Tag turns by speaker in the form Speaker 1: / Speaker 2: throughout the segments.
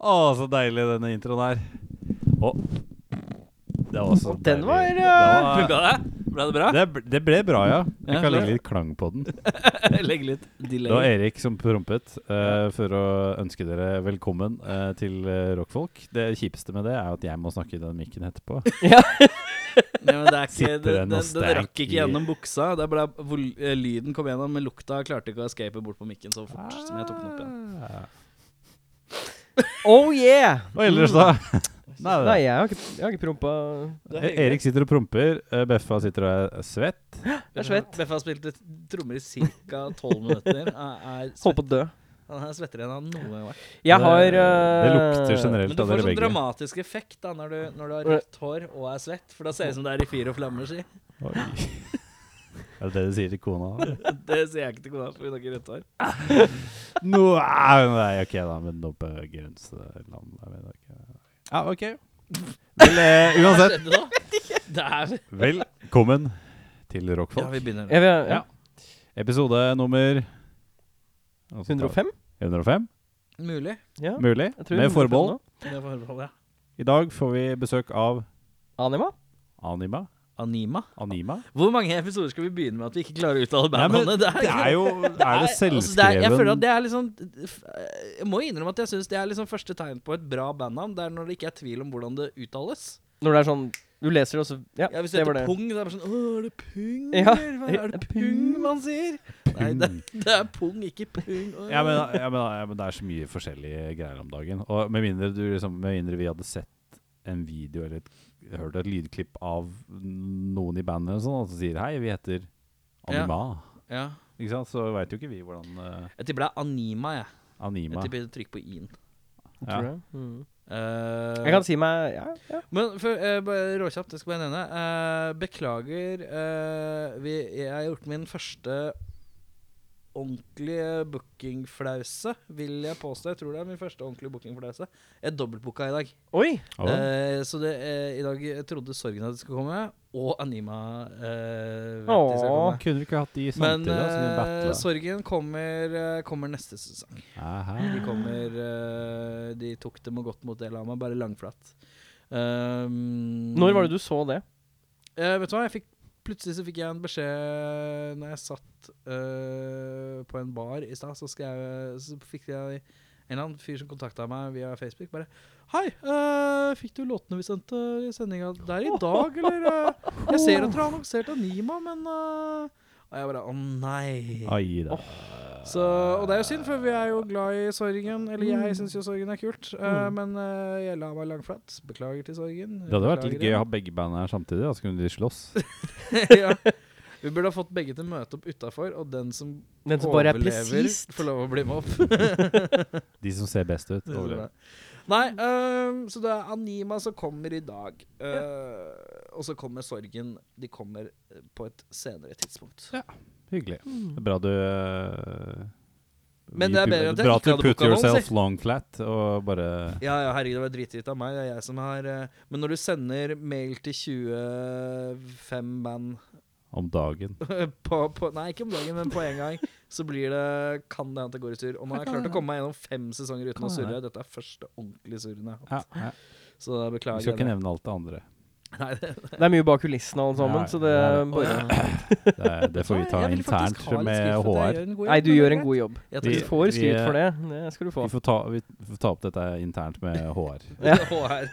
Speaker 1: Å, så deilig denne introen her. Å. Det var så
Speaker 2: Den var,
Speaker 1: deilig.
Speaker 2: eh,
Speaker 1: Det var-
Speaker 3: Funka det? Ble det bra?
Speaker 1: det, bl- det ble bra, ja. Vi
Speaker 3: Ja,
Speaker 1: kan
Speaker 3: det-
Speaker 1: legge litt klang på den. Det
Speaker 3: Legg litt
Speaker 1: var
Speaker 3: delay.
Speaker 1: Erik som prompet eh, for å ønske dere velkommen eh, til eh, Rockfolk. Det kjipeste med det er at jeg må snakke i den mikken etterpå.
Speaker 3: Nei, men det er ikke,
Speaker 1: Sitter
Speaker 3: den,
Speaker 1: den og
Speaker 3: den, den rakk
Speaker 1: stank
Speaker 3: ikke
Speaker 1: i-
Speaker 3: gjennom buksa. Det ble, hvor, eh, lyden kom gjennom, men lukta klarte ikke å escape bort på mikken så fort som jeg tok den opp igjen.
Speaker 1: Ah.
Speaker 2: Oh yeah!
Speaker 1: Og ellers, da? Nei, det-
Speaker 2: Nei, jeg har ikke, jeg har ikke prompa
Speaker 3: Mm, Ah, Det
Speaker 1: E- Erik sitter og promper. eh, Beffa sitter og er svett.
Speaker 2: Jeg er svett.
Speaker 3: Beffa har spilt litt trommer i ca. tolv minutter. Er, er
Speaker 2: Holdt
Speaker 3: svett.
Speaker 2: på å dø.
Speaker 3: Han er svettere enn han noen gang har vært.
Speaker 2: Jeg
Speaker 1: Det-
Speaker 2: har
Speaker 1: Det
Speaker 2: eh,
Speaker 1: lukter
Speaker 3: Men
Speaker 1: generelt
Speaker 3: du
Speaker 1: av
Speaker 3: får
Speaker 1: dere
Speaker 3: sånn
Speaker 1: begge.
Speaker 3: dramatisk effekt da når du, når du har rødt hår og er svett, for da ser det ut som det er i fyr og flammer, si.
Speaker 1: Oi. Er det det du sier til kona?
Speaker 3: Det sier jeg ikke til kona, for hun har ikke rødt hår.
Speaker 1: Nå er hun Nei, OK, da, men nå på grenseland jeg vet ikke. Ja, OK. Vel, eh,
Speaker 3: Hva
Speaker 1: uansett.
Speaker 3: skjedde nå? Det er
Speaker 1: Velkommen til
Speaker 3: Ja,
Speaker 1: Rockfolk.
Speaker 3: vi begynner.
Speaker 2: jeg vil, ja.
Speaker 1: Ja. Episode nummer Og så tar
Speaker 2: 105?
Speaker 1: vi- 105?
Speaker 3: Mulig.
Speaker 2: Ja.
Speaker 1: Mulig.
Speaker 2: jeg tror
Speaker 1: Med
Speaker 2: 105
Speaker 1: forbehold.
Speaker 2: nå.
Speaker 3: Det får jeg holde, ja.
Speaker 1: I dag får vi besøk av
Speaker 2: Anima?
Speaker 1: Anima.
Speaker 3: Anima.
Speaker 1: Anima?
Speaker 3: Hvor mange episoder skal vi begynne med at vi ikke klarer å uttale
Speaker 1: Nei, men
Speaker 3: bandnavnet?
Speaker 1: det er jo Er det
Speaker 3: Nei, liksom- altså, det er- Jeg føler at
Speaker 1: selvskreven
Speaker 3: det er liksom Jeg må innrømme at jeg syns det er liksom første tegn på et bra bandnavn. Det er når det ikke er tvil om hvordan det uttales.
Speaker 2: Når det er sånn Du leser det, og så Ja,
Speaker 3: Ja, hvis
Speaker 2: det
Speaker 3: det
Speaker 2: var
Speaker 3: heter
Speaker 2: det.
Speaker 3: Pung, det er bare sånn Å, er det Pung,
Speaker 2: Ja.
Speaker 3: eller? Hva er det Pung man sier? Nei, det, det er Pung, ikke Pung. Å.
Speaker 1: ja men, ja, men, ja, men det er så mye forskjellige greier om dagen. Og med mindre, du, liksom, med mindre vi hadde sett en video eller et, hørt et lydklipp av noen i bandet eller sånn, og så sier 'hei, vi heter Anima',
Speaker 3: Ja.
Speaker 1: ikke sant? så veit jo ikke vi hvordan eh,
Speaker 3: Jeg tipper det er Anima, jeg. Jeg
Speaker 1: Anima
Speaker 3: tipper trykk på i-en.
Speaker 1: ja.
Speaker 2: Tror jeg. Mm.
Speaker 3: Eh,
Speaker 2: jeg kan si meg Ja, ja.
Speaker 3: Men for, eh, bare råkjapt, det skal jeg bare nevne. Eh, beklager. eh, vi, jeg har gjort min første ordentlige bookingflause, vil jeg påstå. Jeg tror det er min første ordentlige bookingflause. Jeg dobbeltbooka i dag.
Speaker 2: Oi!
Speaker 1: Å,
Speaker 3: Eh, så det, eh, i dag jeg trodde sorgen at det skulle komme, og Anima eh, vet de skal
Speaker 2: Åh,
Speaker 3: komme.
Speaker 1: Kunne du ikke hatt de
Speaker 3: Men
Speaker 1: samtidig? altså, da, så kunne du
Speaker 3: eh,
Speaker 1: battla?
Speaker 3: sorgen kommer, eh, kommer neste sesong.
Speaker 1: Aha.
Speaker 3: De kommer eh, De tok dem og godt mot det la meg, bare langflat. Um,
Speaker 2: Når var det du så det?
Speaker 3: Eh, vet du hva, jeg fikk, plutselig så fikk jeg en beskjed når jeg satt eh, på en bar i stad, så, skal jeg- så fikk jeg en eller annen fyr som kontakta meg via Facebook, bare Hei, eh, fikk du låtene vi sendte i sendinga der i dag, eller? eh, jeg ser at dere har annonsert Anima, men eh, Og jeg bare Å nei.
Speaker 1: Ai da.
Speaker 3: Så, og det er jo synd, for vi er jo glad i sorgen. Eller jeg syns jo sorgen er kult, eh, men eh, jeg la meg langflat. Beklager til sorgen.
Speaker 1: Det hadde vært litt
Speaker 3: Beklager
Speaker 1: gøy
Speaker 3: igjen.
Speaker 1: å ha begge bandene her samtidig. Da så kunne de slåss.
Speaker 3: ja. Vi burde ha fått begge til å møte opp utafor, og den som,
Speaker 2: Den som bare er
Speaker 3: overlever,
Speaker 2: presis?
Speaker 3: får lov å bli med opp.
Speaker 1: De som ser best ut. overlever.
Speaker 3: Nei, øhm, så det er Anima som kommer i dag. øh, Og så kommer sorgen. De kommer øh, på et senere tidspunkt.
Speaker 1: Hyggelig. Det er bra du eh,
Speaker 3: Men
Speaker 1: vi
Speaker 3: det er
Speaker 1: pu-
Speaker 3: bedre at jeg
Speaker 1: bra
Speaker 3: ikke
Speaker 1: du
Speaker 3: hadde
Speaker 1: put
Speaker 3: boka noen,
Speaker 1: yourself
Speaker 3: si.
Speaker 1: long flat og bare
Speaker 3: Ja, ja, herregud, det var dritdritt av meg. Det er jeg som har øh, Men når du sender mail til 25 band
Speaker 1: om dagen.
Speaker 3: øh, på, på, Nei, ikke om dagen, men på en gang. Så blir det Kan det hende at det går i surr. Og nå har jeg klart å komme meg gjennom fem sesonger uten
Speaker 1: Kan
Speaker 3: å
Speaker 1: hende.
Speaker 3: surre. Dette er første ordentlige surren jeg har hatt.
Speaker 1: Ja, ja.
Speaker 3: Så da
Speaker 1: Vi
Speaker 3: beklager
Speaker 1: skal
Speaker 3: jeg
Speaker 1: ikke
Speaker 3: det.
Speaker 1: nevne alt det andre.
Speaker 3: Nei, det.
Speaker 2: Det er mye bak kulissene og alt sammen,
Speaker 1: Ja,
Speaker 2: så det
Speaker 1: ja,
Speaker 2: er
Speaker 1: ja.
Speaker 2: bare
Speaker 1: Det, er- det får vi ta
Speaker 3: Jeg vil faktisk
Speaker 1: internt
Speaker 3: ha litt
Speaker 1: med
Speaker 3: skrift for at jeg
Speaker 1: HR.
Speaker 3: gjør en god
Speaker 2: Nei,
Speaker 3: jobb,
Speaker 2: du
Speaker 3: men
Speaker 2: gjør
Speaker 3: det er
Speaker 2: en god jobb.
Speaker 3: greit. Jeg
Speaker 2: Du
Speaker 1: Vi-
Speaker 3: tror
Speaker 2: får
Speaker 1: vi,
Speaker 2: skryt
Speaker 1: eh,
Speaker 2: for det. Det skal du få.
Speaker 1: Vi får, ta, vi får ta opp dette internt med HR.
Speaker 2: Ja.
Speaker 3: HR.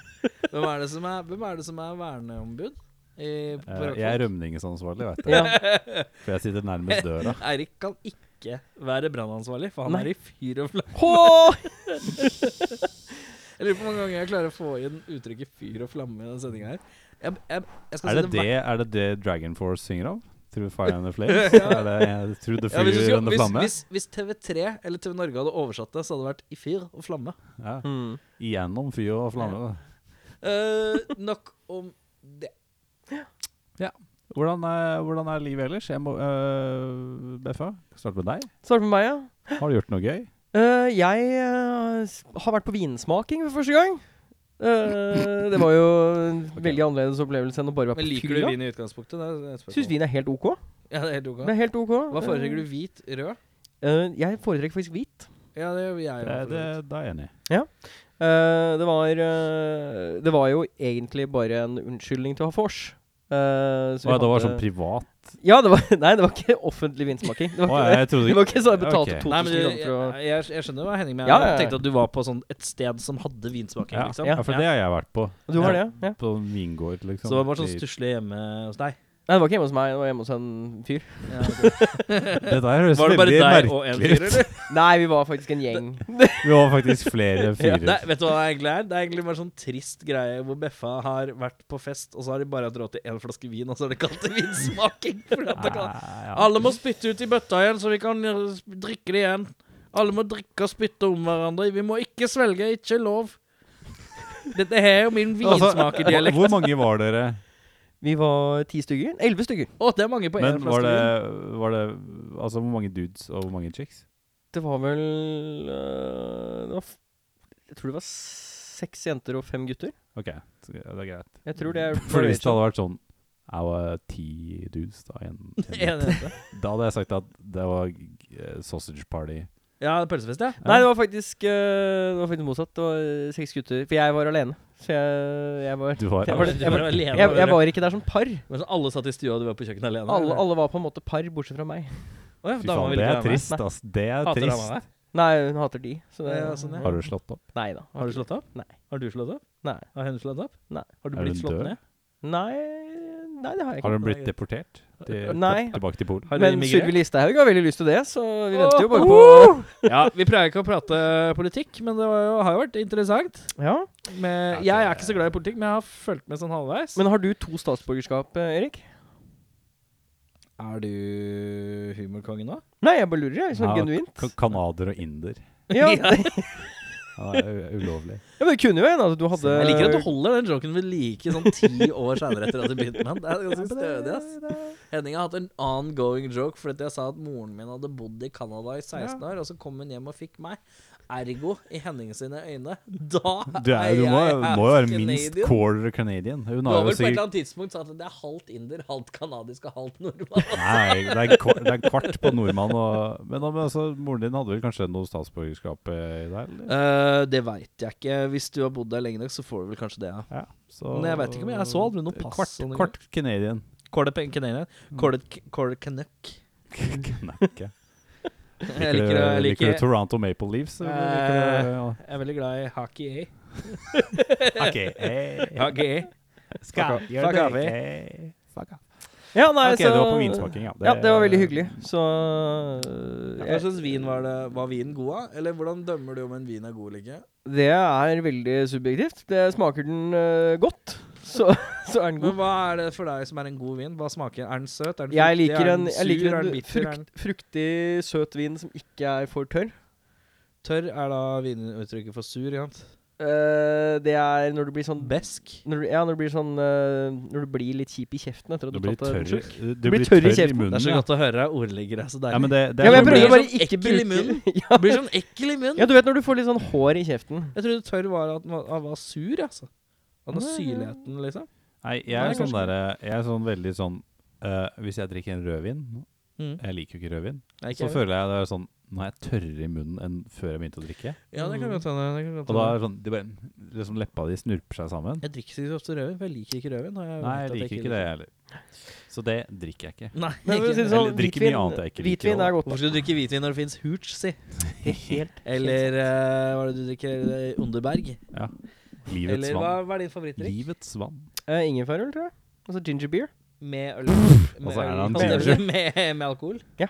Speaker 3: Hvem er det som er, hvem er, det som er verneombud? I, på
Speaker 1: Eh,
Speaker 3: Rockfolk?
Speaker 1: Jeg er rømningsansvarlig, vet du.
Speaker 2: Ja.
Speaker 1: For jeg sitter nærmest døra.
Speaker 3: Eirik kan ikke være brannansvarlig, for han
Speaker 2: Nei.
Speaker 3: er i fyr og flamme.
Speaker 2: Hå!
Speaker 3: Jeg lurer på hvor mange ganger jeg klarer å få inn uttrykket 'fyr og flamme' i denne sendinga her. Jeg, jeg, jeg skal
Speaker 1: Er det
Speaker 3: sette
Speaker 1: det,
Speaker 3: hver-
Speaker 1: er det det Dragon Force synger om? Through Fire and the Flames? Er det Through the
Speaker 3: Ja, hvis, du
Speaker 1: Fire
Speaker 3: skulle-
Speaker 1: and the
Speaker 3: hvis,
Speaker 1: Flamme?
Speaker 3: hvis, hvis TV3 eller TV Norge hadde oversatt det, så hadde det vært 'i fyr og flamme'.
Speaker 1: Ja.
Speaker 2: Mm.
Speaker 1: Igjennom fyr og flamme. da.
Speaker 3: Eh, nok om det.
Speaker 1: Hvordan er, hvordan er livet ellers? Jeg må, øh, Beffa, start med deg.
Speaker 2: Start med meg, ja.
Speaker 1: Har du gjort noe gøy?
Speaker 2: Eh, jeg eh, s- har vært på vinsmaking for første gang. Eh, det var jo en veldig annerledes opplevelse enn å bare være
Speaker 3: Men
Speaker 2: på
Speaker 3: liker du
Speaker 2: fylla.
Speaker 3: vin i utgangspunktet? Det er et spørsmål.
Speaker 2: Syns vin er helt OK.
Speaker 3: Ja, det er helt ok.
Speaker 2: Det er helt OK.
Speaker 3: Hva foretrekker du? Hvit? Rød?
Speaker 2: Eh, jeg foretrekker faktisk hvit.
Speaker 3: Ja, det gjør jeg. i
Speaker 1: Det,
Speaker 3: hvert fall.
Speaker 1: det, da er jeg enig.
Speaker 2: Eh, det var eh, Det var jo egentlig bare en unnskyldning til å ha vors. Eh, så vi
Speaker 1: Å, ja, det var
Speaker 2: hadde-
Speaker 1: sånn privat?
Speaker 2: Ja, det var, nei, det var ikke offentlig vinsmaking. Det var
Speaker 1: Å,
Speaker 2: ikke det.
Speaker 1: ja, jeg trodde
Speaker 2: Det var ikke så jeg
Speaker 1: Ja,
Speaker 2: betalte
Speaker 1: ok.
Speaker 2: 2000
Speaker 3: Nei, men du,
Speaker 2: kroner
Speaker 3: jeg,
Speaker 2: for å
Speaker 3: jeg, jeg skjønner hva Henning mener.
Speaker 2: Ja, ja, ja.
Speaker 3: Jeg tenkte at du var på sånn et sted som hadde vinsmaking.
Speaker 1: ja,
Speaker 3: Liksom.
Speaker 1: ja, for det har jeg vært på.
Speaker 2: Du har det, ja?
Speaker 1: På en vingård, liksom.
Speaker 3: Så det var bare sånn
Speaker 1: I-
Speaker 3: stusslig hjemme hos deg.
Speaker 2: Nei, det var ikke hjemme hos meg, det var hjemme hos en fyr.
Speaker 3: Ja, ok.
Speaker 1: Det der høres
Speaker 3: Var det bare
Speaker 1: veldig
Speaker 3: deg og en
Speaker 1: merkelig
Speaker 3: fyr,
Speaker 1: ut.
Speaker 3: eller?
Speaker 2: Nei, vi var faktisk en gjeng.
Speaker 1: Vi var faktisk flere
Speaker 3: Nei,
Speaker 1: fyrer.
Speaker 3: vet du hva det egentlig er? Det er egentlig bare sånn trist greie hvor Beffa har vært på fest, og så har de bare hatt råd til én flaske vin, og så har de kalt det vinsmaking. Fordi at det kan...
Speaker 1: Ja,
Speaker 3: Alle må spytte ut i bøtta igjen, så vi kan eh, s- drikke det igjen. Alle må drikke og spytte om hverandre. Vi må ikke svelge, ikke lov. Dette her er jo min
Speaker 1: Altså,
Speaker 3: vinsmakedialekt.
Speaker 1: hvor mange var dere?
Speaker 2: Vi var ti stykker. Elleve stykker.
Speaker 3: Å, det er mange på én
Speaker 1: Men var
Speaker 3: flaske
Speaker 1: det,
Speaker 3: vin.
Speaker 1: var det Altså, hvor mange dudes og hvor mange chicks?
Speaker 2: Det var vel øh, det var f Jeg tror det var seks jenter og fem gutter.
Speaker 1: OK, så det er greit.
Speaker 2: Jeg tror det er
Speaker 1: Fordi hvis det hadde vært sånn Jeg var ti dudes, da en, en.
Speaker 3: En jente.
Speaker 1: Da hadde jeg sagt at det var eh, sausage party.
Speaker 3: Ja, pølsefest, ja.
Speaker 2: Nei, det var faktisk øh, Det var faktisk motsatt. Det var øh, seks gutter. For jeg var alene. Så jeg, jeg var
Speaker 1: Du var
Speaker 2: Jeg var-
Speaker 3: Du var alene,
Speaker 2: jeg, jeg
Speaker 3: eller?
Speaker 2: var ikke der som par.
Speaker 3: Men så alle satt i stua, og du var på kjøkkenet alene?
Speaker 2: Alle,
Speaker 3: eller?
Speaker 2: alle var på en måte par, bortsett fra meg.
Speaker 3: Å ja,
Speaker 1: Fy
Speaker 3: da var
Speaker 1: faen,
Speaker 3: vi
Speaker 1: det
Speaker 3: ikke
Speaker 1: er
Speaker 3: alene.
Speaker 1: trist, ass. Det er
Speaker 3: Hater han
Speaker 1: trist.
Speaker 3: deg?
Speaker 2: Nei, hun hater de. Så det,
Speaker 3: Ja, sånn, ja.
Speaker 1: Har du slått opp?
Speaker 2: Nei da.
Speaker 3: Har du slått opp?
Speaker 2: Nei.
Speaker 3: Har du slått opp?
Speaker 2: Nei.
Speaker 3: Har hun slått opp?
Speaker 2: Nei.
Speaker 3: Har du
Speaker 1: Er
Speaker 3: blitt
Speaker 1: hun
Speaker 3: slått
Speaker 1: død?
Speaker 3: ned?
Speaker 2: Nei, nei, det har jeg ikke.
Speaker 1: Har hun blitt deportert? Til,
Speaker 2: Nei.
Speaker 1: Tilbake til Polen?
Speaker 3: Har hun
Speaker 2: Men
Speaker 3: immigrert?
Speaker 2: Sylvi Listhaug har veldig lyst til det, så vi venter jo bare
Speaker 3: Åh!
Speaker 2: på
Speaker 3: Ja, vi pleier ikke å prate politikk, men det var jo, har jo vært interessant.
Speaker 2: Ja,
Speaker 3: Med,
Speaker 1: Ja,
Speaker 3: jeg
Speaker 1: det-
Speaker 3: er ikke så glad i politikk, men jeg har fulgt med sånn halvveis.
Speaker 2: Men har du to statsborgerskap, eh, Erik?
Speaker 3: er du humorkongen nå?
Speaker 2: Nei, jeg bare lurer, jeg. Sånn
Speaker 1: Ja,
Speaker 2: genuint.
Speaker 1: ka- Kanader og inder.
Speaker 2: Ja. ja,
Speaker 1: Ja, det er u- ulovlig.
Speaker 2: men det kunne jo hende at du hadde
Speaker 3: Jeg liker at du holder den joken ved like sånn ti år seinere etter at du begynte med den. Det er ganske stødig, ass. Henning har hatt en ongoing joke fordi jeg sa at moren min hadde bodd i Canada i 16 år, og så kom hun hjem og fikk meg. Ergo, i Henning sine øyne, da
Speaker 1: Du, er, du må,
Speaker 3: jeg
Speaker 1: må jo være
Speaker 3: half
Speaker 1: minst
Speaker 3: Canadian.
Speaker 1: quarter Canadian. Hun
Speaker 3: Du
Speaker 1: har
Speaker 3: har vel
Speaker 1: jo
Speaker 3: på et eller
Speaker 1: sikkert
Speaker 3: annet tidspunkt sagt at det er halvt inder, halvt kanadisk og halvt nordmann.
Speaker 1: Nei, det er, en kvar- det er en kvart på nordmann og Men da- men altså, moren din hadde vel kanskje noe statsborgerskap eh, i deg? eller?
Speaker 3: Eh, det veit jeg ikke. Hvis du har bodd der lenge nok, så får du vel kanskje det. Ja.
Speaker 1: Ja, så
Speaker 3: Men jeg vet ikke om jeg så aldri noe pass sånn
Speaker 1: Kvart,
Speaker 3: og noe
Speaker 1: kvart Canadian.
Speaker 3: Call it Canadian. Call it, call it Canuck.
Speaker 1: Knekke.
Speaker 3: Jeg liker, jeg
Speaker 1: Liker, du- liker du
Speaker 3: liker Eh.
Speaker 1: Toronto Maple Leafs? eller liker du- ja.
Speaker 3: Jeg er veldig glad i hockey. eh?
Speaker 1: Ok, hey.
Speaker 3: Hockey. eh?
Speaker 1: Skal
Speaker 3: Fuck
Speaker 1: gjøre det,
Speaker 3: off, vi.
Speaker 1: hey. Fuck off.
Speaker 2: Ja, nei,
Speaker 1: eh? Ok,
Speaker 2: så
Speaker 1: det var på vinsmaking, ja.
Speaker 2: Ja, det var veldig hyggelig, så eh,
Speaker 3: Hva slags vin var det? Var vinen god, da? Eller hvordan dømmer du om en vin er god eller ikke?
Speaker 2: Det er veldig subjektivt. Det smaker den eh, godt, så, så er den god.
Speaker 3: Men hva er det for deg som er en god vin? Hva smaker den? Er den søt? Er den
Speaker 2: Jeg
Speaker 3: fruktig?
Speaker 2: liker
Speaker 3: er
Speaker 2: en,
Speaker 3: den sur?
Speaker 2: jeg liker
Speaker 3: er
Speaker 2: en
Speaker 3: den bitter? Er
Speaker 2: frukt,
Speaker 3: den
Speaker 2: fruktig, søt vin som ikke er for tørr.
Speaker 3: tørr? Er da vinuttrykket for sur? Ikke sant?
Speaker 2: Eh, det er når du blir sånn
Speaker 3: Besk?
Speaker 2: når du, Ja, når du blir sånn eh, Når du blir litt kjip i kjeften etter at
Speaker 1: Du
Speaker 2: du
Speaker 1: blir
Speaker 2: har tatt
Speaker 1: tørr,
Speaker 2: deg en slurk. Du
Speaker 1: du blir tørr i munnen.
Speaker 3: Det er så
Speaker 1: ja.
Speaker 3: godt å høre deg ordlegge deg så deilig.
Speaker 1: Ja, men det, det
Speaker 2: Ja, men jeg
Speaker 3: Du
Speaker 1: er-
Speaker 2: prøvde
Speaker 3: blir
Speaker 2: bare
Speaker 3: sånn
Speaker 2: ikke
Speaker 3: ekkel i
Speaker 2: bruke
Speaker 3: munnen.
Speaker 2: ja.
Speaker 3: Du blir sånn ekkel i munnen.
Speaker 2: ja, du vet når du får litt sånn hår i kjeften.
Speaker 3: Jeg trodde tørr var at man han var sur, altså. At den
Speaker 2: Nei,
Speaker 3: syrligheten, liksom.
Speaker 1: Nei, jeg er
Speaker 3: Nei,
Speaker 1: sånn
Speaker 3: kanskje
Speaker 1: derre Jeg er sånn veldig sånn eh, Hvis jeg drikker en rødvin Jeg liker jo ikke rødvin.
Speaker 3: Nei, ikke Mm.
Speaker 1: Så
Speaker 3: jeg.
Speaker 1: føler jeg det er sånn Nå er jeg tørrere i munnen enn før jeg begynte å drikke.
Speaker 3: Ja, det kan godt hende. det kan godt
Speaker 1: Og da er
Speaker 3: hende.
Speaker 1: det sånn, det bare, liksom Leppa di snurper seg sammen.
Speaker 3: Jeg drikker ikke så ofte rødvin, for jeg liker ikke rødvin. og jeg
Speaker 1: Nei,
Speaker 3: vet
Speaker 1: jeg
Speaker 3: at
Speaker 1: liker ikke det, jeg heller. Så det drikker jeg ikke.
Speaker 3: Nei,
Speaker 2: Men for å si det
Speaker 3: ikke.
Speaker 2: sånn,
Speaker 1: Eller drikke mye annet jeg ikke liker
Speaker 2: hvitvin er godt.
Speaker 3: Hvorfor skal du drikke hvitvin når det fins Hooch, si?
Speaker 2: Helt
Speaker 3: Eller eh, hva er det du drikker? Eh, Underberg?
Speaker 1: Ja. Livets
Speaker 3: Eller hva,
Speaker 1: vann.
Speaker 3: hva er din favorittdrikk?
Speaker 1: Livets vann.
Speaker 2: Eh, Ingefærøl, tror jeg. Altså ginger beer.
Speaker 3: Med øl? Med,
Speaker 1: Altså, er det
Speaker 3: øl-
Speaker 1: han
Speaker 3: med,
Speaker 1: ginger?
Speaker 3: med, med alkohol?
Speaker 2: Ja.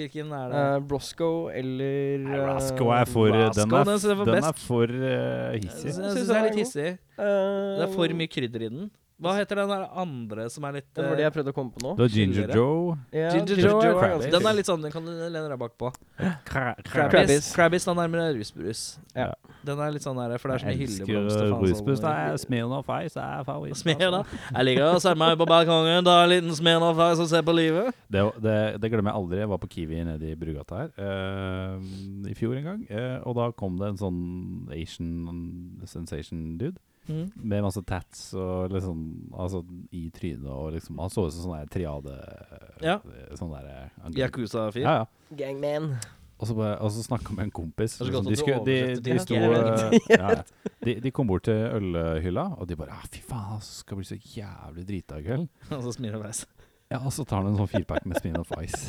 Speaker 3: Hvilken er det?
Speaker 2: Eh, Brosco eller
Speaker 1: Nei,
Speaker 2: eh,
Speaker 1: Rasco er for
Speaker 3: Rasco,
Speaker 1: Den er,
Speaker 3: den synes jeg var
Speaker 1: den
Speaker 3: best.
Speaker 1: er for eh,
Speaker 3: jeg
Speaker 1: hissig.
Speaker 2: synes
Speaker 3: syns
Speaker 2: den
Speaker 3: det er
Speaker 2: er
Speaker 3: litt
Speaker 2: god.
Speaker 3: hissig.
Speaker 2: eh,
Speaker 3: Det er for mye krydder i den. Hva heter den der andre som er litt
Speaker 2: Det var
Speaker 3: eh,
Speaker 2: det jeg prøvde å komme på nå.
Speaker 1: Du har Ginger
Speaker 3: Chillere.
Speaker 1: Joe.
Speaker 2: Ja,
Speaker 3: Ginger
Speaker 1: Joe er
Speaker 2: er
Speaker 1: crappy.
Speaker 2: ganske
Speaker 3: Den
Speaker 2: god.
Speaker 3: er litt sånn, den kan du lene deg bakpå.
Speaker 2: Krabbies.
Speaker 3: Krabbis. Krabbis den er med rusbrus.
Speaker 2: Ja.
Speaker 3: Den er litt sånn der, for det er så mye
Speaker 1: Jeg
Speaker 3: hylleblomster.
Speaker 1: elsker eh,
Speaker 3: faen, sånn.
Speaker 1: rusbrus. Det er Smirnoff Ice. Det er
Speaker 3: Og
Speaker 1: favoritt. altså.
Speaker 3: Smer, da. Jeg ligger og setter meg på balkongen, tar en liten smer nå før jeg ser på livet.
Speaker 1: Det, det, det glemmer jeg aldri. Jeg var på Kiwi nede i Brugata her eh, i fjor en gang. eh, og da kom det en sånn Asian sensation dude med masse tats og liksom Altså i trynet og liksom Han så ut som sånn der triade
Speaker 3: Ja.
Speaker 1: Sånn der eh,
Speaker 3: Yakuza-fyr.
Speaker 1: Ja, ja.
Speaker 2: Gangman.
Speaker 1: Og så, bare- og så snakka med en kompis.
Speaker 3: Det er så godt
Speaker 1: liksom,
Speaker 3: at
Speaker 1: de,
Speaker 3: du
Speaker 1: skulle,
Speaker 3: oversetter
Speaker 1: de, de,
Speaker 2: til
Speaker 1: sto,
Speaker 2: norsk, jeg
Speaker 1: eh,
Speaker 2: vet.
Speaker 1: ja, ja. de, de kom bort til ølhylla, og de bare ah, 'Fy faen, altså, skal bli så jævlig drita i kveld'.
Speaker 3: Og så smiler han veis.
Speaker 1: Ja, Og så tar han en sånn firpack med Smin of Ice.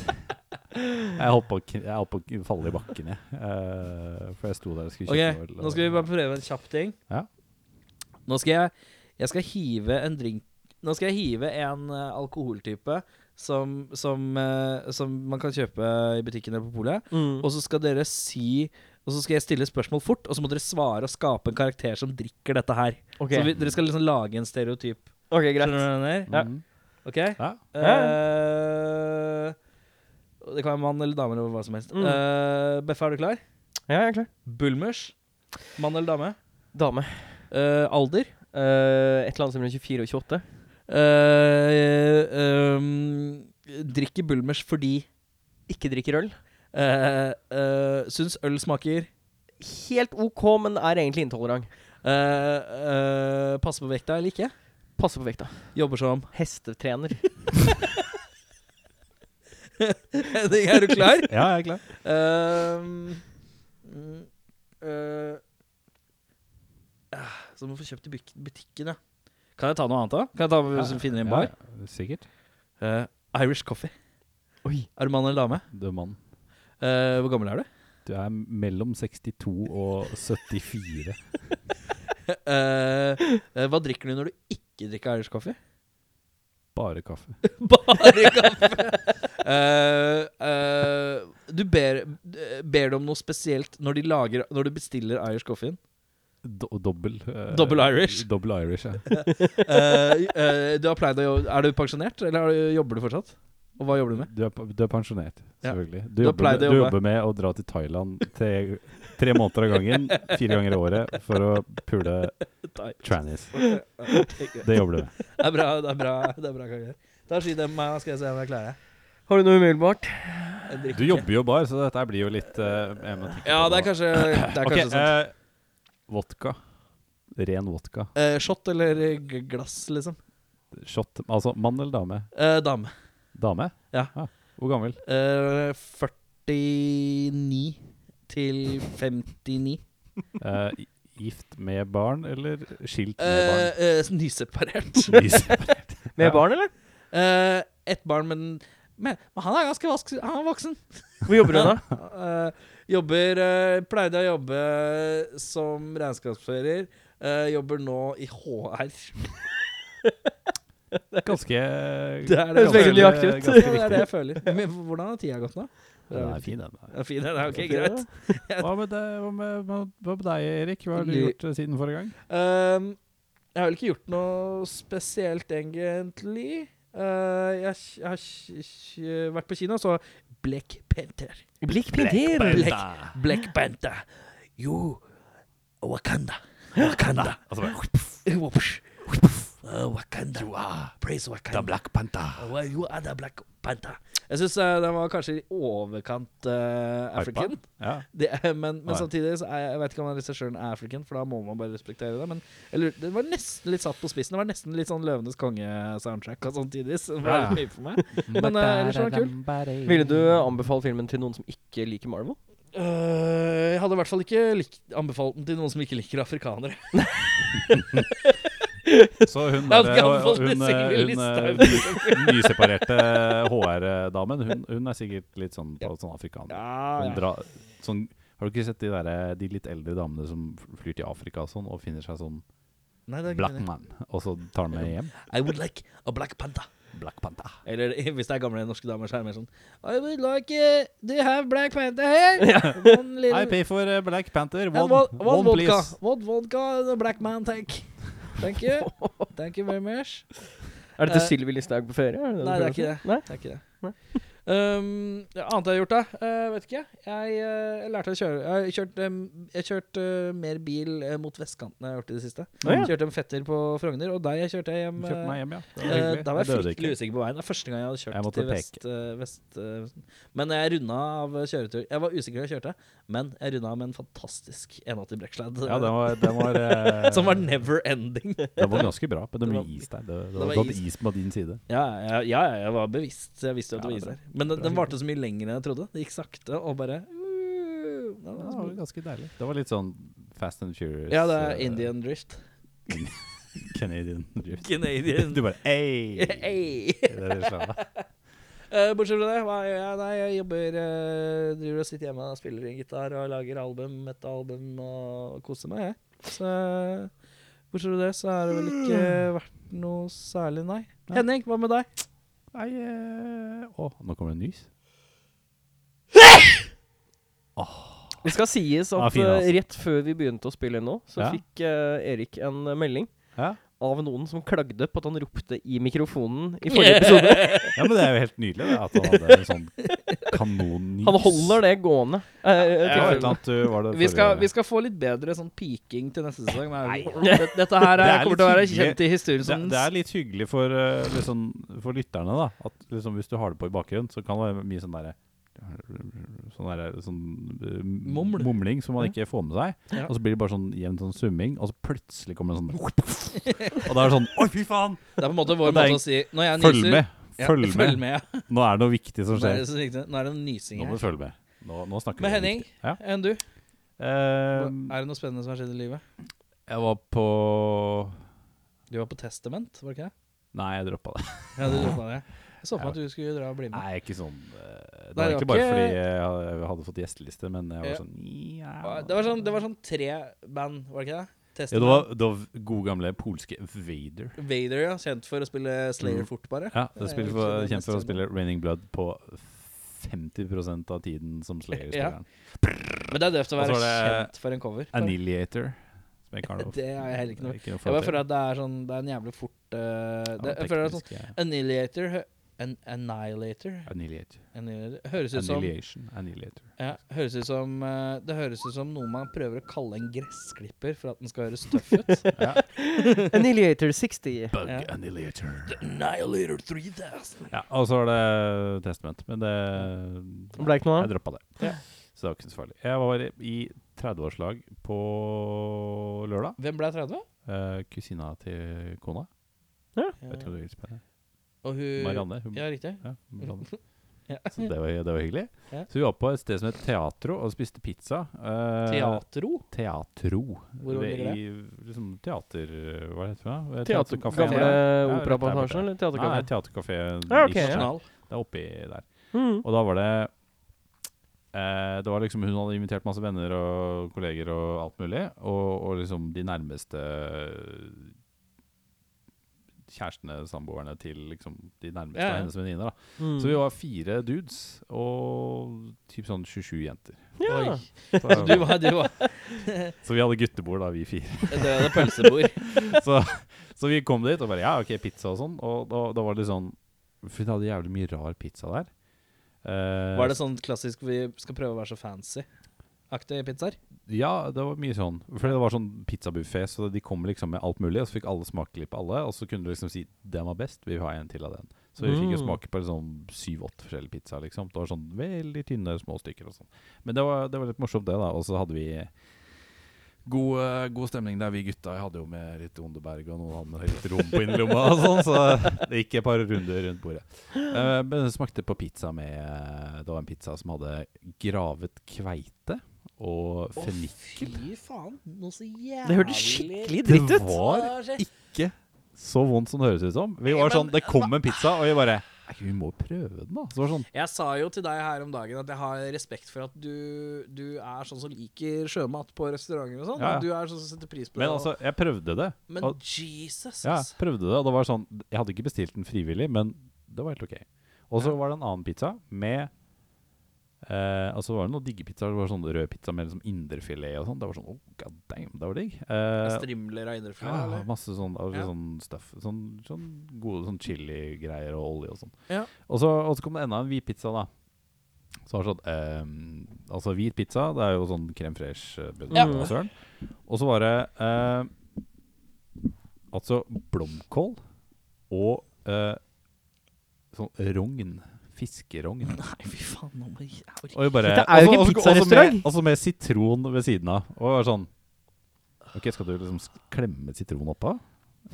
Speaker 1: Jeg holdt på å kn- jeg holdt på å kn- falle i bakken, jeg. Eh, for jeg sto der og skulle
Speaker 3: Ok,
Speaker 1: kjøpe øl.
Speaker 3: nå skal vi bare prøve en kjapp ting.
Speaker 1: eh, Ja.
Speaker 3: Nå skal jeg Jeg skal hive en drink Nå skal jeg hive en eh, alkoholtype som, som, eh, som man kan kjøpe i butikken eller på polet.
Speaker 2: Mm.
Speaker 3: Og så skal dere si Og så skal jeg stille spørsmål fort, og så må dere svare og skape en karakter som drikker dette her.
Speaker 2: Ok,
Speaker 3: Så vi, dere skal liksom lage en stereotyp.
Speaker 2: Ok, greit.
Speaker 3: Skjønner du hva jeg mener?
Speaker 2: Ja.
Speaker 1: Mhm.
Speaker 3: Ok?
Speaker 1: Ja.
Speaker 3: Eh, det kan være mann eller dame eller hva som helst.
Speaker 2: Mm.
Speaker 3: Eh, Beffe, er du klar?
Speaker 2: Ja, jeg er klar.
Speaker 3: Bulmers. Mann eller dame?
Speaker 2: Dame.
Speaker 3: Eh, alder?
Speaker 2: Eh, et eller annet som mellom 24 og 28.
Speaker 3: Eh, ehm, drikker Bulmers fordi
Speaker 2: Ikke drikker øl.
Speaker 3: uh, syns øl smaker
Speaker 2: Helt OK, men er egentlig intolerant.
Speaker 3: eh, eh, Passer på vekta eller ikke?
Speaker 2: Passer på vekta.
Speaker 3: Jobber som
Speaker 2: Hestetrener.
Speaker 3: Er du klar?
Speaker 1: ja, jeg er klar.
Speaker 3: Ehm, mm, eh, ah, Så må vi få kjøpt i buk- butikken, ja. Kan jeg ta noe annet, da? Kan jeg ta med, som finner i en bar?
Speaker 1: Ja, sikkert.
Speaker 3: Eh, Irish coffee.
Speaker 2: Oi.
Speaker 3: Er du mann eller dame?
Speaker 1: Du er mann.
Speaker 3: Eh, hvor gammel er du?
Speaker 1: Du er mellom 62 og 74.
Speaker 3: Eh, eh, hva drikker du når du ikke drikker Irish coffee?
Speaker 1: Bare kaffe.
Speaker 3: Bare kaffe! Eh, eh, du ber, eh, ber du om noe spesielt når, de lager, når du bestiller Irish coffeen?
Speaker 1: Do dobbel eh,
Speaker 3: Dobbel Irish.
Speaker 1: Dobbel Irish, ja.
Speaker 3: Eh, eh, du har pleid å jobbe Er du pensjonert, eller er du, jobber du fortsatt? Og hva jobber du med?
Speaker 1: Du er, pa- du er pensjonert,
Speaker 3: Ja.
Speaker 1: selvfølgelig. Du,
Speaker 3: Du har
Speaker 1: jobber,
Speaker 3: pleid å
Speaker 1: med, du
Speaker 3: jobbe.
Speaker 1: jobber med å dra til Thailand tre, tre måneder av gangen, fire ganger i året, for å pule trannies. Det jobber du med.
Speaker 3: Det er bra. det er bra, det er bra karakter. Da skyt dem meg, skal jeg se om jeg klarer det.
Speaker 2: Har du noe umiddelbart?
Speaker 3: Jeg drikker.
Speaker 1: Du jobber jo bar, så dette blir jo litt eh,
Speaker 3: Ja, det er kanskje, det er kanskje sant.
Speaker 1: vodka. Ren vodka.
Speaker 3: Eh, shot eller g- glass, liksom?
Speaker 1: Shot. Altså mann eller dame?
Speaker 3: Eh, dame.
Speaker 1: Dame? Ah,
Speaker 3: Ja.
Speaker 1: Hvor gammel?
Speaker 3: Eh, 49 til 59.
Speaker 1: Eh, i- gift med barn, eller skilt med barn?
Speaker 3: Eh, eh, nyseparert.
Speaker 2: Med
Speaker 1: Ja.
Speaker 2: barn, eller?
Speaker 3: Eh, Ett barn, men, men, men han er ganske vask, han er voksen.
Speaker 2: Hvor jobber du da?
Speaker 3: Eh, jobber eh, Pleide å jobbe som regnskapsfører. Eh, jobber nå i HR.
Speaker 1: Ganske
Speaker 3: Det er
Speaker 2: Høres veldig nøyaktig ut.
Speaker 3: Ja, det er
Speaker 1: Ganske
Speaker 3: det
Speaker 1: viktig.
Speaker 3: jeg føler. Men hvordan har tida gått nå?
Speaker 1: Den er fin, den. der.
Speaker 3: Ja, fin, den er ok,
Speaker 2: Ok,
Speaker 3: greit.
Speaker 2: da.
Speaker 1: Hva med, deg- hva med, hva med deg, Erik? Hva har du
Speaker 3: Li-
Speaker 1: gjort eh, siden forrige gang?
Speaker 3: Ehm, jeg har vel ikke gjort noe spesielt, egentlig. Eh, jeg, kj- jeg har kj- kj- vært på kino og så Black Panther.
Speaker 2: Blikk pinter.
Speaker 3: Black, Black Panther. You Wakanda. Wakanda. Whoosh. Uh, Wakanda. Praise Wakanda. Uh, well, you are the Black Panther. Jeg syns eh, den var kanskje i overkant eh, African.
Speaker 1: Ja.
Speaker 3: Det er, men men
Speaker 1: Nei.
Speaker 3: samtidig så er, jeg vet ikke om regissøren er African, for da må man bare respektere det. Men eller, det var nesten litt satt på spissen. Det var nesten litt sånn Løvenes konge-soundtrack og sånn tidvis. Det var
Speaker 1: Ja.
Speaker 3: litt mye for meg. Men eh, ellers var den kul.
Speaker 2: Ville du eh, anbefale filmen til noen som ikke liker Marvel?
Speaker 3: Øh, jeg hadde i hvert fall ikke likt, anbefalt den til noen som ikke liker afrikanere.
Speaker 1: Så hun,
Speaker 3: Jeg hadde
Speaker 1: der,
Speaker 3: ikke
Speaker 1: hun,
Speaker 3: anbefalt
Speaker 1: hun,
Speaker 3: Sylvi
Speaker 1: eh,
Speaker 3: Listhaug.
Speaker 1: hun eh, nyseparerte HR-damen, hun, hun er sikkert litt sånn på sånn afrikaner. Hun
Speaker 3: Ja,
Speaker 1: dra, sånn, har du ikke sett de, der, eh, de litt eldre damene som flyr til Afrika og sånn, og finner seg sånn
Speaker 3: Nei, det er
Speaker 1: black
Speaker 3: ikke det.
Speaker 1: man, og så tar han med hjem?
Speaker 3: I would like a black panther.
Speaker 1: Black Panther.
Speaker 3: Eller hvis det er gamle norske damer, så er det mer sånn I would like uh, Do you have black panther here? One
Speaker 1: I
Speaker 3: little
Speaker 1: pay for eh, Black Panther.
Speaker 3: And
Speaker 1: One,
Speaker 3: one,
Speaker 1: one,
Speaker 3: one vodka.
Speaker 1: please.
Speaker 3: One vodka the black man take. Thank you. Thank you very much.
Speaker 2: Er dette
Speaker 3: Eh,
Speaker 2: Sylvi Listhaug på ferie? Er
Speaker 3: Nei, det er ikke det.
Speaker 2: prøver å si? Nei?
Speaker 3: Det er ikke det.
Speaker 2: Nei.
Speaker 3: Um, ja, annet jeg har gjort, da? Eh, vet ikke. Jeg, eh, jeg lærte å kjøre. Jeg har kjørt, em, jeg har kjørt eh, mer bil eh, mot vestkanten enn jeg har gjort i det siste.
Speaker 2: Å, ja.
Speaker 3: Kjørte en fetter på Frogner, og der jeg kjørte jeg hjem.
Speaker 1: Kjøpte
Speaker 3: eh,
Speaker 1: meg hjem, ja. Det var
Speaker 3: Eh,
Speaker 1: hyggelig.
Speaker 3: da var jeg
Speaker 1: Jeg døde
Speaker 3: fryktelig
Speaker 1: ikke.
Speaker 3: usikker på veien. Det er første gang jeg hadde kjørt
Speaker 1: Jeg måtte
Speaker 3: til
Speaker 1: peke.
Speaker 3: vest, eh, vest, eh, Vesten. Men jeg runda av kjøretur. Jeg var usikker da jeg kjørte, men jeg runda av med en fantastisk 180 brekksledd.
Speaker 1: Ja, den var, den var, eh,
Speaker 3: som var never ending.
Speaker 1: den var ganske bra, men det
Speaker 3: Det
Speaker 1: var
Speaker 3: var-
Speaker 1: mye is der. Det, det,
Speaker 3: det var
Speaker 1: var godt
Speaker 3: is.
Speaker 1: is på din side.
Speaker 3: Ja, ja, ja, jeg var bevisst. Jeg visste jo at det
Speaker 1: Ja,
Speaker 3: var
Speaker 1: det
Speaker 3: is
Speaker 1: er
Speaker 3: der. Men den,
Speaker 1: Bra
Speaker 3: den
Speaker 1: hyggelig.
Speaker 3: varte så mye lenger enn jeg trodde. Det gikk sakte og bare uh, Ja,
Speaker 1: det var ganske deilig. Det var litt sånn Fast and Furious.
Speaker 3: Ja, det er
Speaker 1: eh,
Speaker 3: Indian drift.
Speaker 1: Canadian drift.
Speaker 3: Canadian.
Speaker 1: Du bare Ei!
Speaker 3: Hey.
Speaker 1: Det er det slaget.
Speaker 3: Eh, bortsett fra det, hva gjør jeg? Nei, jeg jobber eh, Driver og sitter hjemme og spiller en gitar og lager album, et album og koser meg, jeg. Så bortsett fra det, så har det vel ikke vært noe særlig, nei.
Speaker 1: Nei.
Speaker 3: Henning, hva med deg?
Speaker 1: Nei eh, Å, nå kommer det en nys.
Speaker 2: Det skal sies
Speaker 1: Ja,
Speaker 2: at
Speaker 1: fin, altså.
Speaker 2: eh, rett før vi begynte å spille nå, så
Speaker 1: Ja.
Speaker 2: fikk eh, Erik en eh, melding
Speaker 1: Ja.
Speaker 2: av noen som klagde på at han ropte i mikrofonen i forrige episode.
Speaker 1: ja, men det er jo helt nydelig det, at han hadde en sånn kanonnys.
Speaker 2: Han holder det gående. eh,
Speaker 1: Det
Speaker 2: til-
Speaker 1: var et eller annet uh, var det
Speaker 3: Vi skal,
Speaker 1: forrige-
Speaker 3: vi skal få litt bedre sånn piking til neste sesong.
Speaker 1: Nei.
Speaker 3: Dette, dette her
Speaker 1: Det
Speaker 3: er,
Speaker 1: er
Speaker 3: kommer til å være
Speaker 1: litt hyggelig.
Speaker 3: kjent i historien
Speaker 1: det,
Speaker 3: som
Speaker 1: det er litt hyggelig for, eh, liksom, for lytterne, da. At liksom, hvis du har det på i bakgrunnen, så kan det være mye sånn derre Sånn, derre- sånn eh,
Speaker 3: Muml.
Speaker 1: mumling som man ikke får med seg.
Speaker 3: Ja.
Speaker 1: Og så blir det bare sånn jevn sånn summing, og så plutselig kommer det en sånn Og da er det sånn Oi, fy faen!
Speaker 3: Det er på en måte
Speaker 1: Og
Speaker 3: vår
Speaker 1: det er
Speaker 3: måte å si Når jeg nyser
Speaker 1: Følg med!
Speaker 3: Ja,
Speaker 1: Følg
Speaker 3: følg
Speaker 1: med!
Speaker 3: med, ja.
Speaker 1: Nå er det noe viktig
Speaker 3: Nå
Speaker 1: som
Speaker 3: er
Speaker 1: skjer.
Speaker 3: det så riktig. Nå er det en nysing
Speaker 1: Nå må
Speaker 3: her.
Speaker 1: du følge med. Nå, nå snakker
Speaker 3: Men
Speaker 1: vi
Speaker 3: Henning?
Speaker 1: riktig. Ja.
Speaker 3: Enn du? Hva-
Speaker 1: Eh,
Speaker 3: Er det noe spennende som har skjedd i livet?
Speaker 1: jeg var på
Speaker 3: Du var på Testament, var det ikke det?
Speaker 1: Nei, jeg droppa det.
Speaker 3: Ja, du droppa det. Jeg så for meg at du skulle dra og bli med.
Speaker 1: Nei, ikke sånn eh, Det
Speaker 3: Nei,
Speaker 1: var
Speaker 3: det
Speaker 1: egentlig
Speaker 3: var
Speaker 1: bare
Speaker 3: ikke-
Speaker 1: fordi jeg hadde- jeg hadde fått gjesteliste, men jeg var
Speaker 3: Ja.
Speaker 1: sånn ja.
Speaker 3: Det var sånn, det var sånn tre band, var det ikke det?
Speaker 1: ja,
Speaker 3: Testament.
Speaker 1: det var, det var gode gamle polske Vader.
Speaker 3: Vader, ja. Kjent for å spille Slayer
Speaker 1: Mm.
Speaker 3: fort, bare.
Speaker 1: Ja, det
Speaker 3: Det er
Speaker 1: spiller
Speaker 3: jo
Speaker 1: for,
Speaker 3: ikke det
Speaker 1: kjent for å
Speaker 3: mest
Speaker 1: spille Raining Blood på 50 av tiden som Slayer
Speaker 3: Ja.
Speaker 1: spiller. den.
Speaker 3: Men det er døvt å
Speaker 1: Og så
Speaker 3: være
Speaker 1: var det
Speaker 3: kjent for en cover. bare.
Speaker 1: Annihilator. Som jeg kaller
Speaker 3: Det er jeg heller ikke noe-
Speaker 1: Ikke
Speaker 3: Jeg bare
Speaker 1: noe forhold til.
Speaker 3: føler at det er sånn Det er en jævlig fort eh, det,
Speaker 1: Ja,
Speaker 3: Jeg føler at sånn
Speaker 1: teknisk, ja.
Speaker 3: Annihilator hø- an, Annihilator
Speaker 1: Annihilator.
Speaker 3: Annihilator Høres ut som
Speaker 1: Annihilation. Annihilator.
Speaker 3: Ja, høres ut som eh, Det høres ut som noe man prøver å kalle en gressklipper for at den skal høres tøff ut.
Speaker 1: Ja.
Speaker 2: Annihilator 60.
Speaker 1: Bug
Speaker 3: Ja.
Speaker 1: Annihilator.
Speaker 3: Annihilator 3000.
Speaker 1: Ja, og så var det Testament, men det
Speaker 2: Det ble ikke noe av.
Speaker 1: Jeg droppa det.
Speaker 3: Ja.
Speaker 1: Så det var ikke så farlig. Jeg var i 30-årslag på lørdag.
Speaker 3: Hvem ble 30?
Speaker 1: Eh, kusina til kona. Vet ikke om du vil spørre.
Speaker 3: Og hun
Speaker 1: Marianne. Hun,
Speaker 3: Ja, riktig.
Speaker 1: ja, Marianne.
Speaker 3: Ja.
Speaker 1: Så det var, det var hyggelig.
Speaker 3: Ja.
Speaker 1: Så vi var på et sted som het Teatro og spiste pizza. Eh,
Speaker 3: Teatro?
Speaker 1: Teatro.
Speaker 3: Hvor
Speaker 1: Det-
Speaker 3: ligger det?
Speaker 1: I liksom teater... Hva heter det? for noe?
Speaker 2: Teater,
Speaker 1: Teaterkafé.
Speaker 2: gamle
Speaker 1: Ja, rett der borte.
Speaker 2: operapassasjen,
Speaker 3: sånn,
Speaker 2: eller
Speaker 1: Nei,
Speaker 2: teaterkafé?
Speaker 1: teaterkafé.
Speaker 2: Ja, ok, ja.
Speaker 3: Nasjonal.
Speaker 1: Det er oppi der.
Speaker 2: Mm.
Speaker 1: Og da var det eh, Det var liksom Hun hadde invitert masse venner og kolleger og alt mulig. Og, og liksom de nærmeste kjærestene, samboerne til liksom de nærmeste
Speaker 3: Ja, ja.
Speaker 1: av hennes venninner. da.
Speaker 2: Mm.
Speaker 1: Så vi var fire dudes og typ sånn 27 jenter.
Speaker 2: Ja.
Speaker 3: Oi.
Speaker 1: Så,
Speaker 3: Så du var, du var
Speaker 1: så vi hadde guttebord, da, vi fire.
Speaker 3: Det var det pølsebord.
Speaker 1: Så, så vi kom dit og bare Ja, OK, pizza og sånn. Og da, da var det litt sånn For hun hadde jævlig mye rar pizza der. Eh,
Speaker 3: Var det sånn klassisk vi skal prøve å være så fancy-aktig pizzaer?
Speaker 1: Ja, det var mye sånn. For det var sånn pizzabuffé, så de kom liksom med alt mulig. Og så fikk alle smake litt på alle, og så kunne du liksom si 'den var best, vi vil ha en til av den'. Så vi fikk jo
Speaker 2: Mm.
Speaker 1: smake på liksom syv-åtte forskjellige pizzaer, liksom. Det var sånn veldig tynne små stykker og sånn. Men det var, det var litt morsomt, det, da. Og så hadde vi god, eh, god stemning der, vi gutta. Jeg hadde jo med litt Underberg, og noen hadde med litt rom på innerlomma og sånn, så det gikk et par runder rundt bordet. Eh, men det smakte på pizza med Det var en pizza som hadde gravet kveite og fennikel.
Speaker 3: Fy faen, noe så jævlig
Speaker 2: Det hørtes skikkelig dritt
Speaker 1: Det
Speaker 2: ut.
Speaker 1: var ikke så vondt som det høres ut som. Vi var sånn, Det kom en pizza, og vi bare Nei, vi må prøve den, da. Så det var sånn
Speaker 3: Jeg sa jo til deg her om dagen at jeg har respekt for at du, du er sånn som liker sjømat på restauranter og sånn.
Speaker 1: Ja, ja.
Speaker 3: og Du er sånn som setter pris på det.
Speaker 1: Men
Speaker 3: og-
Speaker 1: altså, jeg prøvde det.
Speaker 3: men
Speaker 1: og-
Speaker 3: Jesus!
Speaker 1: Ja,
Speaker 3: ass.
Speaker 1: jeg prøvde det, og det var sånn Jeg hadde ikke bestilt den frivillig, men det var helt OK. Og så
Speaker 3: Ja.
Speaker 1: var det en annen pizza med eh, Altså, det var noen digge pizzaer. Det var sånn rød pizza med liksom indrefilet og sånn. Det var sånn Oh, god damn, det var digg.
Speaker 3: Altså,
Speaker 1: Eh,
Speaker 3: Strimler av indre
Speaker 1: ja,
Speaker 3: eller?
Speaker 1: masse sånn, av
Speaker 3: Ja.
Speaker 1: sånn stuff. Sånn, sånn gode sånn chili-greier og olje og sånn.
Speaker 3: Ja.
Speaker 1: Og, så, og så kom det enda en hvit pizza, da. Så var det sånn ehm, Altså hvit pizza, det er jo sånn crème fresh eh, bunn
Speaker 2: Ja.
Speaker 1: og søren. Og så var det eh, altså blomkål og eh, sånn rogn. Fiskerogn.
Speaker 3: Nei, fy faen, nå må jeg jeg orker
Speaker 1: Og vi bare,
Speaker 2: Dette er jo
Speaker 1: og så-
Speaker 2: ikke
Speaker 1: og så- og så med-
Speaker 2: pizzarestaurant.
Speaker 1: Og så med sitron ved siden av. Og jeg var sånn Ok, skal du liksom sk- klemme sitron oppå?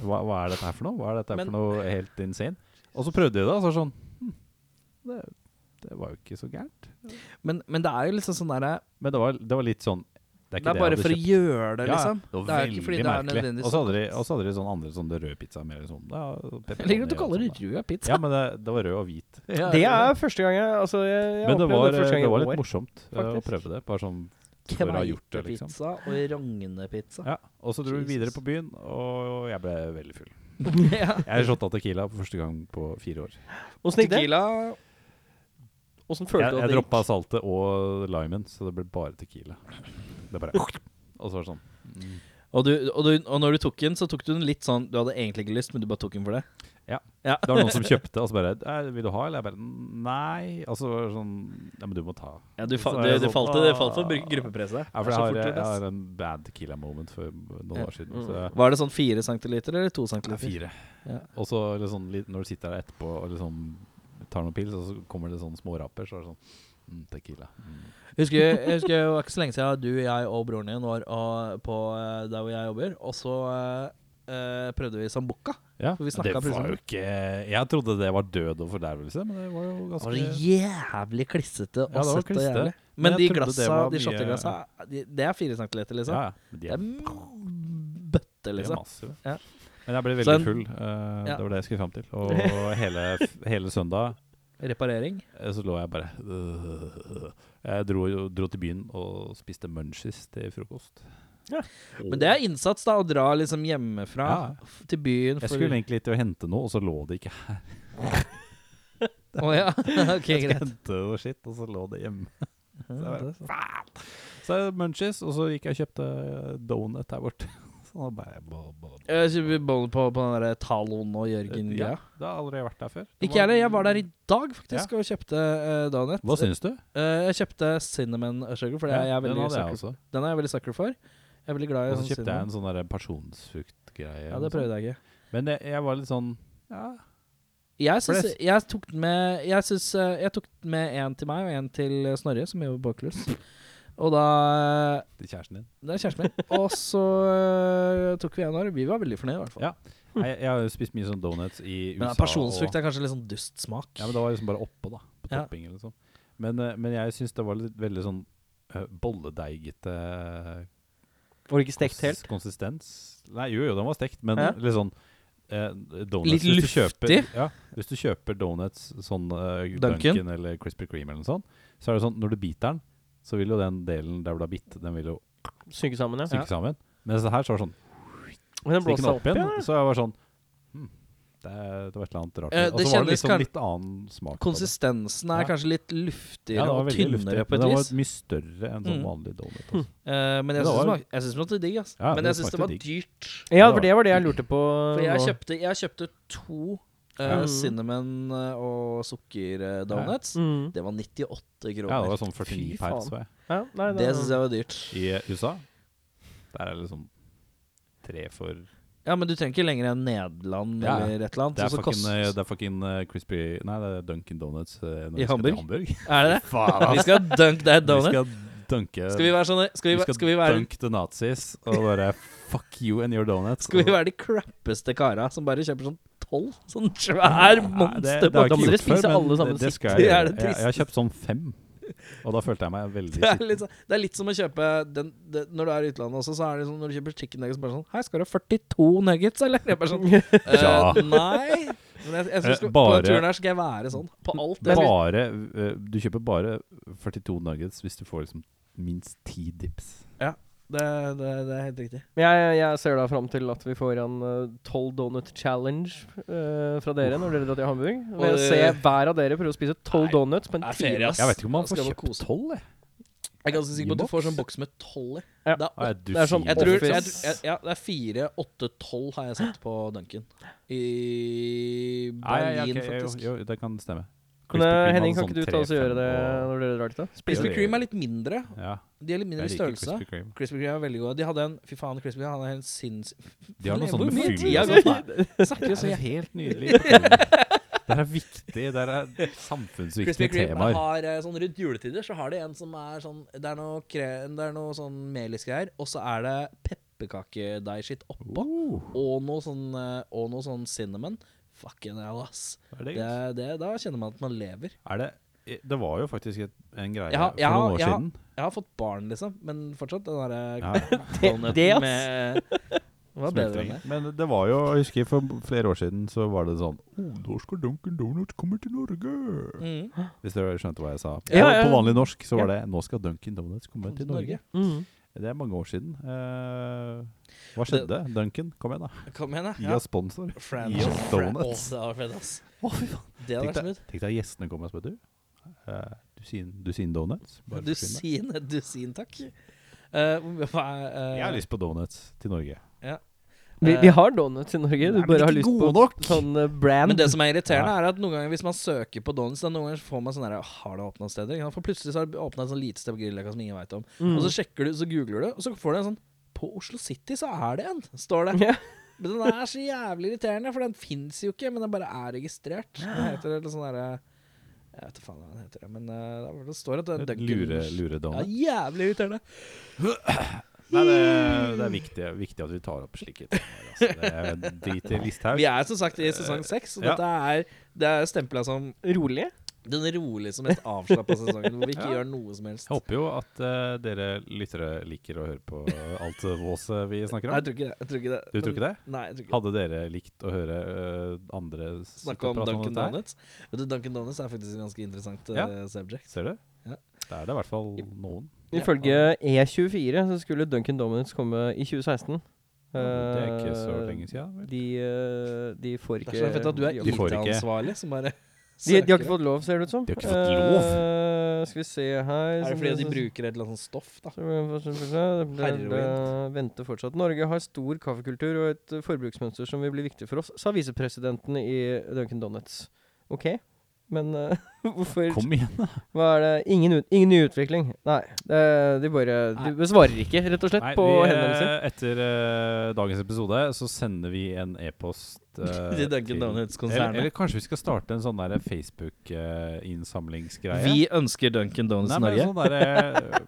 Speaker 1: Hva, hva er dette her for noe? Hva er dette her
Speaker 3: Men-
Speaker 1: for noe helt insane? Og så prøvde jeg det, og så var det sånn hm, det, det var jo ikke så gærent.
Speaker 3: Men, men det er jo liksom sånn derre
Speaker 1: Men det var, det var litt sånn Det er,
Speaker 3: Det
Speaker 1: ikke
Speaker 3: er bare
Speaker 1: jeg hadde
Speaker 3: for å
Speaker 1: kjøpt.
Speaker 3: gjøre det,
Speaker 1: Ja, ja,
Speaker 3: liksom.
Speaker 1: Det
Speaker 3: Det
Speaker 1: var
Speaker 3: er jo ikke
Speaker 1: veldig
Speaker 3: fordi det er
Speaker 1: merkelig.
Speaker 3: nødvendigvis
Speaker 1: Og så hadde de- og så hadde de sånn andre sånn rød pizza med liksom ja, pepperoni
Speaker 3: Jeg liker at du
Speaker 1: og
Speaker 3: kaller det
Speaker 1: sånn, da.
Speaker 3: rød pizza.
Speaker 1: Ja, men det, det var rød og hvit.
Speaker 2: Det er første gang jeg altså, jeg, jeg
Speaker 1: Men det
Speaker 2: opplevde
Speaker 1: var,
Speaker 2: første gang
Speaker 1: det
Speaker 2: i
Speaker 1: var
Speaker 2: år.
Speaker 1: litt morsomt eh, å
Speaker 2: faktisk.
Speaker 1: prøve det. Bare sånn for å ha gjort det, liksom.
Speaker 3: Kveitepizza og rognepizza.
Speaker 1: Ja, Og så dro vi
Speaker 3: Jesus.
Speaker 1: videre på byen, og jeg ble veldig full.
Speaker 3: Ja.
Speaker 1: Jeg har shotta Tequila for første gang på fire år.
Speaker 2: Åssen gikk det?
Speaker 3: Tequila
Speaker 2: Åssen
Speaker 1: Jeg,
Speaker 2: følte du
Speaker 1: jeg
Speaker 2: at det
Speaker 1: droppa
Speaker 2: gikk?
Speaker 1: saltet og limen, så det ble bare Tequila. Det bare Og så var det sånn.
Speaker 3: og, du, og, du, og når du tok den, så tok du den litt sånn Du hadde egentlig ikke lyst, men du bare tok den for det.
Speaker 1: Det var noen som kjøpte, og så bare «Eh, 'Vil du ha?' Eller jeg bare 'Nei'. Og så var det sånn Ja, men du må ta.
Speaker 3: Ja, Du,
Speaker 1: Så
Speaker 3: fa
Speaker 1: er
Speaker 3: du,
Speaker 1: jeg
Speaker 3: du
Speaker 1: sånn,
Speaker 3: falt, du falt for å bruke
Speaker 1: «Ah».
Speaker 3: gruppepresset.
Speaker 1: Ja,
Speaker 3: Det er
Speaker 1: for jeg
Speaker 3: så
Speaker 1: har,
Speaker 3: fort gjort,
Speaker 1: jeg
Speaker 3: ass.
Speaker 1: har en bad tequila moment for noen
Speaker 3: Ja.
Speaker 1: år siden. Så jeg,
Speaker 3: Var det sånn fire centiliter eller to
Speaker 1: Det er
Speaker 3: centiliter?
Speaker 1: fire.
Speaker 3: Ja.
Speaker 1: Og så liksom, litt- når du sitter der etterpå og liksom tar noen pils, og så kommer det sånne små raper, så er det sånn mm, Tequila. Mm.
Speaker 3: Jeg husker, jeg husker jo ikke så lenge siden du, jeg og broren din var og, på eh, der hvor jeg jobber, og så eh, eh, prøvde vi sambuca.
Speaker 1: Ja,
Speaker 3: For vi
Speaker 1: det
Speaker 3: snakket plutselig
Speaker 1: var
Speaker 3: om
Speaker 1: jo
Speaker 3: det.
Speaker 1: ikke Jeg trodde det var død og fordervelse, men det var jo
Speaker 3: Det
Speaker 1: ganske
Speaker 3: var jævlig klissete og
Speaker 1: Ja, det var
Speaker 3: søtt og
Speaker 1: klissete.
Speaker 3: jævlig.
Speaker 1: Men
Speaker 3: Men de
Speaker 1: jeg trodde det
Speaker 3: glassa,
Speaker 1: var
Speaker 3: de
Speaker 1: mye-
Speaker 3: shotteglassa, de, det er fire centiliter, liksom.
Speaker 1: Ja, ja. men De
Speaker 3: Det
Speaker 1: er,
Speaker 3: er m- bøtte,
Speaker 1: de er
Speaker 3: liksom.
Speaker 1: massive.
Speaker 3: Ja.
Speaker 1: Men jeg ble
Speaker 3: Så
Speaker 1: veldig
Speaker 3: en-
Speaker 1: full. eh,
Speaker 3: Ja.
Speaker 1: Det var det jeg skulle fram til. Og hele, hele søndag
Speaker 3: Reparering.
Speaker 1: eh, så lå jeg bare øh. Jeg dro, dro til byen og spiste munchies til frokost.
Speaker 2: Ja.
Speaker 3: Men det er innsats, da, å dra liksom hjemmefra
Speaker 1: Ja.
Speaker 3: f- til byen
Speaker 1: Jeg
Speaker 3: for
Speaker 1: skulle egentlig til å hente noe, og så lå det ikke her.
Speaker 3: Å ja, ok,
Speaker 1: Jeg skulle
Speaker 3: greit.
Speaker 1: hente noe skitt, og så lå det hjemme.
Speaker 3: Ja, det er sant.
Speaker 1: Så er det munchies, og så gikk jeg og kjøpte eh, donut her borte. Så da bare bo- bo- bo-
Speaker 3: Jeg kjøper boller på, på den der Talon og Jørgen-greia.
Speaker 1: Ja, det har aldri vært der før. Det
Speaker 3: Ikke jeg heller. Jeg var der i dag faktisk og kjøpte uh, Danet.
Speaker 1: Hva syns du?
Speaker 3: Eh, jeg kjøpte cinnamon sugar, for det er jeg er
Speaker 1: den
Speaker 3: veldig
Speaker 1: hadde jeg
Speaker 3: sucker.
Speaker 1: også.
Speaker 3: Den er jeg veldig sucker for. Jeg er veldig glad i
Speaker 1: Og så
Speaker 3: sånn
Speaker 1: kjøpte jeg
Speaker 3: cinnamon.
Speaker 1: en sånn der pasjonsfruktgreie.
Speaker 3: Ja, det prøvde jeg ikke.
Speaker 1: Men jeg, jeg var litt sånn ja.
Speaker 3: Jeg,
Speaker 1: For det-
Speaker 3: synes, jeg tok den med Jeg, synes, eh, jeg tok den med én til meg og én til eh, Snorre, som jobber på Oculus. Og da
Speaker 1: Til kjæresten din.
Speaker 3: Det er kjæresten min. Og så eh, tok vi en av dem. Vi var veldig fornøyde, i hvert fall.
Speaker 1: Ja, Jeg, jeg har jo spist mye sånn donuts i USA.
Speaker 3: Men pasjonsfrukt
Speaker 1: og,
Speaker 3: er kanskje litt sånn dust smak.
Speaker 1: ja, men det var liksom bare oppå, da. På
Speaker 3: Ja.
Speaker 1: topping eller sånn. Men, eh, men jeg syns det var litt veldig sånn eh, bolledeigete
Speaker 2: Var det ikke stekt
Speaker 1: konsis-
Speaker 2: helt?
Speaker 1: konsistens. Nei, jo, jo, den var stekt, men
Speaker 2: Ja.
Speaker 1: litt sånn eh, donuts,
Speaker 3: Litt
Speaker 1: hvis du
Speaker 3: luftig.
Speaker 1: Kjøper, ja, hvis du kjøper donuts sånn eh,
Speaker 3: Dunkin'.
Speaker 1: Dunkin. eller Krispy Kreme eller noe sånt, så er det sånn når du biter den, så vil jo den delen der hvor du har bitt, den vil jo
Speaker 2: Synke sammen, ja.
Speaker 1: synke sammen. Men så her så var det sånn
Speaker 2: Men den
Speaker 1: Stikk
Speaker 2: blåste
Speaker 1: den opp
Speaker 2: opp igjen.
Speaker 1: igjen. Så jeg var sånn hm, det, er- det var et eller annet rart.
Speaker 3: Eh, det
Speaker 1: og så var det
Speaker 3: kjennes
Speaker 1: liksom
Speaker 3: kan-
Speaker 1: litt annen smak. på det.
Speaker 3: Konsistensen er
Speaker 1: Ja.
Speaker 3: kanskje litt
Speaker 1: Ja,
Speaker 3: luftigere
Speaker 1: det var
Speaker 3: og
Speaker 1: veldig
Speaker 3: tynnere
Speaker 1: luftig,
Speaker 3: på
Speaker 1: men
Speaker 3: et
Speaker 1: det
Speaker 3: vis.
Speaker 1: var mye større enn sånn
Speaker 3: Mm.
Speaker 1: vanlig donut. altså.
Speaker 3: Eh, men
Speaker 1: Men det
Speaker 3: jeg syns
Speaker 1: var-
Speaker 3: det, smak- jeg syns det var digg, ass.
Speaker 1: Ja,
Speaker 3: men
Speaker 1: det
Speaker 3: jeg syns det
Speaker 1: smakte
Speaker 3: var
Speaker 1: digg.
Speaker 3: dyrt.
Speaker 2: Ja, for det var det jeg lurte på.
Speaker 3: For jeg
Speaker 2: nå.
Speaker 3: kjøpte, jeg kjøpte to eh,
Speaker 1: Ja.
Speaker 3: cinnamon eh, og sukkerdonuts.
Speaker 2: Mm.
Speaker 3: Det var 98 kroner.
Speaker 1: Ja, det var sånn 49
Speaker 2: Fy
Speaker 1: per,
Speaker 2: faen.
Speaker 1: så jeg.
Speaker 2: Ja, nei,
Speaker 3: det syns jeg var dyrt.
Speaker 1: I eh, USA, der er det liksom tre for Det
Speaker 3: Ja, men du trenger ikke lenger enn Nederland
Speaker 1: Ja, ja.
Speaker 3: eller et eller annet.
Speaker 1: er
Speaker 3: så
Speaker 1: fucking,
Speaker 3: kost-
Speaker 1: eh, det er fucking eh, crispy Nei, det er Dunkin' Donuts
Speaker 3: I
Speaker 1: eh, når vi skal
Speaker 3: Hamburg?
Speaker 1: til Hamburg.
Speaker 3: Er det det? Vi skal dunk that
Speaker 1: Vi
Speaker 3: donut.
Speaker 1: skal dunke
Speaker 3: Skal vi være sånne Skal vi,
Speaker 1: vi
Speaker 3: væ-
Speaker 1: skal
Speaker 3: skal vi, være,
Speaker 1: dunk the Nazis og bare fuck you and your donuts.
Speaker 3: skal vi
Speaker 1: og-
Speaker 3: være de crappeste kara som bare kjøper sånn tolv? Sånn svær
Speaker 1: Nei, det-
Speaker 3: monster
Speaker 1: det har jeg
Speaker 2: Da
Speaker 1: ikke
Speaker 2: må dere
Speaker 1: gjort før,
Speaker 2: spise
Speaker 1: men
Speaker 2: alle
Speaker 1: det-
Speaker 2: sammen
Speaker 1: Det skal
Speaker 3: sitt. Det
Speaker 1: jeg
Speaker 3: er
Speaker 1: gjøre.
Speaker 3: det
Speaker 1: Jeg, jeg har kjøpt sånn fem, og da følte jeg meg veldig
Speaker 3: Det er,
Speaker 1: sikker.
Speaker 3: litt, sånn- det er litt som å kjøpe den, det, Når du er i utlandet også, så er det sånn når du kjøper chicken nuggets bare sånn Hei, skal du ha 42 nuggets, eller? Jeg bare sånn «Eh,
Speaker 1: Ja.
Speaker 3: Nei. Men jeg, jeg
Speaker 1: Eh,
Speaker 3: skal,
Speaker 1: bare-
Speaker 3: på den turen her skal jeg være sånn. På alt. Jeg skal-
Speaker 1: Bare, eh, du kjøper bare 42 nuggets hvis du får liksom minst 10 dips.
Speaker 3: det, det, det er helt riktig.
Speaker 2: Men Jeg, jeg ser da fram til at vi får en eh, 12 donut challenge eh, fra dere når dere drar til Hamburg. Og jeg
Speaker 3: det-
Speaker 2: ser hver av dere prøve å spise 12
Speaker 3: Nei, altså,
Speaker 2: donuts på en
Speaker 3: det er ferie,
Speaker 2: time.
Speaker 3: ass.
Speaker 1: Jeg vet ikke om man
Speaker 3: Da skal
Speaker 1: får
Speaker 3: jeg bare
Speaker 1: kjøpt
Speaker 3: kose.
Speaker 1: 12, jeg.
Speaker 3: Jeg er ganske sikker på at
Speaker 1: Boks?
Speaker 3: du får sånn boks med tolv i.
Speaker 2: Ja.
Speaker 3: Det er
Speaker 1: Nei,
Speaker 3: åtte-
Speaker 1: du
Speaker 2: det er sånn
Speaker 1: sier
Speaker 3: Jeg
Speaker 1: det.
Speaker 3: tror,
Speaker 2: Office.
Speaker 3: jeg, jeg, ja, det er fire, åtte, tolv har jeg sett på Duncan. I
Speaker 1: Nei, jeg- jeg-
Speaker 3: Berlin,
Speaker 1: jeg-
Speaker 3: faktisk.
Speaker 1: Jo, jo, det kan stemme.
Speaker 2: Men,
Speaker 1: Krispy
Speaker 2: eh,
Speaker 1: Kreme
Speaker 2: Henning,
Speaker 1: hadde
Speaker 2: kan
Speaker 1: sånn
Speaker 2: ikke du
Speaker 1: tre,
Speaker 2: ta oss og gjøre
Speaker 1: fem
Speaker 2: det
Speaker 1: og-
Speaker 2: når dere drar dit? da?
Speaker 3: Krispy
Speaker 1: Ja, det-
Speaker 3: Kreme er litt mindre.
Speaker 1: Ja,
Speaker 3: De er litt mindre i
Speaker 1: jeg liker
Speaker 3: størrelse.
Speaker 1: Krispy Kreme.
Speaker 3: Krispy Kreme er veldig gode. De hadde en Fy faen, Krispy Kreme hadde en helt sinns...
Speaker 1: De har noe
Speaker 3: Hvor
Speaker 1: sånn med
Speaker 3: mye
Speaker 1: fyll
Speaker 3: tid
Speaker 1: og
Speaker 3: har
Speaker 1: sånt.
Speaker 3: gått
Speaker 1: Nei,
Speaker 3: med? Jeg Snakker jo
Speaker 1: Det
Speaker 3: så
Speaker 1: er
Speaker 3: jævlig.
Speaker 1: helt nydelig. Det er viktig. Det er
Speaker 3: Krispy
Speaker 1: samfunnsviktige
Speaker 3: Kreme
Speaker 1: temaer.
Speaker 3: har eh, sånn rundt juletider så har de en som er sånn Det er noe, kre, det er noe sånn melisgreier, og så er det pepperkakedeighskitt oppå.
Speaker 1: Oh,
Speaker 3: Og noe sånn, eh, og noe sånn cinnamon. Fucking hell, ass.
Speaker 1: er det
Speaker 3: Det,
Speaker 1: godt?
Speaker 3: det, da kjenner man at man lever.
Speaker 1: Er det Det var jo faktisk et, en greie
Speaker 3: Jeg har- jeg
Speaker 1: for
Speaker 3: har-
Speaker 1: noen år
Speaker 3: jeg har-
Speaker 1: siden.
Speaker 3: Jeg har fått barn, liksom, men fortsatt den derre
Speaker 1: Ja,
Speaker 3: donuten
Speaker 2: det, ass.
Speaker 3: med Det var bedre enn
Speaker 1: smeltringen.
Speaker 3: det.
Speaker 1: Men det var jo, jeg husker for flere år siden, så var det sånn oh, Nå skal Dunkin' Donuts komme til Norge!
Speaker 3: Mm.
Speaker 1: Hvis dere skjønte hva jeg sa.
Speaker 2: Ja,
Speaker 1: På-
Speaker 2: ja.
Speaker 1: På vanlig norsk så var det Nå skal Dunkin' Donuts komme til Norge.
Speaker 2: Mm.
Speaker 1: Det er mange år siden. Eh, hva skjedde? Dunkin', kom igjen, da.
Speaker 3: Kom igjen, da.
Speaker 1: Gi
Speaker 3: Ja.
Speaker 1: oss sponsor.
Speaker 3: Fran-
Speaker 1: Gi oss
Speaker 3: Fran-
Speaker 1: donuts.
Speaker 3: Å, det hadde vært fett, ass.
Speaker 1: Å, fy faen.
Speaker 3: Det hadde
Speaker 1: Tenk
Speaker 3: vært
Speaker 1: deg,
Speaker 3: smooth.
Speaker 1: tenk deg gjestene kommer og spør du. eh, dusin, dusin donuts? Bare forsvinn, da.
Speaker 3: Dusin, et dusin, takk. Eh, hva er eh,
Speaker 1: Jeg har lyst på donuts til Norge.
Speaker 2: Vi, vi har donuts i
Speaker 1: Nei,
Speaker 2: Norge. Du
Speaker 1: men
Speaker 2: bare har
Speaker 1: ikke
Speaker 2: lyst på
Speaker 1: gode nok.
Speaker 2: sånn eh, brand.
Speaker 3: Men det som er irriterende, er at noen ganger hvis man søker på donuts, da noen ganger får man sånn her Har det åpna steder? Ikke sant? For plutselig så har det åpna et sånn lite sted på Grünerløkka som ingen veit om.
Speaker 2: Mm.
Speaker 3: Og så sjekker du, så googler du, og så får du en sånn På Oslo City så er det en, står det.
Speaker 2: Ja.
Speaker 3: Men den er så jævlig irriterende, for den fins jo ikke, men den bare er registrert. Den heter eller sånn derre Jeg vet ikke faen hva den heter, men eh, det står at det er Dunkin'.
Speaker 1: Lure, lure
Speaker 3: Ja,
Speaker 1: donuts.
Speaker 3: jævlig irriterende.
Speaker 1: Nei, det, det er viktig, viktig at vi tar opp slike temaer. Altså. Det er Drit i Listhaug.
Speaker 3: Vi er som sagt i sesong seks, og
Speaker 1: Ja.
Speaker 3: dette er, det er stempla som
Speaker 2: Rolig.
Speaker 3: den roligste, mest avslappa sesongen, hvor vi ikke
Speaker 1: Ja.
Speaker 3: gjør noe som helst.
Speaker 1: Jeg håper jo at eh, dere lyttere liker å høre på alt våset vi snakker
Speaker 3: Nei, jeg
Speaker 1: om.
Speaker 3: tror ikke det. Jeg tror ikke det.
Speaker 1: Du tror ikke det?
Speaker 3: Nei, jeg tror ikke det.
Speaker 1: Hadde dere likt å høre eh, andre
Speaker 3: Snakke om
Speaker 1: prate
Speaker 3: Dunkin'
Speaker 1: dette her?
Speaker 3: Donuts. Vet du, Dunkin' Donuts er faktisk et ganske interessant
Speaker 1: Ja.
Speaker 3: eh, subject.
Speaker 1: Ser du?
Speaker 3: Ja.
Speaker 1: Da er det i hvert fall noen.
Speaker 2: Ifølge E24 så skulle Duncan Donuts komme i 2016.
Speaker 1: Det er ikke
Speaker 2: Eh,
Speaker 1: så lenge siden. vel?
Speaker 2: De, eh, de får
Speaker 3: Det
Speaker 2: ikke
Speaker 3: er så fett at du er
Speaker 1: De får ikke.
Speaker 3: IT-ansvarlig som
Speaker 2: De,
Speaker 3: bare
Speaker 2: de har
Speaker 3: søker
Speaker 2: ikke fått lov, ser det ut som.
Speaker 1: De har ikke fått lov.
Speaker 2: Eh, skal vi se her
Speaker 3: det. Er det fordi de bruker et eller annet sånt stoff, da?
Speaker 2: Heroin. Venter fortsatt. Norge har stor kaffekultur og et eh, forbruksmønster som vil bli viktig for oss, sa visepresidenten i Duncan Donuts. OK, men eh, hvorfor
Speaker 1: Kom igjen, da!
Speaker 2: Hva er det? Ingen, ut, ingen ny utvikling. Nei. Det, de bare De besvarer ikke, rett og slett,
Speaker 1: Nei,
Speaker 2: på
Speaker 1: vi, eh,
Speaker 2: henvendelser.
Speaker 1: etter eh, dagens episode så sender vi en e-post eh,
Speaker 3: Til Dunkin'
Speaker 1: til- Eller,
Speaker 3: Donuts-konsernet.
Speaker 1: eller kanskje vi skal starte en sånn der Facebook-innsamlingsgreie?
Speaker 3: Vi ønsker Dunkin' Donuts
Speaker 1: Nei, men
Speaker 3: Norge.
Speaker 1: Sånn derre-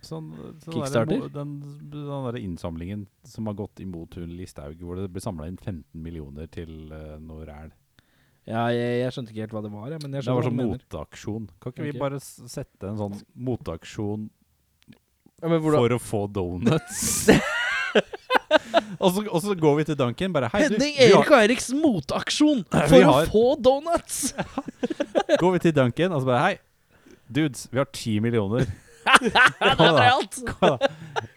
Speaker 1: sånn, sånn
Speaker 3: Kickstarter?
Speaker 1: derre mo- den den derre innsamlingen som har gått imot hun Listhaug, hvor det ble samla inn 15 millioner til eh, noe ræl.
Speaker 3: Ja, jeg, jeg skjønte ikke helt hva det var, jeg, men jeg
Speaker 1: Det
Speaker 3: skjønner hva
Speaker 1: var sånn
Speaker 3: du mener.
Speaker 1: motaksjon. Kan ikke
Speaker 3: Ok.
Speaker 1: vi bare s- sette en sånn motaksjon
Speaker 2: Ja, men hvordan
Speaker 1: for å få donuts? og, så, og så går vi til Duncan bare Hei, du,
Speaker 3: Henning
Speaker 1: vi har,
Speaker 3: Erik og Eiriks motaksjon
Speaker 1: Vi
Speaker 3: for å
Speaker 1: har-
Speaker 3: få donuts!
Speaker 1: går vi til Duncan og så bare Hei, dudes, vi har 10 millioner.
Speaker 3: Ja, det er bare alt!
Speaker 1: da?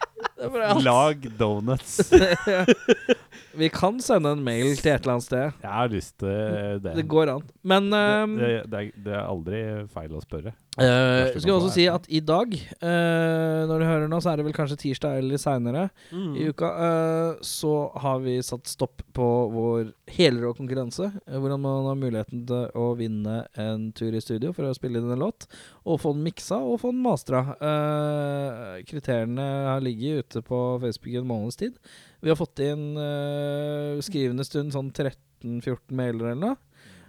Speaker 3: Det er bare alt.
Speaker 1: Lag donuts.
Speaker 3: Vi kan sende en mail til et eller annet sted.
Speaker 1: Jeg har lyst til det.
Speaker 3: Det går an. Men ehm,
Speaker 1: det, det, er, det er aldri feil å spørre.
Speaker 3: Eh,
Speaker 1: Første
Speaker 3: skal jeg
Speaker 1: gang
Speaker 3: også
Speaker 1: på
Speaker 3: si at i dag, eh, når du hører nå, så er det vel kanskje tirsdag eller seinere i uka, eh, så har vi satt stopp på vår helrå konkurranse. eh, Hvordan man har muligheten til å vinne en tur i studio for å spille inn en låt. Og få den miksa og få den mastra. Eh, kriteriene har ligget ute på Facebook i en måneds tid. Vi har fått inn eh, skrivende stund sånn 13-14 mailer eller noe.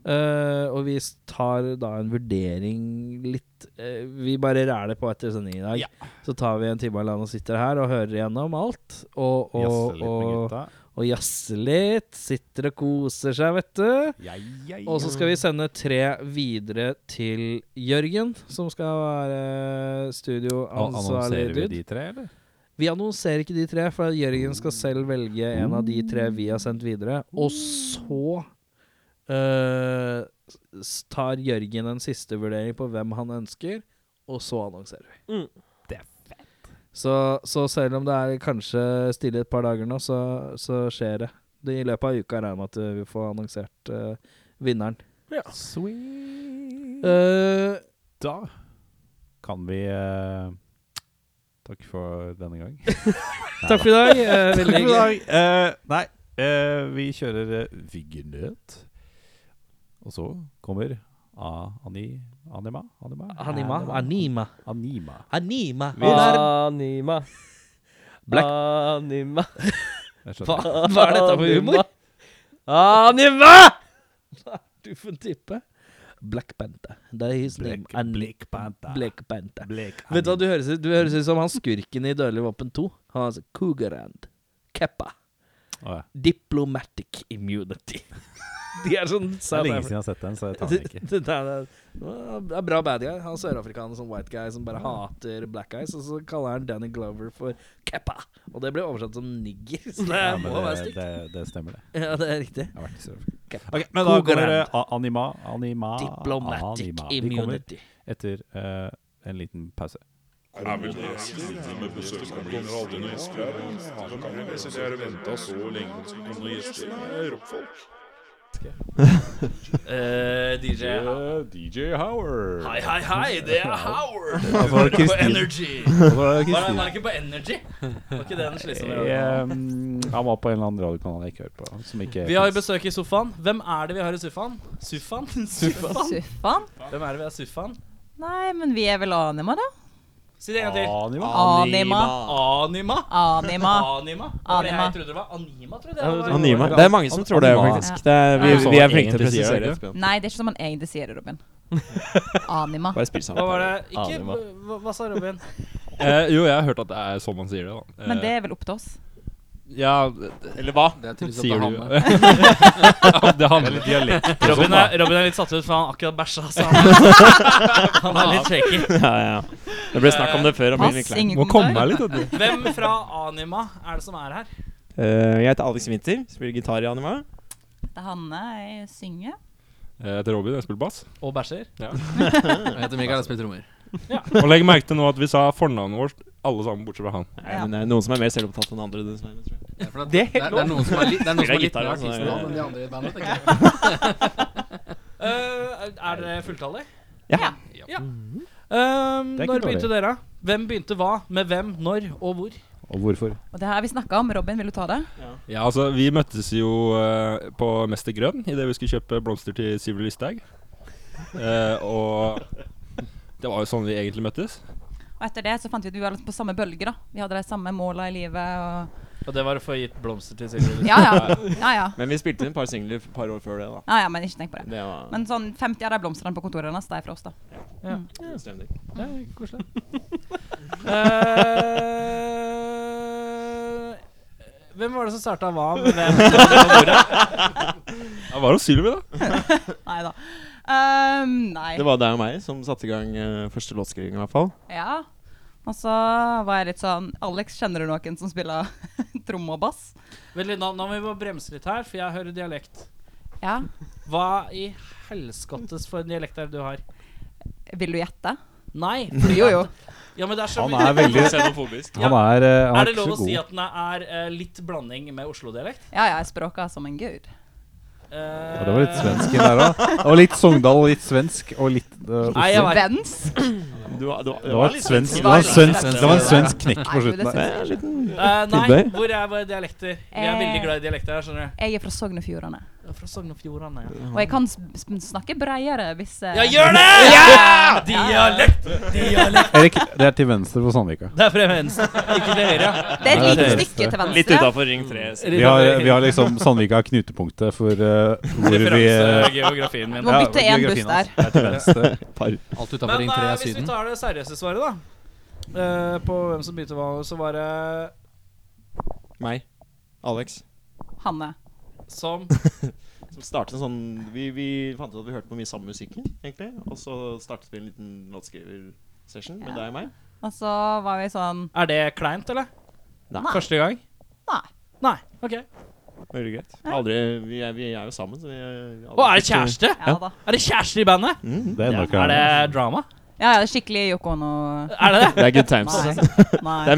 Speaker 3: Eh, og vi tar da en vurdering litt eh, Vi bare ræler på etter sending i dag.
Speaker 1: Ja.
Speaker 3: Så tar vi en time eller annen og sitter her og hører gjennom alt. Og,
Speaker 1: Jazze
Speaker 3: og,
Speaker 1: litt med
Speaker 3: og,
Speaker 1: gutta.
Speaker 3: og jazzer litt. Sitter og koser seg, vet du.
Speaker 1: Ja, ja, ja.
Speaker 3: Og så skal vi sende tre videre til Jørgen, som skal være
Speaker 1: An-
Speaker 3: studioansvarlig.
Speaker 1: Annonserer vi
Speaker 3: dude.
Speaker 1: de tre, eller?
Speaker 3: Vi annonserer ikke de tre, for at Jørgen skal selv velge en av de tre vi har sendt videre. Og så eh, s- tar Jørgen en siste vurdering på hvem han ønsker, og så annonserer vi.
Speaker 2: Mm.
Speaker 1: Det er
Speaker 3: Så, så selv om det er kanskje stille et par dager nå, så, så skjer det. det. I løpet av uka regner jeg med at eh, vi får annonsert eh, vinneren.
Speaker 1: Sweet.
Speaker 3: Eh,
Speaker 1: Da kan vi eh, Takk for denne gang.
Speaker 3: takk for i dag. eh, veldig
Speaker 1: Takk for i
Speaker 3: hyggelig.
Speaker 1: dag. Eh, nei, eh, vi kjører uh, Viggenøt. Og så kommer A ani, Anima? Anima?
Speaker 3: Anima. Anima.
Speaker 1: Anima.
Speaker 3: Anima.
Speaker 1: Vi-
Speaker 2: Anima.
Speaker 3: Black-
Speaker 2: Anima.
Speaker 1: Jeg skjønner.
Speaker 3: Hva, hva er dette for humor?
Speaker 2: Anima!
Speaker 3: Du får tippe. Black Panther. Det er his name.
Speaker 1: Black-
Speaker 3: And
Speaker 1: Black Panther.
Speaker 3: Black Panther.
Speaker 1: Blek
Speaker 3: Vet du hva
Speaker 1: Anima.
Speaker 3: du høres ut? Du høres ut som han skurken i Dødelig våpen 2. Han er altså Cougarand. Keppa.
Speaker 1: Å, ja.
Speaker 3: Diplomatic immunity. De er sånn
Speaker 1: Det er
Speaker 3: South
Speaker 1: lenge
Speaker 3: Africa.
Speaker 1: siden jeg har sett den, så jeg tar
Speaker 3: Det,
Speaker 1: den ikke.
Speaker 3: det, det, er, det er bra bad guy. Han sørafrikaner som white guy som bare hater black guys. Og så kaller han Danny Glover for Keppa. Og det ble oversatt som nigger. Så det
Speaker 1: Ja, men
Speaker 3: må være
Speaker 1: det,
Speaker 3: stygt.
Speaker 1: det, det stemmer, det.
Speaker 3: Ja, det er riktig.
Speaker 1: Jeg har vært i Sør-Afrika.
Speaker 3: Keppa.
Speaker 1: Ok, men da kommer
Speaker 3: Cougarand.
Speaker 1: eh, a- Anima, anima
Speaker 3: Diplomatic
Speaker 1: Ah, anima. De kommer
Speaker 3: immunity.
Speaker 1: etter eh, en liten pause.
Speaker 3: Eh, DJ
Speaker 1: DJ Howard.
Speaker 3: Hei, hei, hei, det er Howard!
Speaker 1: Ja, for
Speaker 3: Hører på
Speaker 1: Kristin.
Speaker 3: Energy! Hva er
Speaker 1: Kristine.
Speaker 3: merket på Energy? Var ikke det den slitsomme
Speaker 1: Jeg, um, han var på en eller annen radiokanal jeg ikke hørte på. Som ikke
Speaker 3: Vi har
Speaker 1: finnes.
Speaker 3: besøk i sofaen. Hvem er det vi har i sofaen? Suffan? Suffan?
Speaker 4: Suffan?
Speaker 3: Hvem er det vi har i sofaen?
Speaker 4: Nei, men vi er vel anima, da?
Speaker 3: Si det en gang til.
Speaker 1: Anima.
Speaker 4: Anima.
Speaker 3: Anima.
Speaker 4: Anima.
Speaker 3: Anima. Hva var det
Speaker 4: Anima.
Speaker 3: Jeg trodde det var Anima, trodde jeg. det var.
Speaker 5: Anima. Det er mange som tror det, faktisk. Det er, vi,
Speaker 4: Ja.
Speaker 5: vi er flinke til å presisere.
Speaker 4: Nei, det er ikke som man egentlig sier det, Robin. Anima.
Speaker 5: Bare spill sammen.
Speaker 3: Hva var det? Ikke
Speaker 6: Anima.
Speaker 3: hva, hva sa Robin?
Speaker 6: Eh, jo, jeg har hørt at det er sånn man sier det, da. Eh,
Speaker 4: Men det er vel opp til oss.
Speaker 6: Ja,
Speaker 5: Eller hva?
Speaker 7: Det er tydeligvis at det
Speaker 6: sier
Speaker 7: er
Speaker 6: du.
Speaker 7: han.
Speaker 6: Ja, det handler litt dialekt.
Speaker 1: Sånn,
Speaker 3: Robin eh, er, Robin er litt satt ut, for han har akkurat bæsja. så Han han er litt shaky.
Speaker 5: Ja, ja. Det ble snakk om det før. Og blir
Speaker 4: Pass,
Speaker 5: litt klein.
Speaker 4: ingen
Speaker 6: Må komme meg
Speaker 4: kommentar.
Speaker 6: litt. vet du.
Speaker 3: Hvem fra Anima er det som er her?
Speaker 5: Eh, jeg heter Alex Winther, spiller gitar i Anima.
Speaker 4: Det er Hanne, jeg synger.
Speaker 6: Eh, Jeg heter Robin, jeg spiller bass.
Speaker 3: Og bæsjer.
Speaker 7: Jeg heter Mikael, jeg spiller trommer.
Speaker 6: Og legg merke til nå at vi sa fornavnet vårt alle sammen, bortsett fra han.
Speaker 5: Nei, men det er noen som er mer selvopptatt enn andre. dessverre, tror jeg.
Speaker 7: Det er, for at, det, er, det er noen som er, li, det er, noen som er
Speaker 5: Spiller
Speaker 7: litt mer
Speaker 5: gitar, altså.
Speaker 7: artistnavn enn de andre i bandet. tenker jeg.
Speaker 3: Eh, er dere fulltallige?
Speaker 5: Ja.
Speaker 3: Ja. Um,
Speaker 1: Det er ikke
Speaker 3: når
Speaker 1: dårlig.
Speaker 3: begynte dere? Hvem begynte hva? Med hvem? Når? Og hvor?
Speaker 1: Og hvorfor?
Speaker 4: Og det her har vi snakka om. Robin, vil du ta det?
Speaker 6: Ja, altså, vi møttes jo eh, på Mester Grønn idet vi skulle kjøpe blomster til Sivert Lysthaug. Eh, og det var jo sånn vi egentlig møttes.
Speaker 4: Og etter det så fant vi ut at vi var litt på samme bølge, da. Vi hadde de samme måla i livet og
Speaker 3: Og det var å få gitt blomster til Sigrid.
Speaker 4: Ja ja. Ja ja.
Speaker 5: Men vi spilte inn et par singler et par år før det, da.
Speaker 4: Ja, ja, men ikke tenk på det.
Speaker 5: Det var
Speaker 4: Men sånn 50 av de blomstene på kontoret hennes, de er fra oss, da.
Speaker 5: god stemning.
Speaker 3: Ja, koselig. Eh, hvem var det som starta hva med hvem?
Speaker 6: Ja, var det Sylvi, da?
Speaker 4: Nei da. Um, nei.
Speaker 5: Det var deg og meg som satte i gang eh, første låtskriving, i hvert fall.
Speaker 4: Ja. Og så var jeg litt sånn Alex, kjenner du noen som spiller tromme og bass?
Speaker 3: Vent litt, nå, nå må vi bare bremse litt her, for jeg hører dialekt.
Speaker 4: Ja.
Speaker 3: Hva i helskottes for en dialekt er det du har?
Speaker 4: Vil du gjette?
Speaker 3: Nei.
Speaker 4: Jo, jo.
Speaker 3: Ja, men det er så
Speaker 1: Han
Speaker 3: mye-
Speaker 1: er veldig
Speaker 5: Xenofobisk.
Speaker 1: Han er, eh, han
Speaker 3: Er
Speaker 1: er
Speaker 3: det
Speaker 1: ikke
Speaker 3: lov å
Speaker 1: så
Speaker 3: si
Speaker 1: god.
Speaker 3: at den er eh, litt blanding med Oslo-dialekt?
Speaker 4: Ja, ja, jeg språker som en gud.
Speaker 3: Eh,
Speaker 1: Ja, det var litt svensk i der òg. Og litt Sogndal, og litt svensk, og litt eh, Oslo.
Speaker 3: Nei, jeg vet-
Speaker 4: Svensk?
Speaker 5: Du, var- du, var-
Speaker 1: det var, et svensk, det, var en svensk, det var en svensk knekk på slutten der.
Speaker 5: Det er en liten
Speaker 3: Eh, nei,
Speaker 5: Tilbøy.
Speaker 3: hvor er våre dialekter? Vi er
Speaker 4: Eh.
Speaker 3: veldig glad i dialekter her, skjønner du.
Speaker 4: Jeg er fra Sogn og Fjordane.
Speaker 3: Jeg er Fra Sogn og Fjordane. Ja.
Speaker 4: Og jeg kan sp sp snakke breiere hvis eh,
Speaker 3: ja, gjør det! Dialekt! Dialekt.
Speaker 1: Erik, det er til venstre for Sandvika.
Speaker 3: Det er fra venstre, ikke til høyre.
Speaker 4: Det er
Speaker 1: Nei,
Speaker 4: et
Speaker 1: det er
Speaker 4: lite
Speaker 1: det
Speaker 4: stykke til
Speaker 5: Litt
Speaker 4: venstre.
Speaker 5: utafor Ring 3.
Speaker 1: Vi har, vi har liksom Sandvika er knutepunktet for eh, hvor vi eh,
Speaker 3: geografien
Speaker 4: Du
Speaker 3: min.
Speaker 4: må
Speaker 1: ja,
Speaker 4: bytte én buss
Speaker 1: geografien
Speaker 4: der.
Speaker 1: hans er til venstre.
Speaker 7: Alt utenfor
Speaker 3: Men
Speaker 7: Ring
Speaker 3: eh,
Speaker 7: 3 er
Speaker 3: hvis vi
Speaker 7: Syden.
Speaker 3: tar det seriøse svaret, da. eh, på hvem som begynte hva, så var det
Speaker 5: Meg. Alex.
Speaker 4: Hanne.
Speaker 3: som
Speaker 5: Som startet en sånn vi, vi fant ut at vi hørte på mye samme musikken, egentlig. Og så startet vi en liten låtskriversession med
Speaker 4: Ja.
Speaker 5: deg og meg.
Speaker 4: Og så var vi sånn
Speaker 3: Er det kleint, eller?
Speaker 5: Nei.
Speaker 3: Første gang?
Speaker 4: Nei.
Speaker 3: Nei. OK.
Speaker 5: Veldig greit. Aldri, vi, er, vi er jo sammen, så vi vi aldri-
Speaker 3: Og er det kjæreste?
Speaker 4: Ja da.
Speaker 3: Er det kjæreste i bandet?
Speaker 1: Det er nok
Speaker 3: Er det drama?
Speaker 4: Ja, ja, skikkelig Yoko Ono.
Speaker 3: Er det det?
Speaker 5: Det er good times.
Speaker 4: Nei.
Speaker 5: Det
Speaker 4: Nei.
Speaker 5: er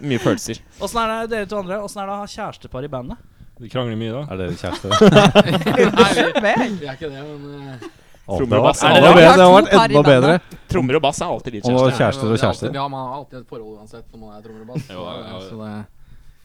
Speaker 5: mye, mye følelser.
Speaker 3: Åssen er det dere to andre? Åssen er det å ha kjærestepar i bandet?
Speaker 6: Vi krangler mye da.
Speaker 1: Er dere kjærester?
Speaker 7: Vi er ikke det, men eh,
Speaker 1: Å,
Speaker 5: Trommer
Speaker 1: det
Speaker 5: og
Speaker 1: var-
Speaker 5: bass.
Speaker 1: det var bedre, det var enda bedre.
Speaker 5: Trommer og bass er alltid litt
Speaker 1: Og
Speaker 5: kjæreste.
Speaker 1: kjærester og
Speaker 7: det er alltid-
Speaker 1: kjærester.
Speaker 7: Ja, man har alltid et forhold uansett, for man er trommer og bass.
Speaker 6: Jo, ja, ja.
Speaker 7: Så det,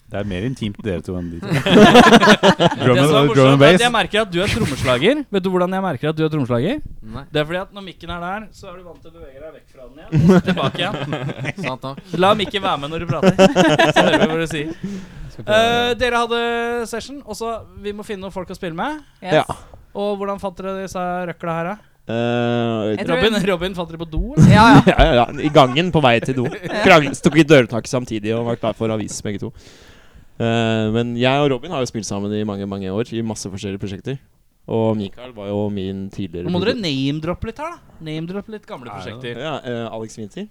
Speaker 1: Det er mer intimt dere to enn de to.
Speaker 3: Det som er
Speaker 1: Drum, drum
Speaker 3: morsomt,
Speaker 1: and
Speaker 3: er at
Speaker 1: bass.
Speaker 3: jeg merker at du er trommeslager. Vet du hvordan jeg merker at du er trommeslager?
Speaker 7: nei,
Speaker 3: Det er fordi at når mikken er der, så er du vant til å bevege deg vekk fra den igjen. Og så tilbake igjen.
Speaker 7: sant nok.
Speaker 3: La mikken være med når du prater. Så hører vi hva du sier. Eh, dere hadde session, og så vi må finne noen folk å spille med.
Speaker 5: Ja.
Speaker 4: Yes.
Speaker 3: Og hvordan fant dere disse røkla her, da?
Speaker 5: Eh,
Speaker 4: Jeg tror-
Speaker 3: Robin, Robin fant dere på do? Eller?
Speaker 4: Ja, ja.
Speaker 5: ja, ja, ja, I gangen på vei til do. Kranglet, stukk i dørtaket samtidig og var klar for avis, begge to. Eh, men jeg og Robin har jo spilt sammen i mange mange år i masse forskjellige prosjekter. Og Mikael var jo min tidligere
Speaker 3: Nå må dere name-droppe litt her, da. Name-droppe litt gamle prosjekter.
Speaker 5: ja, eh, Alex Winther.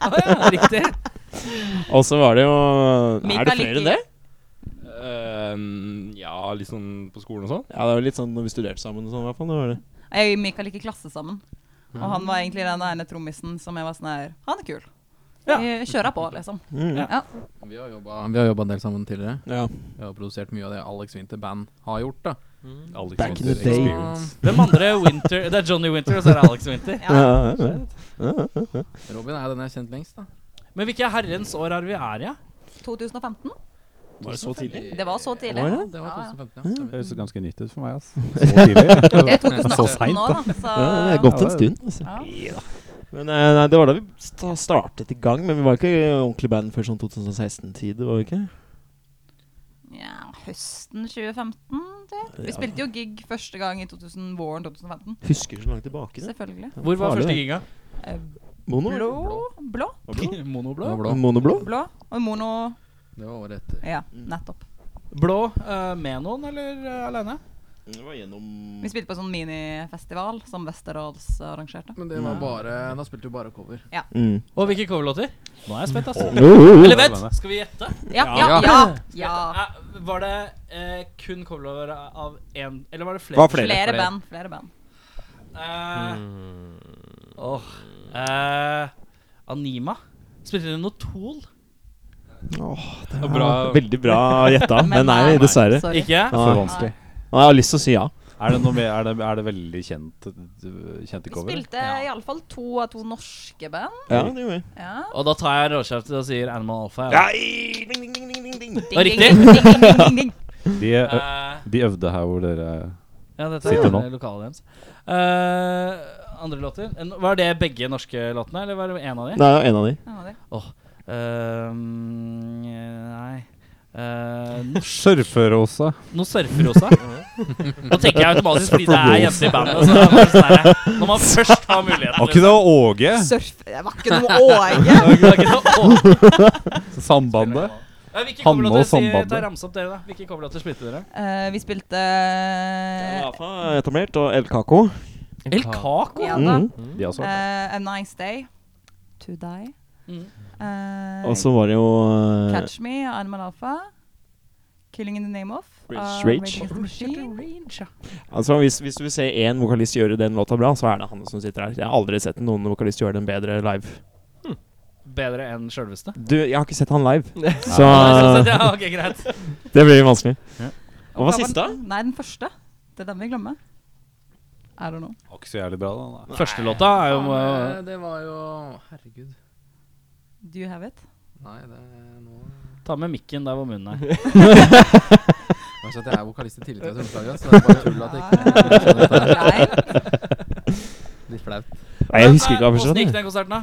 Speaker 3: Å ja, riktig.
Speaker 5: Og så var det jo Er
Speaker 4: Mikael
Speaker 5: det flere
Speaker 4: liker-
Speaker 5: enn det?
Speaker 6: Eh, ja, litt sånn på skolen og sånn.
Speaker 5: Ja, det var litt sånn når vi studerte sammen og sånn, i hvert fall. Det var det.
Speaker 4: Jeg og Mikael gikk i klasse sammen. Og
Speaker 5: Mm.
Speaker 4: han var egentlig den ene trommisen som jeg var sånn her Han er kul.
Speaker 3: Ja.
Speaker 4: Vi kjører på, liksom.
Speaker 5: Mm.
Speaker 4: Ja.
Speaker 7: Vi har jobba en del sammen tidligere.
Speaker 5: Ja.
Speaker 7: Vi har produsert mye av det Alex Winther Band har gjort. da
Speaker 1: Alex
Speaker 5: Back in
Speaker 1: Winter
Speaker 5: the day.
Speaker 1: Experience.
Speaker 3: Hvem andre er Winter? Det er Johnny Winter, og så er det Alex Winter.
Speaker 5: Ja,
Speaker 4: Ja.
Speaker 5: ja, ja.
Speaker 7: Robin er jo den jeg har kjent lengst. da
Speaker 3: Men hvilke herrens år er vi er i? Ja?
Speaker 4: 2015.
Speaker 5: Var det så tidlig?
Speaker 4: Det var så tidlig.
Speaker 5: Var
Speaker 7: Ja, det var
Speaker 4: Ja, ja.
Speaker 7: 2015, ja.
Speaker 1: Det høres ganske nytt ut for meg, ass. Så tidlig.
Speaker 4: Det er
Speaker 1: Så
Speaker 4: 2018
Speaker 1: sent,
Speaker 4: nå, da. Så
Speaker 5: Ja, det er gått en
Speaker 1: Ja, det-
Speaker 5: stund. Altså.
Speaker 4: Ja.
Speaker 5: Men eh, nei, Det var da vi sta startet i gang, men vi var ikke ordentlig band før sånn 2016-tid. var vi ikke?
Speaker 4: ja, høsten 2015, tror jeg. Vi spilte jo gig første gang i 2000, våren 2015.
Speaker 5: Husker så langt tilbake. det.
Speaker 4: Selvfølgelig.
Speaker 3: Hvor var
Speaker 5: Farlig,
Speaker 3: første
Speaker 5: det.
Speaker 3: giga?
Speaker 4: Eh,
Speaker 5: Mono?
Speaker 4: Blå Blå?
Speaker 7: Det var
Speaker 3: Monoblå.
Speaker 7: blå.
Speaker 5: Monoblå?
Speaker 4: Blå og mono
Speaker 7: Det var året etter.
Speaker 4: Ja, nettopp.
Speaker 3: Blå eh, med noen, eller eh, alene?
Speaker 5: Det var gjennom
Speaker 4: Vi spilte på en sånn minifestival som Westerdals arrangerte.
Speaker 7: Men det var bare Da spilte vi bare cover.
Speaker 5: mm.
Speaker 3: Og hvilke coverlåter? Nå er jeg spent, ass.
Speaker 5: Eller
Speaker 3: Eller vent, skal vi gjette?
Speaker 4: Ja, ja, ja! ja.
Speaker 3: Eh, Var det eh, kun coverlåter av én Eller var det flere?
Speaker 5: Var flere.
Speaker 4: Flere band. Flere band.
Speaker 3: Eh, åh, eh, Anima. Spilte dere noe Tool?
Speaker 5: det var
Speaker 6: Bra.
Speaker 5: Veldig bra gjetta, men nei,
Speaker 4: nei,
Speaker 5: dessverre.
Speaker 4: eh, Sorry.
Speaker 3: Ikke?
Speaker 1: Det er for
Speaker 5: Nei.
Speaker 1: vanskelig.
Speaker 5: Nei, jeg har lyst til å si ja.
Speaker 1: Er det, noe mer, er det, er det veldig kjent, uh, kjente
Speaker 4: Vi
Speaker 1: cover?
Speaker 4: spilte iallfall to av to norske band.
Speaker 5: Ja, det gjorde vi.
Speaker 4: Ja.
Speaker 3: Og da tar jeg råkjeftet og sier Animal Alpha.
Speaker 5: Nei! Ding, ding, ding, ding, ding, ding.
Speaker 3: Var
Speaker 4: Ding,
Speaker 3: riktig?
Speaker 4: ding, ding, ding, ding, ding, ding.
Speaker 1: De, ø-
Speaker 3: Eh,
Speaker 1: de øvde her hvor dere
Speaker 3: ja, dette
Speaker 1: Sitter
Speaker 3: er
Speaker 1: nå.
Speaker 3: lokalet deres. Eh, andre låter? En- Var det begge norske låtene, eller var det én av
Speaker 5: Nei,
Speaker 3: de?
Speaker 5: det var en av de.
Speaker 4: Ja, det.
Speaker 3: Eh, mm, nei Eh,
Speaker 1: Surferosa.
Speaker 3: Noe surferosa. Nå tenker jeg automatisk fordi det er jenter i bandet. Så det er bare sånn her, når man først har muligheten
Speaker 1: Var ikke det Åge?
Speaker 4: Surf Det var ikke noe Åge!
Speaker 3: liksom.
Speaker 1: Sambandet?
Speaker 3: Ja, Hvilke
Speaker 1: Hanne og
Speaker 3: coverlåter sier
Speaker 1: Sandbandet.
Speaker 3: ta ramse opp dere, da? Hvilke coverlåter spilte dere?
Speaker 4: Eh, vi spilte eh,
Speaker 5: Alfa er etablert, og El Caco.
Speaker 3: El Caco?
Speaker 4: ja, da.
Speaker 5: Mm.
Speaker 1: De også.
Speaker 4: Eh, A Nice Day. To Die.
Speaker 3: Mm.
Speaker 4: Eh,
Speaker 5: Og så var det jo eh,
Speaker 4: Catch Me, Animal Alpha. Killing in the Name of. av
Speaker 5: Rage.
Speaker 4: Rage Against the Machine.
Speaker 5: Altså hvis, hvis du ser én vokalist gjøre den låta bra, så er det han som sitter her. Jeg har aldri sett noen vokalist gjøre den bedre live.
Speaker 3: Bedre enn sjølveste?
Speaker 5: Du, jeg har ikke sett han live, så
Speaker 3: Nei, sånn sett, Ja, ok, greit.
Speaker 5: det blir vanskelig.
Speaker 1: Ja.
Speaker 5: Hva var
Speaker 4: Da
Speaker 5: siste?
Speaker 4: den- Nei, den første. Det er den vi glemmer. I don't know.
Speaker 1: Var ikke så jævlig bra, da. nei.
Speaker 3: Første låta er jo
Speaker 7: Faen, eh, det var jo Herregud.
Speaker 4: Do you have it?
Speaker 7: Nei, det er nå
Speaker 3: Ta med mikken der hvor munnen er.
Speaker 7: Kanskje at jeg er vokalist i tidligere trommeslager, så det er bare tull at
Speaker 3: Ah.
Speaker 7: jeg ikke
Speaker 4: Nei.
Speaker 7: Litt flaut.
Speaker 5: Nei, jeg husker ikke. hva første
Speaker 3: Åssen
Speaker 5: låten
Speaker 3: gikk
Speaker 5: er.
Speaker 3: den konserten, da?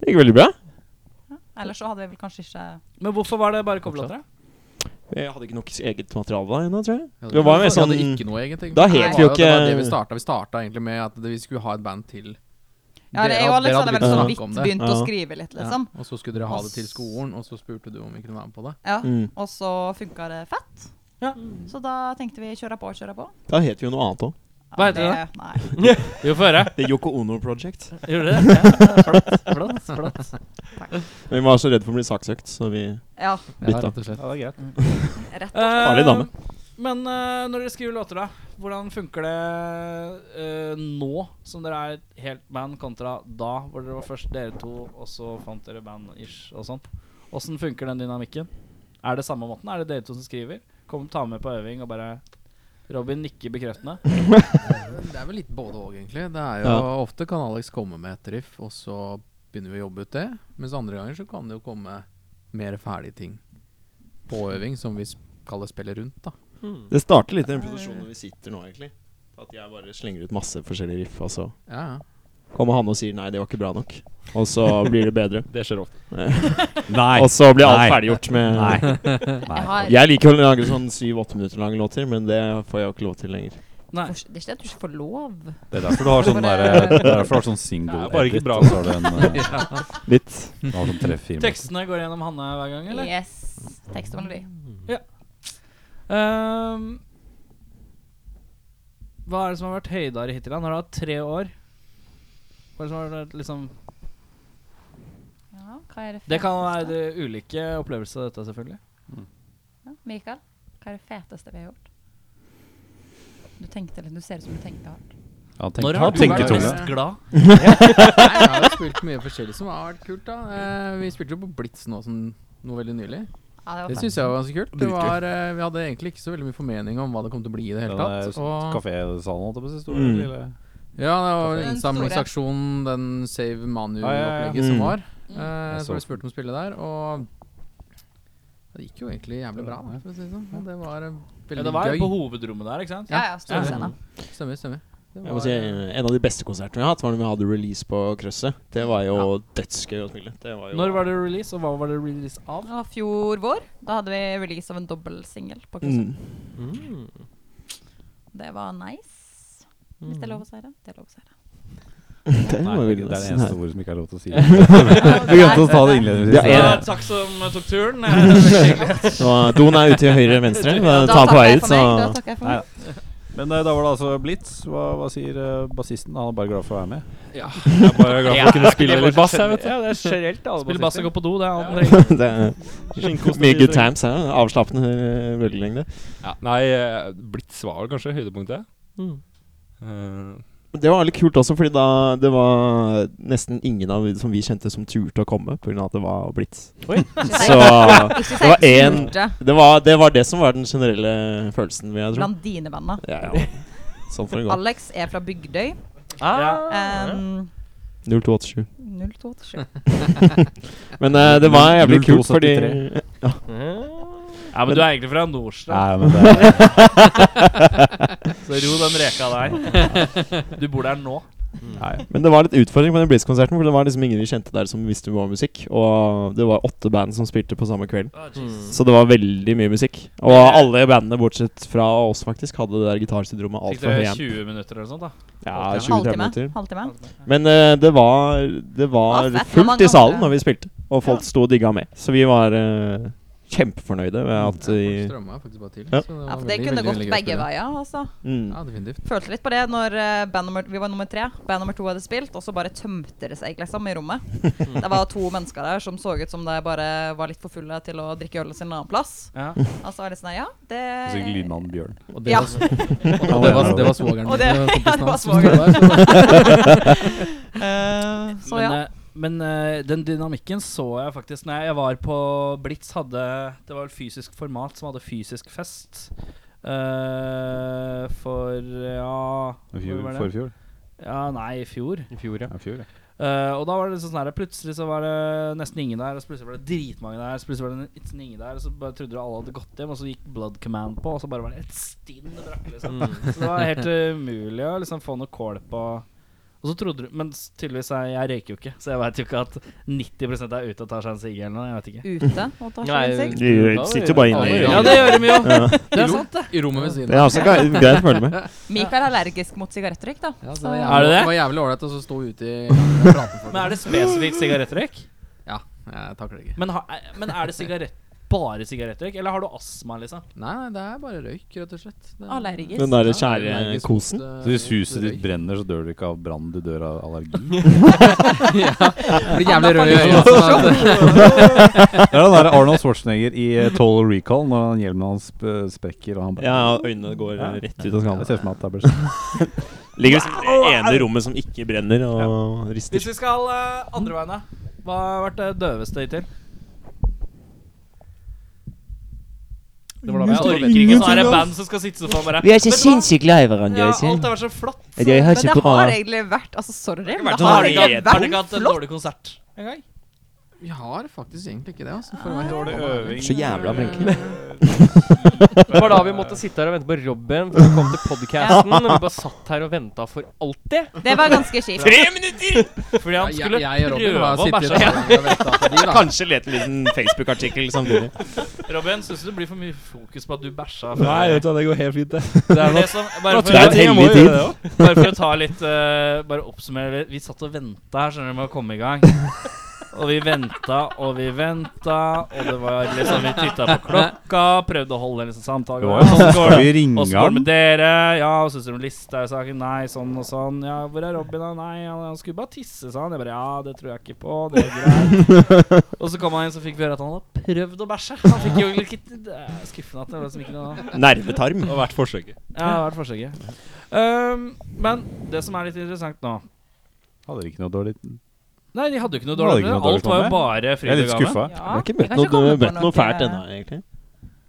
Speaker 5: Det gikk veldig bra.
Speaker 4: Ellers så hadde vi vel kanskje ikke
Speaker 3: Men hvorfor var det bare coverlåter? da?
Speaker 5: Jeg hadde ikke nok eget materiale da ennå, tror jeg.
Speaker 7: Vi
Speaker 5: Det var jo sånn-
Speaker 7: hadde ikke noe, egentlig.
Speaker 5: Da
Speaker 7: Det
Speaker 5: het vi jo
Speaker 7: var Det var
Speaker 5: ikke-
Speaker 7: det vi starta. Vi starta egentlig med at vi skulle ha et band til.
Speaker 4: Ja, det er jo
Speaker 7: Dere-
Speaker 4: Alex
Speaker 7: dere
Speaker 4: hadde vel sånn
Speaker 7: begynt å
Speaker 4: vidt
Speaker 7: snakke om det.
Speaker 4: begynt å
Speaker 5: Ja.
Speaker 4: skrive litt,
Speaker 7: Ja,
Speaker 4: liksom.
Speaker 7: Og så skulle dere ha det til skolen, og så spurte du om vi kunne være med på det.
Speaker 4: Ja.
Speaker 5: Mm.
Speaker 4: Og så funka det fett.
Speaker 3: Ja.
Speaker 4: Så da tenkte vi kjøre på, kjøre på.
Speaker 5: Da het vi jo noe annet òg.
Speaker 4: Ja,
Speaker 3: Hva heter
Speaker 4: det? Nei.
Speaker 3: Vi får høre.
Speaker 5: The Yoko Ono Project.
Speaker 3: Gjorde det? Ja, flott, flott, flott.
Speaker 5: Vi var så redd for å bli saksøkt, så vi
Speaker 4: Ja,
Speaker 5: Bytta.
Speaker 7: rett og slett.
Speaker 1: Ja, det er greit.
Speaker 4: rett.
Speaker 5: Farlig dame.
Speaker 3: Men eh, når dere skriver låter, da, hvordan funker det eh, nå som dere er et helt band, kontra da hvor dere var først dere to, og så fant dere band-ish og sånn? Åssen funker den dynamikken? Er det samme måten? Er det dere to som skriver? Kom, ta med på øving og bare Robin nikker bekreftende.
Speaker 7: Det er vel litt både òg, egentlig. Det er jo Ofte kan Alex komme med et riff, og så begynner vi å jobbe ut det. Mens andre ganger så kan det jo komme mer ferdige ting på øving, som vi s- kaller spille rundt, da.
Speaker 5: Det starter litt i den produksjonen vi sitter nå, egentlig. At jeg bare slenger ut masse forskjellige riff, og så
Speaker 7: Ja, ja.
Speaker 5: kommer han og sier nei, det var ikke bra nok. Og så blir det bedre.
Speaker 6: Det skjer ofte.
Speaker 1: Nei.
Speaker 5: Og så blir alt
Speaker 1: Nei.
Speaker 5: ferdiggjort med
Speaker 1: Nei.
Speaker 4: Jeg har,
Speaker 5: Jeg liker å lage sånn syv-åtte minutter lange låter, men det får jeg jo ikke lov til lenger.
Speaker 3: Nei.
Speaker 4: Det er ikke det at du ikke får lov.
Speaker 1: Det er derfor du har sånn der, det er derfor du har sånn single
Speaker 6: Det er bare ikke bra.
Speaker 1: og så har du en uh,
Speaker 5: Litt.
Speaker 1: du har sånn tre-fire
Speaker 3: Tekstene går gjennom Hanne hver gang, eller?
Speaker 4: Yes. Tekst og melodi.
Speaker 3: Ehm, Hva er det som har vært høydere hittil? da? Nå har du hatt tre år. Hva er det som har vært liksom
Speaker 4: Ja, hva er det
Speaker 3: Det kan være
Speaker 4: feteste?
Speaker 3: det ulike opplevelser av dette, selvfølgelig.
Speaker 4: Ja, Mikael, hva er det feteste vi har gjort? Du tenkte litt, du ser ut som du tenkte hardt.
Speaker 1: Ja, tenk,
Speaker 3: Når
Speaker 1: har
Speaker 3: har du vært
Speaker 1: tenketunge.
Speaker 3: mest glad?
Speaker 7: Nei, jeg har jo spilt mye forskjellig som har vært kult, da. Eh, vi spilte jo på Blitz nå som noe veldig nylig.
Speaker 4: Ja, det
Speaker 7: Det
Speaker 4: var
Speaker 7: syns jeg var ganske kult. Det
Speaker 6: Dritkult.
Speaker 7: var, eh, vi hadde egentlig ikke så veldig mye formening om hva det kom til å bli i det hele
Speaker 1: Den
Speaker 7: tatt. Og
Speaker 1: kafésalen, holdt jeg på å si. stor,
Speaker 6: Mm.
Speaker 1: lille-
Speaker 7: ja, det var
Speaker 4: Den
Speaker 7: innsamlingsaksjonen, den Save
Speaker 1: Ja, ja, ja.
Speaker 7: Manu-opplegget som
Speaker 6: Mm.
Speaker 7: var.
Speaker 4: Mm.
Speaker 7: Eh,
Speaker 1: Jeg
Speaker 7: så ble
Speaker 1: så
Speaker 7: spurt om å spille der, og det gikk jo egentlig jævlig bra, da, for å si det sånn. Og det var eh,
Speaker 3: Ja,
Speaker 7: veldig
Speaker 3: det var jo på
Speaker 7: gøy.
Speaker 3: hovedrommet der, ikke sant?
Speaker 4: Ja, ja, store
Speaker 7: Ja.
Speaker 4: scene.
Speaker 7: Stemmer, stemmer. Det
Speaker 5: Jeg må si,
Speaker 7: eh,
Speaker 5: En av de beste konsertene jeg har hatt, var når vi hadde release på Krøsset. Det var jo dødsgøy å spille. Det var jo
Speaker 3: Når var det release, og hva var det release av?
Speaker 4: Det var fjor vår. Da hadde vi release av en dobbeltsingel på kurset.
Speaker 5: Mm.
Speaker 4: Det var nice. Hvis det er lov å si det. Det er lov å si det.
Speaker 5: Det
Speaker 1: Nei,
Speaker 5: var
Speaker 1: det er
Speaker 5: jo
Speaker 1: det
Speaker 5: nesten
Speaker 1: eneste
Speaker 5: her.
Speaker 1: ordet som ikke er lov til å si. Vi glemte å ta det innledningsvis.
Speaker 5: Ja,
Speaker 1: Ja,
Speaker 5: en-
Speaker 3: takk som tok turen. Hyggelig.
Speaker 5: Så Doen er ute til høyre og venstre.
Speaker 4: Da
Speaker 5: Ta den på vei
Speaker 4: takker jeg
Speaker 5: ut,
Speaker 4: for
Speaker 5: så
Speaker 4: meg, Da takker jeg for meg.
Speaker 1: Men eh, da var det altså Blitz. Hva, hva sier eh, bassisten? Han er bare glad for å være med.
Speaker 6: Ja, jeg er bare glad for å kunne spille litt bass, jeg, vet du.
Speaker 3: Ja, det er generelt alle Spiller bass og går på do, det er alt.
Speaker 5: det er Mye good times her. da. Avslappende eh, bølgelengde.
Speaker 6: Ja, nei, eh, Blitz var vel kanskje høydepunktet.
Speaker 2: Mm.
Speaker 6: Eh,
Speaker 5: Men Det var litt kult også, fordi da det var nesten ingen av som vi kjente som turte å komme pga. at det var blitz. Så det var én det var, det var det som var den generelle følelsen, vil jeg tro.
Speaker 4: blant dine venner.
Speaker 5: Ja, ja. Sånn får det gå.
Speaker 4: Alex er fra Bygdøy. Um,
Speaker 5: 0287.
Speaker 4: 0287.
Speaker 5: Men eh, det var jævlig kult, fordi
Speaker 1: 0273.
Speaker 3: Ja, men du er egentlig fra Nordstrand,
Speaker 1: men det er,
Speaker 3: så ro den reka der. Du bor der nå.
Speaker 1: nei.
Speaker 5: Men det var litt utfordring på den Blitz-konserten, for det var liksom ingen vi kjente der som visste hva musikk. Og det var åtte band som spilte på samme kveld.
Speaker 7: Mm.
Speaker 5: Så det var veldig mye musikk. Og alle bandene, bortsett fra oss, faktisk, hadde det der gitarsyndromet
Speaker 3: Fikk
Speaker 5: altfor
Speaker 3: dere
Speaker 5: høyt.
Speaker 3: 20 minutter eller noe sånt, da?
Speaker 5: Ja, 20-30
Speaker 4: Halvtime.
Speaker 5: minutter.
Speaker 4: Halvtime.
Speaker 5: Men eh, det var, det var
Speaker 4: Det var fett, men man
Speaker 5: fullt i
Speaker 4: kan
Speaker 5: salen
Speaker 4: ikke-
Speaker 5: når vi spilte, og folk sto og digga med. Så vi var eh, kjempefornøyde med at vi
Speaker 7: folk strømma faktisk bare til.
Speaker 5: eh, Ja.
Speaker 4: Ja,
Speaker 7: Så det,
Speaker 4: for det
Speaker 7: var veldig,
Speaker 4: kunne
Speaker 7: veldig,
Speaker 4: gått
Speaker 7: veldig gøy å
Speaker 4: begge
Speaker 7: spille.
Speaker 4: veier. Altså.
Speaker 5: mm.
Speaker 7: Ja, definitivt.
Speaker 4: Følte litt på det når eh, band nummer, vi var nummer tre. Band nummer to hadde spilt, og så bare tømte det seg liksom i rommet. Det var to mennesker der som så ut som de bare var litt for fulle til å drikke ølet sin en annen plass.
Speaker 3: Ja.
Speaker 4: Og så var det sånn her, ja, det
Speaker 1: Og så lydmannen Bjørn.
Speaker 7: Og det
Speaker 4: Ja.
Speaker 7: var, og det var, det var svogeren
Speaker 4: Og det- ja,
Speaker 7: min,
Speaker 4: det
Speaker 7: kompisen
Speaker 4: var
Speaker 7: hans.
Speaker 4: svogeren.
Speaker 7: Så det var-
Speaker 4: Eh, Så
Speaker 3: men,
Speaker 4: ja.
Speaker 3: eh, men eh, den dynamikken så jeg faktisk Når jeg var på Blitz hadde Det var vel fysisk format som hadde fysisk fest eh, For ja
Speaker 1: I
Speaker 3: hvor var
Speaker 1: fjor-
Speaker 3: det?
Speaker 1: Forfjor.
Speaker 3: Ja, nei, i fjor
Speaker 1: I fjor, ja. I fjor, ja.
Speaker 3: Eh, og da var det liksom sånn her Plutselig så var det nesten ingen der, og så plutselig var det dritmange der, så plutselig var det nesten ingen der, og så bare trodde du alle hadde gått hjem, og så gikk Blood Command på, og så bare var det et stinn brakke, liksom. Så det var helt umulig å liksom få noe kål på Og så trodde du Men s- tydeligvis er jeg røyker jo ikke, så jeg veit jo ikke at 90 er ute og tar seg en sigg eller noe, jeg vet
Speaker 7: eh,
Speaker 3: ikke.
Speaker 4: Ute og tar seg en sigg.
Speaker 5: Vi sitter jo bare inne i
Speaker 3: Ja, det gjør de jo! Det er sant, det.
Speaker 7: I rommet ved siden
Speaker 5: Det er også greit greit å følge med.
Speaker 4: Mikael er allergisk mot sigarettrykk, da.
Speaker 7: Ja, så
Speaker 4: Så
Speaker 7: det,
Speaker 4: ja.
Speaker 7: var
Speaker 3: Er det
Speaker 7: jævlig-
Speaker 3: det?
Speaker 7: det var jævlig ålreit å så stå ute i gangen og prate med folk.
Speaker 3: Men er det spesifikt sigarettrøyk?
Speaker 7: Ja, jeg takler det ikke.
Speaker 3: Men, ha- eh, men er det sigarett, bare sigarettrøyk, eller har du astma, liksom?
Speaker 7: Nei, nei, det er bare røyk, rett og slett. Det er-
Speaker 4: Allergisk.
Speaker 5: Den derre
Speaker 7: Ja,
Speaker 5: kjære
Speaker 7: allergisk mot,
Speaker 5: kosen.
Speaker 7: eh,
Speaker 1: Så hvis huset
Speaker 7: mot
Speaker 1: ditt
Speaker 7: røyk.
Speaker 1: brenner, så dør du ikke av brann, du dør av allergi.
Speaker 7: Blir jævlig rød i øynene. sånn at-
Speaker 1: Det er den der Arnold Schwarzenegger i eh, Total Recall, når han hjelmen hans eh, sprekker og han bare
Speaker 5: Ja, og øynene går
Speaker 1: Ja.
Speaker 5: rett ut av
Speaker 1: Jeg
Speaker 5: skallen.
Speaker 1: ser for meg at det er bare sånn.
Speaker 5: Ligger liksom i det ene rommet som ikke brenner, og rister.
Speaker 3: Hvis vi skal eh, andre veien, da. Hva har vært det døveste hittil? Det var da jeg orker ikke sånn her band som skal sitte sånn bare Vet du hva?
Speaker 5: glad i hverandre.
Speaker 3: ja, Alt har vært så flott.
Speaker 5: Jeg har
Speaker 4: Men det har egentlig vært Altså, sorry, men det
Speaker 5: sånn
Speaker 4: har
Speaker 5: her
Speaker 4: ikke
Speaker 5: helt-
Speaker 3: Har du ikke
Speaker 4: vært
Speaker 3: hatt en
Speaker 4: flott.
Speaker 3: dårlig konsert en gang?
Speaker 7: Vi har faktisk egentlig ikke det. Altså, for å
Speaker 6: Ah.
Speaker 7: være
Speaker 1: Dårlig
Speaker 7: helt ærlig.
Speaker 1: øving.
Speaker 5: Så jævla flinke.
Speaker 2: Det var da vi måtte sitte her og vente på Robin for å komme til podcasten. Og vi bare satt her og ventet for alltid.
Speaker 4: Det var ganske kjipt.
Speaker 3: Fordi han
Speaker 7: Ja,
Speaker 3: skulle
Speaker 7: jeg, jeg og Robin har
Speaker 3: prøve å
Speaker 7: sittet
Speaker 3: bæsje.
Speaker 7: der og ventet på de, da.
Speaker 5: Kanskje lete en liten Facebook-artikkel samtidig.
Speaker 3: Robin, syns du det blir for mye fokus på at du bæsja?
Speaker 6: Nei, vet du, hva, det går helt fint, det.
Speaker 3: det er det som, bare,
Speaker 5: Det er
Speaker 3: for,
Speaker 5: et hellig tid.
Speaker 3: bare for å ta litt eh, Bare oppsummere litt. Vi satt og venta her, skjønner du, med å komme i gang. Og vi venta og vi venta, og det var liksom Vi titta på klokka, prøvde å holde en liksom samtale.
Speaker 1: Det var jo
Speaker 3: Hvordan
Speaker 1: sånn,
Speaker 3: går
Speaker 1: skal
Speaker 3: det?
Speaker 1: vi
Speaker 3: Og
Speaker 1: ringe
Speaker 3: så går det
Speaker 1: han?
Speaker 3: med dere. Ja, og syns dere om Listhaug-saken? Nei, sånn og sånn. Ja, hvor er Robin? da? Nei, han, han skulle bare tisse, sa han. Jeg bare ja, det tror jeg ikke på. Det er greit. og så kom han inn, så fikk vi høre at han hadde prøvd å bæsje. Han fikk jo ikke Det er skuffende at det var liksom ikke noe
Speaker 5: Nervetarm.
Speaker 6: Det har vært forsøket.
Speaker 3: Ja, det har vært forsøket. Um, men det som er litt interessant nå
Speaker 1: Hadde dere ikke noe dårlig
Speaker 3: Nei, de hadde jo ikke noe
Speaker 1: Hadde
Speaker 3: dårlig.
Speaker 1: ikke noe dårlig
Speaker 3: Alt var jo
Speaker 1: å
Speaker 3: bare
Speaker 1: Jeg er litt
Speaker 3: fryd og
Speaker 1: skuffa.
Speaker 3: gammen.
Speaker 4: Ja,
Speaker 5: Jeg har ikke
Speaker 4: vi
Speaker 5: møtt
Speaker 4: kan
Speaker 5: noe,
Speaker 4: komme på
Speaker 5: møtt noe fælt
Speaker 4: eh,
Speaker 5: ennå, egentlig.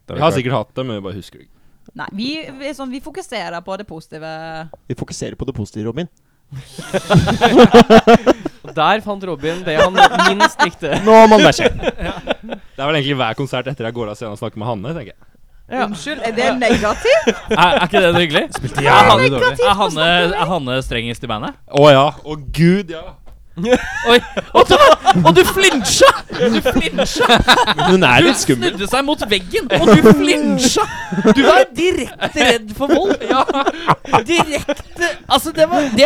Speaker 6: Jeg har sikkert hatt det, men jeg bare husker det ikke.
Speaker 4: Nei, vi, vi, er sånn, vi fokuserer på det positive.
Speaker 5: Vi fokuserer på det positive, Robin.
Speaker 2: Og der fant Robin det han minst likte.
Speaker 5: Nå må han bæsje!
Speaker 6: Det er vel egentlig hver konsert etter jeg går av scenen og snakker med Hanne, tenker jeg.
Speaker 4: Unnskyld, er det negativt?
Speaker 3: Er, er ikke det noe hyggelig? Spilte jævlig dårlig. Er Hanne, er Hanne strengest i bandet?
Speaker 6: Å ja. Å gud, ja.
Speaker 3: Oi! Og du, og du flinsja! Du flinsja!
Speaker 5: Men hun er
Speaker 3: Hun
Speaker 5: litt skummel.
Speaker 3: snudde seg mot veggen, og du flinsja! Du var direkte redd for vold. Ja. Direkte Altså, det var Det,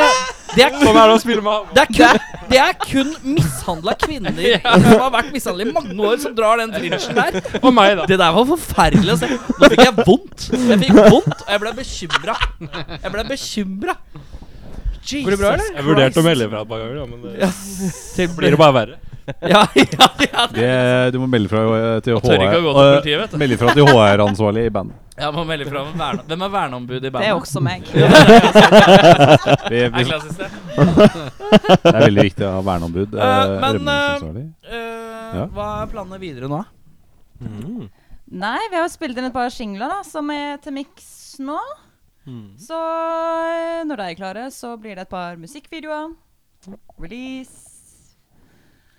Speaker 3: det er
Speaker 6: Sånn er det å spille med Hanne.
Speaker 3: Det er kun, det er kun mishandla kvinner som har vært mishandla i mange år, som drar den flinsjen der.
Speaker 6: Og meg, da.
Speaker 3: Det der var forferdelig å se. Nå fikk jeg vondt. Jeg fikk vondt, og jeg ble bekymra. Jeg ble bekymra.
Speaker 2: Går det bra, eller?
Speaker 6: Jeg vurderte å melde fra et par ganger, da, men det
Speaker 3: Til
Speaker 6: blir det bare verre.
Speaker 3: Ja, ja, ja.
Speaker 1: det, Du må melde fra eh, til
Speaker 3: Jeg tør ikke å gå til
Speaker 1: HR.
Speaker 3: politiet, vet du.
Speaker 1: Melde fra til HR-ansvarlig i bandet.
Speaker 3: Jeg må melde fra om verne. Hvem er verneombudet i
Speaker 4: Det er
Speaker 3: bandet?
Speaker 4: også meg.
Speaker 1: Vi,
Speaker 3: Er
Speaker 1: vi,
Speaker 3: klassisk det.
Speaker 1: det er veldig viktig å ha verneombud.
Speaker 3: Eh, men, eh,
Speaker 1: rømningsansvarlig.
Speaker 3: Eh,
Speaker 1: Ja.
Speaker 3: Hva er planene videre nå?
Speaker 4: Nei, vi har jo spilt inn et par singler da, som er til miks nå.
Speaker 3: Mm.
Speaker 4: Så eh, når de er klare, så blir det et par musikkvideoer. Release.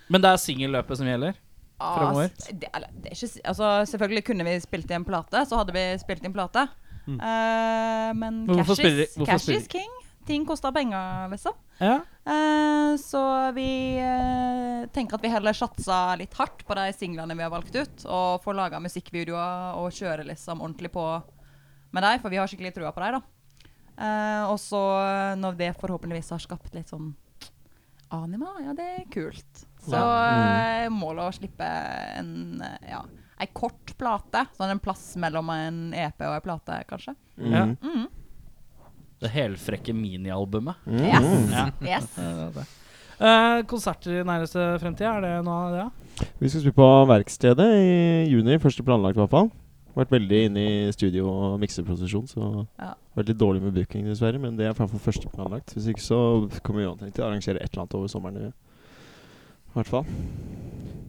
Speaker 3: Men det er singelløpet som gjelder?
Speaker 4: Ah,
Speaker 3: Fremover?
Speaker 4: s- Det, eller, det er ikke, s- altså, selvfølgelig kunne vi spilt inn plate, så hadde vi spilt inn plate. Eh, men
Speaker 3: Mm. Men hvorfor
Speaker 4: cash
Speaker 3: spiller-
Speaker 4: is,
Speaker 3: hvorfor
Speaker 4: cash
Speaker 3: spiller-
Speaker 4: is king. Ting koster penger, liksom.
Speaker 3: Ja.
Speaker 4: Eh, så vi eh, tenker at vi heller satser litt hardt på de singlene vi har valgt ut, og får laga musikkvideoer og kjøre liksom ordentlig på med dem, for vi har skikkelig trua på dem, da. Eh, og så, eh, når det forhåpentligvis har skapt litt sånn anima, ja, det er kult. Så eh, målet å slippe en eh, ja, ei kort plate, sånn en plass mellom en EP og ei plate, kanskje.
Speaker 5: Mm.
Speaker 3: Ja. Det helfrekke minialbumet.
Speaker 4: Yes.
Speaker 3: Ja.
Speaker 4: yes.
Speaker 3: Eh, konserter i nærmeste fremtid, er det noe av det?
Speaker 5: Vi skal spille på Verkstedet i juni. Første planlagt, i hvert fall. Vært veldig inne i studio og mikseprosesjon, så
Speaker 4: Ja.
Speaker 5: Veldig dårlig med booking, dessverre, men det er i hvert fall første planlagt. Hvis ikke så kommer vi uantenkt til å arrangere et eller annet over sommeren. I hvert fall.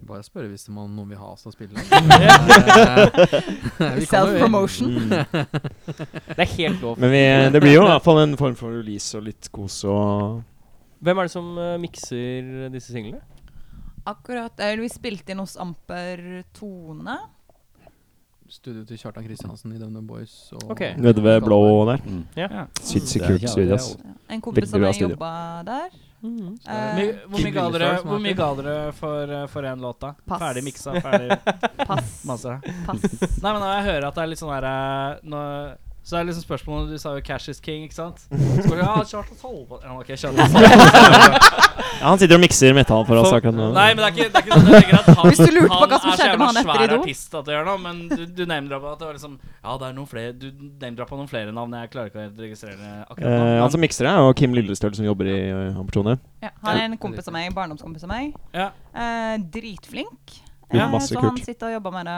Speaker 7: Bare spørre hvis det er noen vi har oss til å spille. Eh, vi kommer jo inn.
Speaker 4: Self-promotion.
Speaker 2: Mm. Det er helt lov.
Speaker 5: Men vi, det blir jo i hvert fall en form for release og litt kos og
Speaker 2: Hvem er det som eh, mikser disse singlene?
Speaker 4: Akkurat. Eller vi spilte inn hos Amper Tone.
Speaker 7: Studio til Kjartan Kristiansen i DumDum Boys. Og
Speaker 2: Ok.
Speaker 5: Nede ved blå der.
Speaker 1: Mm.
Speaker 2: Ja. Mm.
Speaker 5: Sinnssykt kult studio, ass.
Speaker 4: En kompis
Speaker 5: Veldig
Speaker 4: som
Speaker 5: bra
Speaker 4: jeg
Speaker 5: studio.
Speaker 4: jobba der.
Speaker 3: Mm. My-
Speaker 4: Eh,
Speaker 3: Hvor mye ga dere, hvor mye ga dere for, eh, for en låt, da?
Speaker 4: Pass.
Speaker 3: Ferdig miksa, ferdig
Speaker 4: pass.
Speaker 3: masse.
Speaker 4: pass.
Speaker 3: Nei, men når jeg hører at det er litt sånn derre nå, Så er det liksom spørsmålet Du sa jo 'cash is king', ikke sant? Så bare, ja, Kjartan Salva ja, ok, Kjartan Salva.
Speaker 5: Ja, han sitter og mikser metall for oss akkurat nå.
Speaker 3: Nei, men det er ikke, det er ikke sånn at jeg tenker at han,
Speaker 4: Hvis du lurte på
Speaker 3: han
Speaker 4: hva som
Speaker 3: er så
Speaker 4: skjedde med
Speaker 3: jævla
Speaker 4: han etter
Speaker 3: svær
Speaker 4: Idol.
Speaker 3: artist at det gjør noe, men du, du name-droppa at det var liksom Ja, det er noen flere Du name-droppa noen flere navn, jeg klarer ikke å registrere det akkurat nå.
Speaker 5: Eh, han
Speaker 3: men-
Speaker 5: som mikser er jo Kim Lillestøl, som jobber i eh, Ampertone.
Speaker 4: Ja, han er en kompis av meg, en barndomskompis av meg.
Speaker 3: Ja.
Speaker 4: Eh, dritflink.
Speaker 5: Gjorde
Speaker 4: Eh,
Speaker 5: masse
Speaker 4: så han
Speaker 5: kult.
Speaker 4: sitter og jobber med det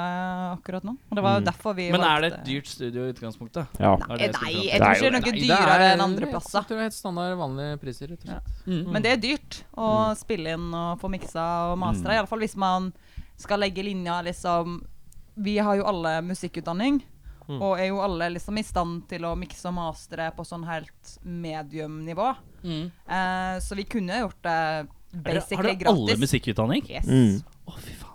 Speaker 4: akkurat nå. Og det var
Speaker 5: Mm.
Speaker 4: derfor vi
Speaker 3: men er det
Speaker 4: valgte-
Speaker 3: et dyrt studio i utgangspunktet?
Speaker 5: Ja.
Speaker 3: er
Speaker 4: Nei,
Speaker 3: det jeg skulle
Speaker 4: nei,
Speaker 3: fram til.
Speaker 4: jeg tror ikke det er noe
Speaker 7: Nei, det
Speaker 4: dyrere
Speaker 7: er-
Speaker 4: enn andre plasser.
Speaker 7: Jeg tror det er helt standard vanlige priser, rett og slett.
Speaker 4: Men
Speaker 3: Mm.
Speaker 4: det er dyrt å spille inn og få miksa og mastra, i alle iallfall hvis man skal legge linja liksom Vi har jo alle musikkutdanning,
Speaker 3: Mm.
Speaker 4: og er jo alle liksom i stand til å mikse og mastre på sånn helt medium-nivå.
Speaker 3: Mm.
Speaker 4: Eh, så vi kunne gjort det
Speaker 3: Har dere- Har
Speaker 4: basically
Speaker 3: dere alle
Speaker 4: gratis.
Speaker 3: musikkutdanning?
Speaker 4: Yes.
Speaker 5: Mm.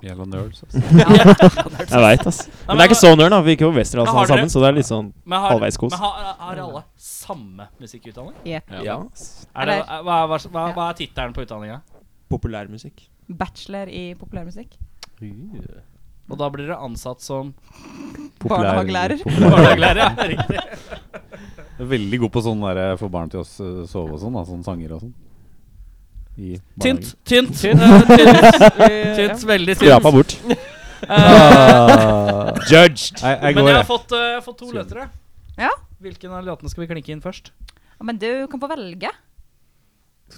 Speaker 1: Jævla nerds, ass.
Speaker 5: Jeg veit, ass. Men det er ikke så nerd, da. Vi gikk jo Westerdals
Speaker 3: Men har
Speaker 5: alle sammen,
Speaker 3: dere-
Speaker 5: så det er litt sånn
Speaker 3: Men har,
Speaker 5: halvveis kos.
Speaker 3: men har, har alle samme musikkutdanning?
Speaker 4: Yep.
Speaker 5: Ja. ass.
Speaker 3: Er det,
Speaker 4: Eller-
Speaker 3: hva, hva, hva, hva er tittelen på utdanninga?
Speaker 5: Populærmusikk.
Speaker 4: Bachelor i populærmusikk.
Speaker 3: Og da blir dere ansatt som
Speaker 4: Barnehagelærer.
Speaker 3: barnehagelærer? Ja, riktig.
Speaker 1: eh, Veldig god på sånn derre for barn til å s- sove og sånn, da. Sånn sanger og sånn. i
Speaker 3: Tynt,
Speaker 1: barnehagen.
Speaker 3: tynt. eh, tynt,
Speaker 2: Vi-
Speaker 3: tynt veldig tynt.
Speaker 5: Skrapa bort.
Speaker 1: Ah.
Speaker 5: Judged!
Speaker 1: Nei, jeg
Speaker 3: Men
Speaker 1: går,
Speaker 3: jeg har
Speaker 1: jeg.
Speaker 3: fått, eh, jeg har fått to løtere.
Speaker 4: Ja.
Speaker 3: Hvilken av låtene skal vi klinke inn først?
Speaker 4: Ja, men du kan få velge.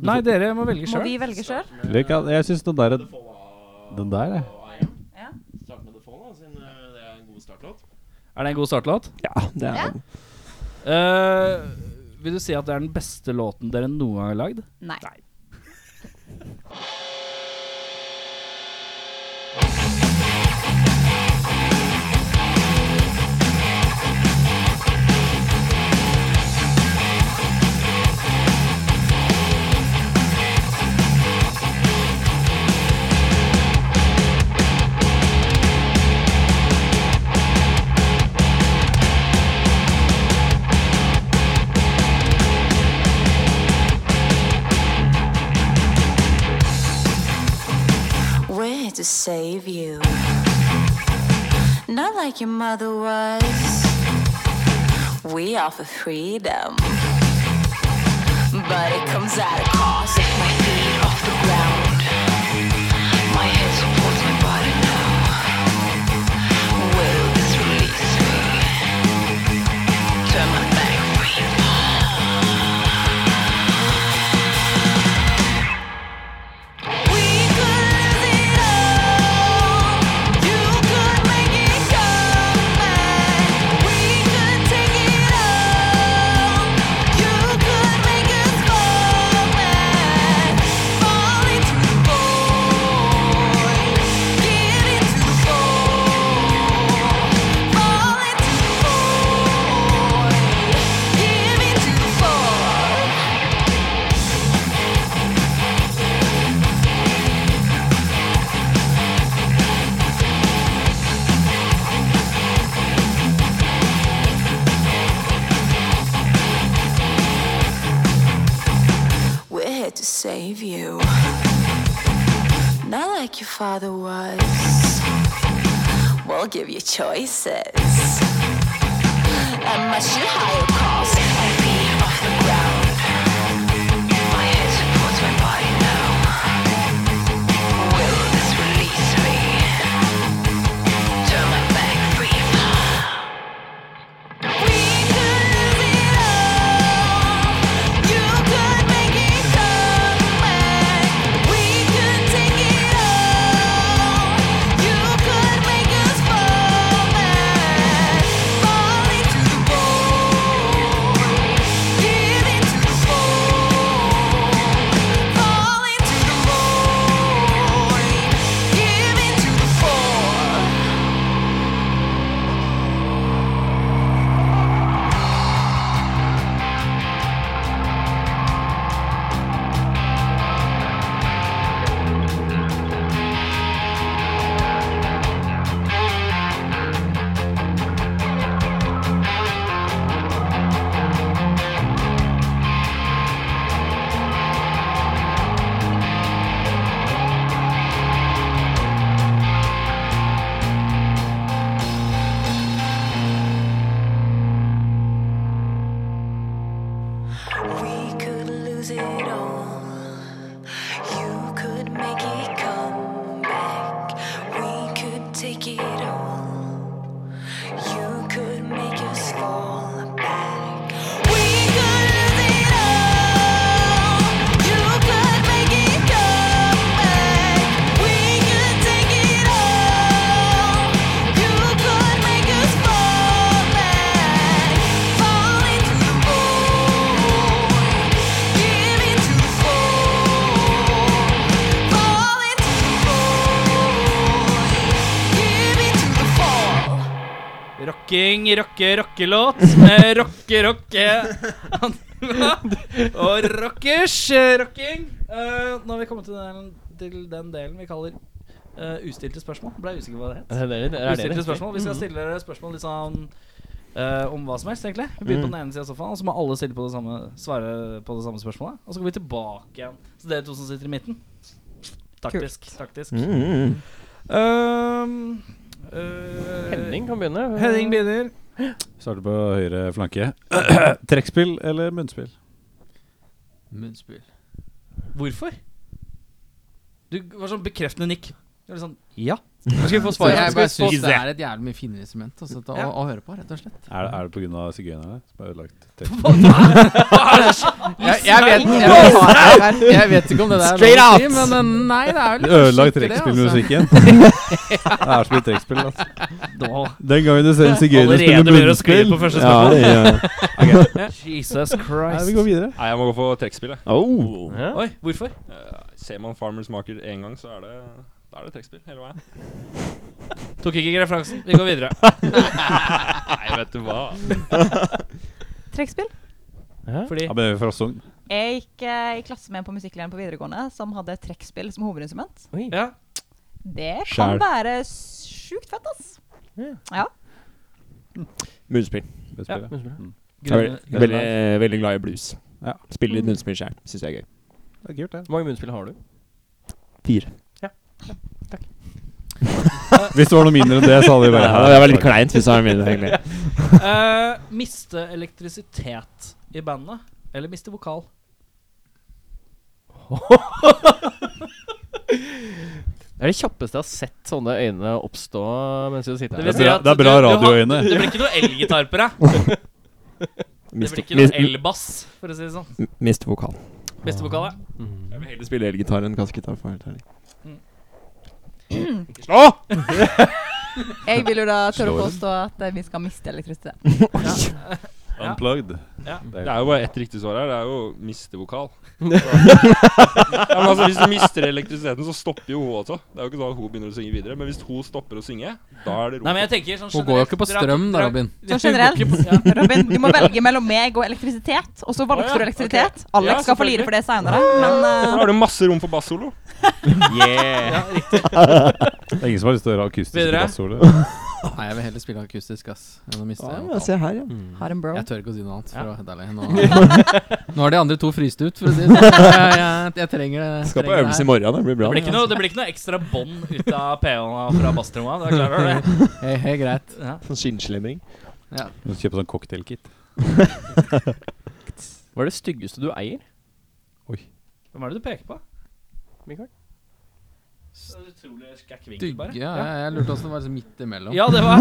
Speaker 3: Nei, dere må velge
Speaker 4: Må
Speaker 3: sjøl.
Speaker 4: vi velge sjøl?
Speaker 1: Lykke, til. jeg syns den der Den der, jeg.
Speaker 4: Ja.
Speaker 5: eh,
Speaker 3: Er det en god startlåt?
Speaker 5: Ja, det er
Speaker 4: Ja.
Speaker 3: Eh, vil du si at det er den beste låten dere noen gang har lagd?
Speaker 4: Nei.
Speaker 8: We're here to save you. Not like your mother was. We offer freedom. But it comes at a cost. Take my feet off the ground. My head supports my body now. Will this release me? Turn my back free. We could lose it all. You could make it come back. We could take it all. You could make us fall back, fall into the void, get into the void, fall into the void, give into the void. We're here to save you. Not like your father was. We'll give you choices. At much your higher cost. Take my feet off the ground. My head supports my body now. Will this release me? Turn my back free. We could lose it all. You could make it come back. We could take it all. You could make us fall back, fall into the void, give into the void, fall into the void, give into the void. We could lose it all. You could make it come back. We could take it all. You could make us fall back. We could lose it all. You could make it come back. We could take it all. You could make us fall back, fall into the void, give into the void, fall into the void, give into the fall.
Speaker 3: Rocking, rocke, rockelåt med rocke, rocke Og rockers eh, rocking. Eh, nå har vi kommet til den, til den delen vi kaller eh, ustilte spørsmål. Ble jeg usikker på hva det het.
Speaker 2: Er det- er det- Mm. er
Speaker 3: Ustilte
Speaker 2: det-
Speaker 3: spørsmål. Vi skal stille dere spørsmål litt sånn eh, om hva som helst, egentlig. Vi begynner
Speaker 2: Mm.
Speaker 3: på den ene siden av sofaen, og så må alle stille på det samme, svare på det samme spørsmålet. Og så går vi tilbake igjen. Så dere to som sitter i midten. Taktisk. taktisk.
Speaker 5: Mm.
Speaker 3: Ehm, eh,
Speaker 2: Henning kan begynne.
Speaker 3: Henning begynner.
Speaker 1: Starter på høyre flanke. Trekkspill eller munnspill?
Speaker 7: Munnspill.
Speaker 3: Hvorfor? Du var sånn bekreftende nikk. Jeg var litt sånn, ja.
Speaker 2: Nå skal vi få
Speaker 7: Så
Speaker 2: svaret.
Speaker 7: jeg
Speaker 2: Skal vi
Speaker 7: bare
Speaker 2: få
Speaker 7: syns det er et jævlig mye finere instrument altså, å,
Speaker 3: Ja.
Speaker 7: å høre på, rett og slett.
Speaker 1: Er, det- er det pga. sigøynerne som har ødelagt teksten?
Speaker 7: Jeg, jeg, vet, jeg, vet, jeg, vet, jeg vet ikke om det der
Speaker 5: Straight
Speaker 7: lov å si,
Speaker 5: out!
Speaker 7: men eh, nei, det er vel kanskje
Speaker 1: Ødelagt
Speaker 7: ikke det, altså.
Speaker 1: trekkspillmusikken. Det er så mye trekkspill, altså. Den gangen du ser en sigøyner spille
Speaker 3: Allerede begynner å skli
Speaker 1: munnspill
Speaker 3: på første
Speaker 5: Ja, eh,
Speaker 3: spørsmål.
Speaker 5: ja.
Speaker 3: Jesus
Speaker 1: Nei,
Speaker 3: Christ.
Speaker 1: vi går videre.
Speaker 6: Nei, jeg må gå for trekkspillet.
Speaker 5: Oh.
Speaker 3: Oi, hvorfor?
Speaker 6: Ser man Farmers Marker én gang, så er det da er det trekkspill hele veien.
Speaker 3: Tok ikke referansen. Vi går videre.
Speaker 6: Nei, vet du hva.
Speaker 4: Trekkspill?
Speaker 3: Fordi
Speaker 1: Ja, men det er fra Sogn.
Speaker 4: Jeg gikk eh, i klasse med en på musikklinjen på videregående som hadde trekkspill som hovedinstrument.
Speaker 3: Ja.
Speaker 4: Det
Speaker 5: Skjær.
Speaker 4: kan være sjukt fett, ass.
Speaker 5: Munnspill.
Speaker 1: Munnspill, ja.
Speaker 5: Jeg er
Speaker 3: grunn-
Speaker 5: veldig, veldig, eh, veldig glad i blues.
Speaker 1: Ja.
Speaker 5: Spiller litt munnspill sjøl. Syns jeg er gøy.
Speaker 1: Det er kult, det.
Speaker 2: Hvor mange munnspill har du?
Speaker 5: Fire.
Speaker 1: Hvis det var noe mindre enn det, så hadde vi
Speaker 5: Ja,
Speaker 1: bare
Speaker 5: det var litt kleint hvis jeg har mindre, egentlig.
Speaker 3: Eh, miste elektrisitet i bandet, eller miste vokal?
Speaker 2: Det er det kjappeste jeg har sett sånne øyne oppstå mens vi sitter
Speaker 3: Det
Speaker 2: her.
Speaker 3: vil
Speaker 1: Det
Speaker 3: si
Speaker 1: er bra-
Speaker 3: at
Speaker 1: det er
Speaker 3: du-
Speaker 1: bra
Speaker 3: du har-
Speaker 1: radioøyne.
Speaker 3: Det blir ikke noe elgitar på deg. Det
Speaker 5: Mister,
Speaker 3: blir ikke
Speaker 5: mis-
Speaker 3: noe elbass, for å si det sånn.
Speaker 5: m- mister vokal.
Speaker 3: Beste vokal, ja.
Speaker 5: Jeg vil heller spille elgitar enn kassegitar. for å være helt ærlig.
Speaker 4: Jeg vil jo da tørre å
Speaker 1: Slår
Speaker 4: påstå at eh, vi skal miste elektrisitet.
Speaker 1: Unplugged.
Speaker 6: Det er jo bare ett riktig svar her. Det er jo miste vokal. ja, men altså, hvis du mister elektrisiteten, så stopper jo hun også. Det er jo ikke sånn at hun begynner å synge videre. Men hvis hun stopper å synge, da er det ro.
Speaker 3: Nei, men jeg tenker sånn
Speaker 7: Hun går jo ikke på
Speaker 3: generelt,
Speaker 7: strøm, da,
Speaker 3: dra-
Speaker 7: Robin.
Speaker 4: Sånn generelt. Robin, du må velge mellom meg og elektrisitet. Og så valgte
Speaker 6: Å, ja,
Speaker 4: du elektrisitet.
Speaker 6: ok.
Speaker 4: Alex
Speaker 6: Ja,
Speaker 4: skal få lide
Speaker 6: selvfølgelig. Ah.
Speaker 4: for det seinere, men
Speaker 6: Da
Speaker 4: eh,
Speaker 6: har du masse rom for bassolo.
Speaker 1: Det er ingen som har lyst til å høre akustisk
Speaker 3: Videre.
Speaker 1: bassolo.
Speaker 7: Nei, jeg vil heller spille akustisk, ass. Enn å miste
Speaker 5: Ah, ja,
Speaker 7: vokal.
Speaker 5: se her, ja.
Speaker 4: har en bro.
Speaker 7: Jeg tør ikke å si noe annet. For å være helt ærlig. Nå, nå har de andre to fryst ut, for å si det sånn. Jeg, jeg, jeg trenger det.
Speaker 5: Skal på
Speaker 7: trenger det
Speaker 5: øvelse i morgen. Det blir bra.
Speaker 3: Det blir ikke noe, det blir ikke noe ekstra bånd ut av PH-en og fra basstromma. Det er klart over det.
Speaker 7: her. Hei, hei, greit.
Speaker 3: Ja.
Speaker 5: Sånn skinnslemming.
Speaker 1: Du kjøper sånn cocktailkit.
Speaker 2: Hva er det styggeste du eier?
Speaker 3: Hvem er det du peker på?
Speaker 2: Mikael?
Speaker 3: Så utrolig skækk vinkel,
Speaker 7: Dugge.
Speaker 3: bare.
Speaker 7: Ja, jeg, jeg lurte også om det var liksom midt imellom.
Speaker 3: Ja, det var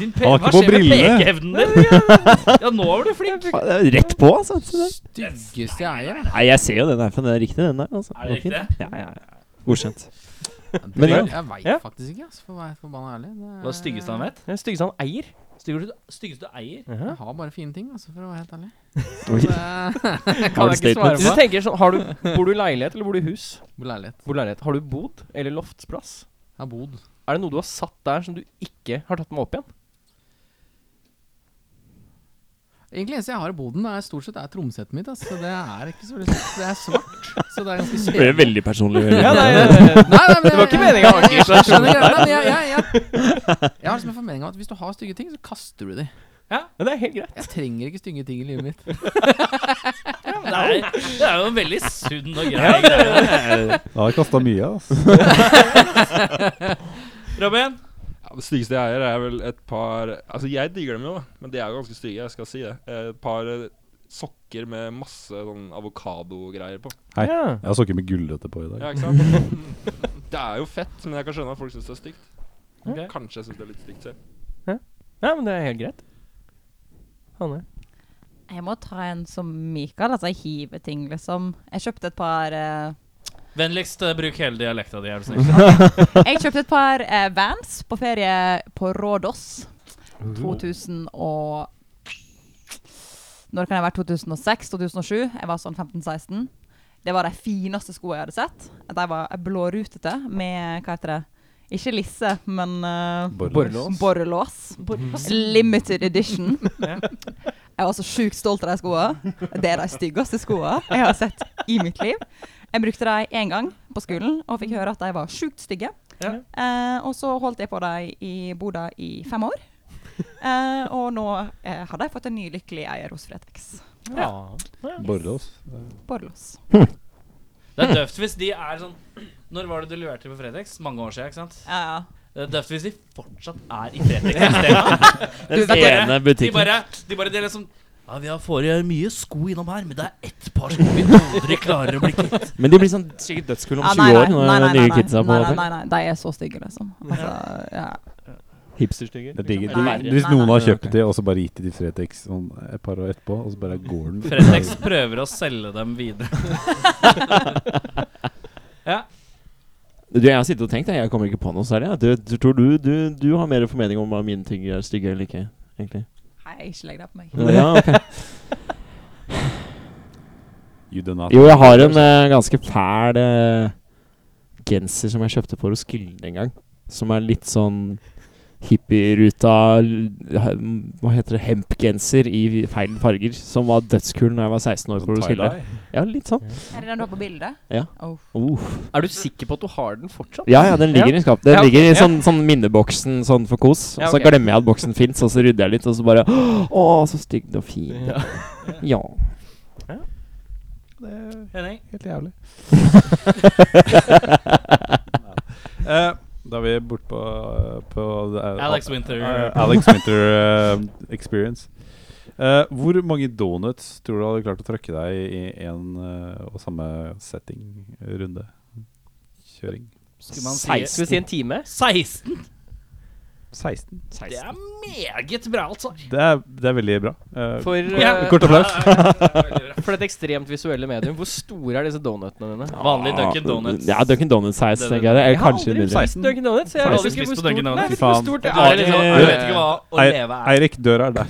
Speaker 3: Din pe
Speaker 1: Han var
Speaker 3: Hva
Speaker 1: ikke på
Speaker 3: skjer med
Speaker 1: brillene.
Speaker 3: pekeevnen din? Ja, nå var du flink.
Speaker 5: Ah, det er Rett på, altså. Se der.
Speaker 7: Styggeste jeg eier.
Speaker 5: Nei, jeg ser jo den der, for den er riktig, den der. Altså.
Speaker 3: Er det
Speaker 5: Går fint.
Speaker 3: riktig?
Speaker 5: Ja, ja, ja. Godkjent.
Speaker 7: Ja, det-
Speaker 5: Men ja.
Speaker 7: jeg
Speaker 2: Ja.
Speaker 7: veit faktisk ikke, ass. For å være forbanna ærlig. Det
Speaker 3: Hva er det styggeste han vet?
Speaker 2: Det er det styggeste han eier.
Speaker 3: Styggeste styggeste du eier?
Speaker 7: Jeg har bare fine ting, altså, for å være helt ærlig.
Speaker 5: Oi.
Speaker 7: Så det kan
Speaker 5: Hard
Speaker 7: jeg ikke svare
Speaker 2: Hvis du
Speaker 7: på.
Speaker 2: tenker sånn, har du, Bor du i leilighet eller bor du i hus?
Speaker 7: På Leilighet.
Speaker 2: Bor i leilighet. Har du bod eller loftsplass?
Speaker 7: Jeg har bodd.
Speaker 2: Er det noe du har satt der som du ikke har tatt med opp igjen?
Speaker 7: Egentlig eneste jeg har i boden, er stort sett er tromsettet mitt. ass. Så det er ikke så veldig stort. Det er svart. Så det er ganske
Speaker 5: Det ble
Speaker 7: kjedelig.
Speaker 5: veldig personlig.
Speaker 7: Nei, nei, men
Speaker 2: Det var
Speaker 7: jeg-
Speaker 2: ikke meningen å angripe deg,
Speaker 7: Jeg skjønner greia, men jeg, jeg, jeg, jeg har liksom en formening om at hvis du har stygge ting, så kaster du de.
Speaker 2: Men det er helt greit.
Speaker 7: Jeg trenger ikke stygge ting i livet mitt.
Speaker 3: Det er, det er jo en veldig sunn og grei greie.
Speaker 1: Da har jeg kasta mye, altså.
Speaker 3: Robin?
Speaker 6: Ja, det styggeste jeg eier, er vel et par Altså, jeg digger dem jo, da, men de er jo ganske stygge. Jeg skal si det. Eh, Et par eh, sokker med masse sånn avokadogreier på.
Speaker 1: Hei.
Speaker 2: Ja.
Speaker 1: Jeg har sokker med gullrøtter på i dag.
Speaker 6: Ja, ikke sant? Det er jo fett, men jeg kan skjønne at folk syns det er stygt.
Speaker 3: Ok.
Speaker 6: Kanskje jeg syns det er litt stygt selv.
Speaker 2: ja, men det er helt greit. Hanne.
Speaker 4: Jeg må ta en som Mikael, altså jeg hiver ting, liksom. Jeg kjøpte et par eh,
Speaker 3: Vennligst eh, bruk hele dialekta di, er du snill.
Speaker 4: Jeg kjøpte et par eh, Vans på ferie på Rådås 2000 og Når kan jeg være 2006? 2007? Jeg var sånn 15-16. Det var de fineste skoene jeg hadde sett. De var blårutete med Hva heter det? Ikke lisse, men eh,
Speaker 1: Borrelås.
Speaker 4: Borrelås. Limited edition. Jeg var så sjukt stolt av de skoene. Det er de styggeste skoene jeg har sett i mitt liv. Jeg brukte dem én gang på skolen og fikk høre at de var sjukt stygge.
Speaker 3: Ja.
Speaker 4: Eh, og så holdt jeg på dem i boda i fem år. Eh, og nå eh, har de fått en ny lykkelig eier hos Fretex.
Speaker 2: Ja.
Speaker 1: Borrelås.
Speaker 4: Borrelås.
Speaker 3: Det er døvt hvis de er sånn Når var det du leverte på Fretex? Mange år siden, ikke sant?
Speaker 4: Ja, ja.
Speaker 3: Det er døvt hvis de fortsatt er i Fretex-systemet.
Speaker 5: Den
Speaker 3: ene
Speaker 5: ene
Speaker 3: De
Speaker 5: butikken.
Speaker 3: bare, de bare det er liksom Ja, vi har forrige mye sko innom her, men det er ett par sko vi aldri klarer å bli kvitt.
Speaker 5: Men de blir sånn sikkert dødskule om
Speaker 4: Ja,
Speaker 5: 20
Speaker 4: Ah, nei, nei,
Speaker 5: år. Når
Speaker 4: nei, nei,
Speaker 5: de nye
Speaker 4: nei,
Speaker 5: kidsa på
Speaker 4: nei, nei, nei, nei, de er så stygge, liksom. Altså, ja.
Speaker 5: Hipsterstygge.
Speaker 1: Det er digg.
Speaker 4: Nei,
Speaker 1: De- Hvis
Speaker 4: nei,
Speaker 1: noen
Speaker 4: nei.
Speaker 1: har kjøpt de, og så bare gitt de til Fretex sånn et par år etterpå, og så bare går den
Speaker 3: Fretex prøver å selge dem videre.
Speaker 5: Du, jeg har sittet og tenkt, jeg, jeg kommer ikke på noe særlig. Jeg. Du, du, tror du, du, du har mer formening om hva mine ting er stygge eller ikke, egentlig.
Speaker 4: Nei, ikke legg deg på meg.
Speaker 5: Ja, ok.
Speaker 1: You do not.
Speaker 5: Jo, jeg har en eh, ganske fæl eh, genser som jeg kjøpte på Roskilde en gang. Som er litt sånn hippieruta l- he- Hva heter det? Hempgenser i feil farger. Som var dødskul da jeg var 16
Speaker 1: Sånn
Speaker 5: år på Roskilde.
Speaker 1: Tie-dye.
Speaker 5: Ja, litt sånn.
Speaker 4: Er det den du har på bildet?
Speaker 5: Ja.
Speaker 4: Oh.
Speaker 5: Uh.
Speaker 2: Er du sikker på at du har den fortsatt?
Speaker 5: Ja, ja, den ligger i skap. Den
Speaker 2: Ja, ok,
Speaker 5: ligger i
Speaker 2: ja.
Speaker 5: sånn, sånn minneboksen sånn for kos. Og
Speaker 2: Ja,
Speaker 5: så
Speaker 2: ok.
Speaker 5: glemmer jeg at boksen fins, og så rydder jeg litt, og så bare Å, så stygg og fin.
Speaker 2: Ja.
Speaker 5: Ja.
Speaker 3: Henning?
Speaker 1: Helt jævlig. Eh, da er vi borte på, på det er-
Speaker 3: Alex Winter.
Speaker 1: Eh, Alex Winter eh, Experience. Eh, hvor mange donuts tror du hadde klart å trøkke deg i én og samme setting, runde, kjøring?
Speaker 3: Skulle man si-
Speaker 2: Skal vi si en time?
Speaker 3: 16!
Speaker 1: 16.
Speaker 3: Det er meget bra, altså.
Speaker 1: Det er, det er veldig bra. Eh,
Speaker 2: For,
Speaker 3: Ja.
Speaker 2: eh,
Speaker 1: Kort applaus.
Speaker 2: for dette ekstremt visuelle medium, hvor store er disse donutene dine?
Speaker 3: Vanlig Dunkin' Donuts.
Speaker 5: Ja, Dunkin' Donuts-size, tenker jeg. Eller
Speaker 2: Jeg har
Speaker 5: kanskje
Speaker 2: aldri
Speaker 5: mindre.
Speaker 2: spist Dunkin' Donuts. Jeg
Speaker 1: Har
Speaker 2: vet
Speaker 1: du ikke
Speaker 2: ikke hvor
Speaker 3: spist på
Speaker 2: stort,
Speaker 3: Dunkin'
Speaker 2: nei, jeg
Speaker 3: Donuts?
Speaker 2: vet ikke hvor
Speaker 1: Fy
Speaker 2: stort det
Speaker 3: Det er
Speaker 2: er.
Speaker 3: liksom,
Speaker 2: Liksom.
Speaker 3: du vet ikke hva å
Speaker 1: Ei-
Speaker 3: leve er.
Speaker 1: Eirik, døra er der.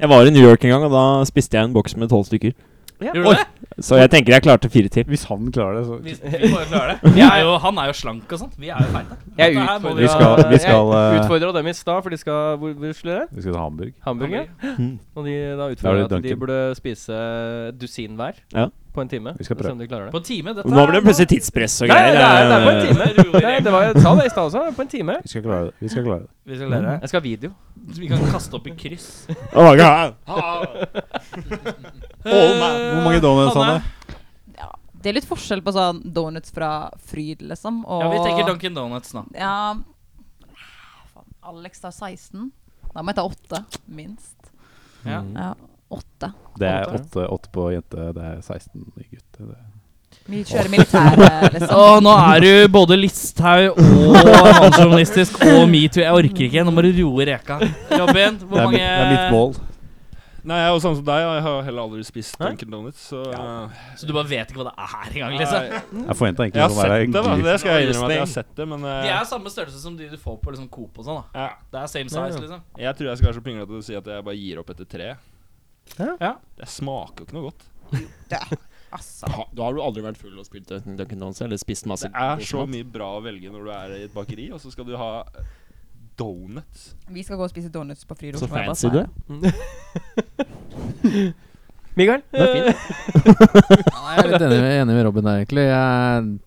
Speaker 5: Jeg var i New York en gang, og da spiste jeg en boks med tolv stykker.
Speaker 3: Gjorde du det?
Speaker 5: Så jeg tenker jeg klarte fire til.
Speaker 1: Hvis han klarer det, så
Speaker 3: Vi, vi bare klarer det. Vi er jo, han er jo slank og sånt. Vi er jo feite.
Speaker 2: Jeg
Speaker 3: Dette her må
Speaker 2: utfordra-
Speaker 1: Vi skal- vi skal,
Speaker 2: jeg
Speaker 1: eh,
Speaker 2: utfordra dem i stad, for de skal Hvor, hvor skulle det?
Speaker 1: Vi skal til Hamburg.
Speaker 2: Hamburger.
Speaker 5: Mm.
Speaker 2: Og de da
Speaker 1: Da er
Speaker 2: utfordra
Speaker 1: det
Speaker 2: at de
Speaker 1: Dunkin'.
Speaker 2: burde spise et dusin hver
Speaker 5: Ja.
Speaker 2: på en time.
Speaker 1: Vi skal
Speaker 2: og Se om de klarer det.
Speaker 3: På en time dette
Speaker 5: Nå ble
Speaker 3: er-
Speaker 5: det plutselig tidspress og
Speaker 2: Nei, det er, det er på en
Speaker 5: greier. Eh,
Speaker 2: time.
Speaker 3: Rolig regel.
Speaker 2: Nei, det var, jeg sa det i stad også. På en time.
Speaker 1: Vi skal klare det. Vi skal klare det.
Speaker 3: Vi skal lære.
Speaker 2: Jeg skal ha video.
Speaker 3: Vi kan kaste opp i kryss.
Speaker 5: Oh my god.
Speaker 1: Hvor mange donuts, Hanne?
Speaker 4: Ja. Det er litt forskjell på sånn donuts fra Fryd, liksom, og
Speaker 3: Ja, vi tenker Dunkin' Donuts
Speaker 1: Mm.
Speaker 3: nå.
Speaker 4: Ja faen, Alex tar 16. Da må jeg ta 8, minst.
Speaker 3: Ja.
Speaker 1: Mm.
Speaker 4: Ja, 8.
Speaker 1: Det er åtte, åtte på jente, det er 16 i gutt. Det er-
Speaker 4: Vi kjører militæret, liksom.
Speaker 3: Å, nå er du både Listhaug og mannsjournalistisk og metoo. Jeg orker ikke. Nå må du roe reka. Robin,
Speaker 1: Det
Speaker 3: hvor
Speaker 1: er, mitt-
Speaker 3: mange
Speaker 1: det er mitt mål.
Speaker 6: Nei, jeg er jo samme som deg, og jeg har heller aldri spist Dunkin' Donuts. Så eh,
Speaker 3: Så du bare vet ikke hva det er engang, liksom?
Speaker 1: Jeg forventa egentlig
Speaker 6: Jeg har
Speaker 1: å være
Speaker 6: sett det, da.
Speaker 1: gul.
Speaker 6: Det skal jeg innrømme at jeg har sett det, men eh,
Speaker 3: De er samme størrelse som de du får på liksom Coop og sånn. da
Speaker 6: ja,
Speaker 3: Det er same size, liksom.
Speaker 6: jeg tror jeg skal være så pinglete å si at jeg bare gir opp etter tre.
Speaker 3: Ja.
Speaker 6: Det smaker jo ikke noe godt.
Speaker 4: Altså.
Speaker 5: Da har du aldri vært full og spilt Dunkin' Donuts eller spist masse
Speaker 6: Det er så mye bra å velge når du er i et bakeri, og så skal du ha donuts.
Speaker 4: Vi skal gå og spise donuts på Fryd.
Speaker 5: Så
Speaker 4: Oslo, jeg bare
Speaker 5: fancy
Speaker 4: sa
Speaker 5: du er.
Speaker 4: det.
Speaker 2: Mikael?
Speaker 5: Det er fint.
Speaker 7: Ja, jeg er litt enig med, enig med Robin der, egentlig.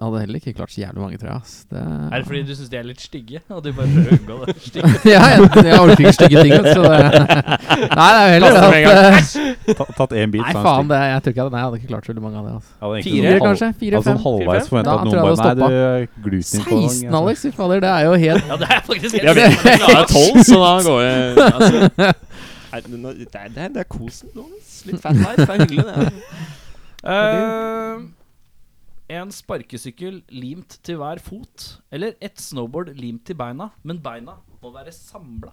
Speaker 7: Jeg hadde heller ikke klart så jævlig mange, tror jeg. Ass. Det
Speaker 3: Er det fordi du syns de er litt stygge? Og du bare prøver å unngå det? Stygge.
Speaker 7: ja, jeg, jeg orker ikke stygge ting, vet du, så det Nei, det er jo heller det at
Speaker 1: Ta- Tatt én bit.
Speaker 7: Nei,
Speaker 1: så er den
Speaker 7: faen,
Speaker 1: stygg.
Speaker 7: det, jeg tror ikke jeg hadde Nei, jeg hadde ikke klart så veldig mange av det. Altså.
Speaker 1: Jeg hadde egentlig sånn
Speaker 7: Fire,
Speaker 1: halv-
Speaker 7: kanskje?
Speaker 1: Altså
Speaker 7: Fire-fem?
Speaker 1: sånn halvveis
Speaker 2: Fire-fem?
Speaker 1: forventa
Speaker 7: Da
Speaker 1: at noen
Speaker 7: tror jeg
Speaker 1: bare
Speaker 7: det
Speaker 1: Nei, det er gluten på altså.
Speaker 7: 16, Alex! Fy fader, det er jo helt
Speaker 3: Ja, det er faktisk
Speaker 5: Jeg vet jeg
Speaker 3: helt
Speaker 5: er tolv, så da går jeg altså. Nei, men nå- Det er, det er, det er kosen. Donuts. Litt fat life. Det er hyggelig, det.
Speaker 3: Eh, en sparkesykkel limt til hver fot, eller et snowboard limt til beina, men beina må være samla.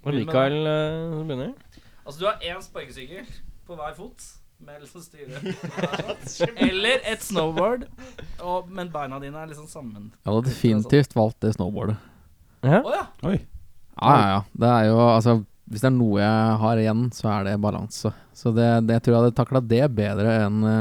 Speaker 2: Og Mikael eh, som begynner.
Speaker 3: Altså, du har én sparkesykkel på hver fot, med liksom styre Eller et snowboard, og, men beina dine er liksom sammen.
Speaker 7: Jeg hadde definitivt valgt det snowboardet.
Speaker 3: Å ja!
Speaker 1: Oi.
Speaker 7: Ja, ja, ja. Det er jo altså Hvis det er noe jeg har igjen, så er det balanse. Så det, det jeg tror jeg hadde takla det bedre enn eh,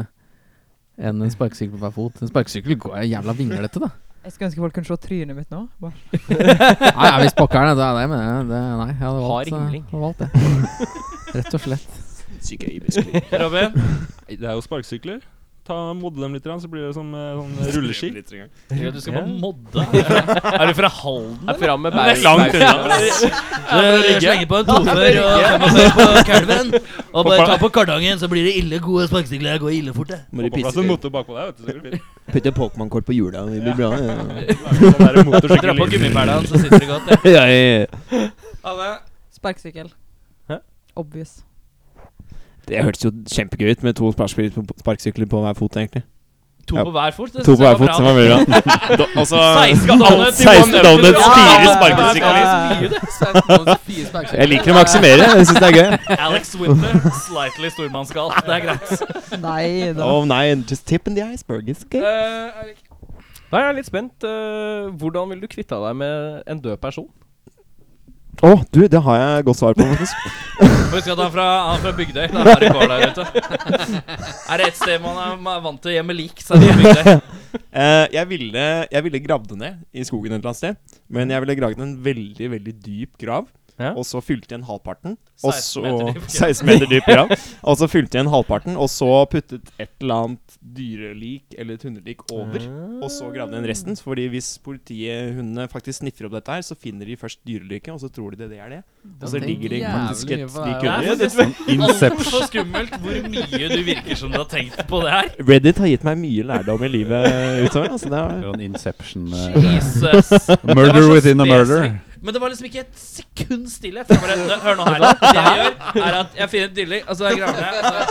Speaker 7: enn en sparkesykkel på hver fot. En sparkesykkel går jeg jævla vinglete, da.
Speaker 4: Jeg skulle ønske folk kunne se trynet mitt nå. Bare.
Speaker 7: Nei, ja, hvis pokkeren er det, det, mener jeg. Det, nei, jeg hadde
Speaker 2: Har
Speaker 7: valgt, eh,
Speaker 2: ringling.
Speaker 7: hadde valgt det. Rett og slett.
Speaker 3: Robin?
Speaker 6: Det er jo sparkesykler. Ta Modle dem litt, grann, så blir det som eh, sånn rulleski.
Speaker 3: Du skal på modde. Er du fra Halden?
Speaker 2: Er fram med
Speaker 6: Det er langt
Speaker 2: bæren.
Speaker 6: unna.
Speaker 3: Du slenger på en tofer og femmer på kalven. Og bare ta på kardangen, så blir det ille gode sparkesykler. Det går ille fort, det.
Speaker 5: Må
Speaker 6: Få
Speaker 5: du
Speaker 6: på plass
Speaker 5: pisse-
Speaker 6: en motor bakpå deg, vet du. Så går det fint.
Speaker 5: putte Pokémon-kort på hjula. Det blir bra. ja.
Speaker 6: Sånn der
Speaker 3: Dra på
Speaker 6: motorsykkel.
Speaker 5: altså.
Speaker 3: gummipælene, så sitter det godt. det.
Speaker 5: Ja, ja, ja.
Speaker 3: Alle
Speaker 4: Sparkesykkel.
Speaker 2: Hæ?
Speaker 4: Obvious.
Speaker 5: Det hørtes jo kjempegøy ut med to sparkesykler på, sparkesykler på hver fot, egentlig.
Speaker 3: To
Speaker 5: Ja.
Speaker 3: på hver fot. det
Speaker 5: To
Speaker 3: synes
Speaker 5: på
Speaker 3: jeg
Speaker 5: hver fot, som
Speaker 3: bra.
Speaker 5: var veldig bra. Altså,
Speaker 3: 16 donuts i
Speaker 5: 16
Speaker 3: one
Speaker 5: donuts,
Speaker 3: episode.
Speaker 5: fire
Speaker 3: Ja,
Speaker 5: sparkesykler,
Speaker 3: det er
Speaker 5: liksom.
Speaker 3: mye, det.
Speaker 5: Jeg liker å maksimere. Jeg syns det er gøy.
Speaker 3: Alex Winter, slightly stormannsgal. Det er greit.
Speaker 4: Nei da.
Speaker 5: Oh nei, just tip in the iceberg. It's okay.
Speaker 2: Eh, Nei, jeg er litt spent. Eh, hvordan ville du kvitta deg med en død person?
Speaker 5: Å, du, det har jeg godt svar på, faktisk.
Speaker 3: Husk at han er fra, han er fra Bygdøy. Det er bare kår der ute. Er det ett sted man er man er vant til å gjemme lik, så er det i Bygdøy.
Speaker 5: Eh, jeg, ville, jeg ville gravd det ned i skogen et eller annet sted. Men jeg ville gravd en veldig veldig dyp grav.
Speaker 2: Ja.
Speaker 5: Og så fylte igjen halvparten. Og
Speaker 3: 16
Speaker 5: så,
Speaker 3: meter dyp grav.
Speaker 5: 16 meter dyp grav. Og så fylte igjen halvparten, og så puttet et eller annet dyrelik eller et hundelik over.
Speaker 2: Mm.
Speaker 5: Og så gravde den resten. Fordi hvis politiet hundene faktisk sniffer opp dette her, så finner de først dyreliket, og så tror de det, det er det. Og så
Speaker 7: tenk
Speaker 5: ligger det
Speaker 7: jævlig
Speaker 5: faktisk
Speaker 7: mye
Speaker 5: et
Speaker 7: på
Speaker 5: lik
Speaker 7: det
Speaker 3: her.
Speaker 5: under.
Speaker 3: Det er
Speaker 1: Sånn Inception.
Speaker 3: Så skummelt hvor mye du virker som du har tenkt på det her.
Speaker 5: Reddit har gitt meg mye lærdom i livet
Speaker 1: eh,
Speaker 5: utover. Altså, det er,
Speaker 1: Sånn Inception eh,
Speaker 3: Jesus. Det var
Speaker 1: Murder
Speaker 3: så
Speaker 1: within a
Speaker 3: spesifikt.
Speaker 1: murder.
Speaker 3: Men det var liksom ikke et sekund stillhet. for jeg Bare, hør nå her, da. Det jeg gjør, er at jeg finner et dilling, og så er jeg gravende.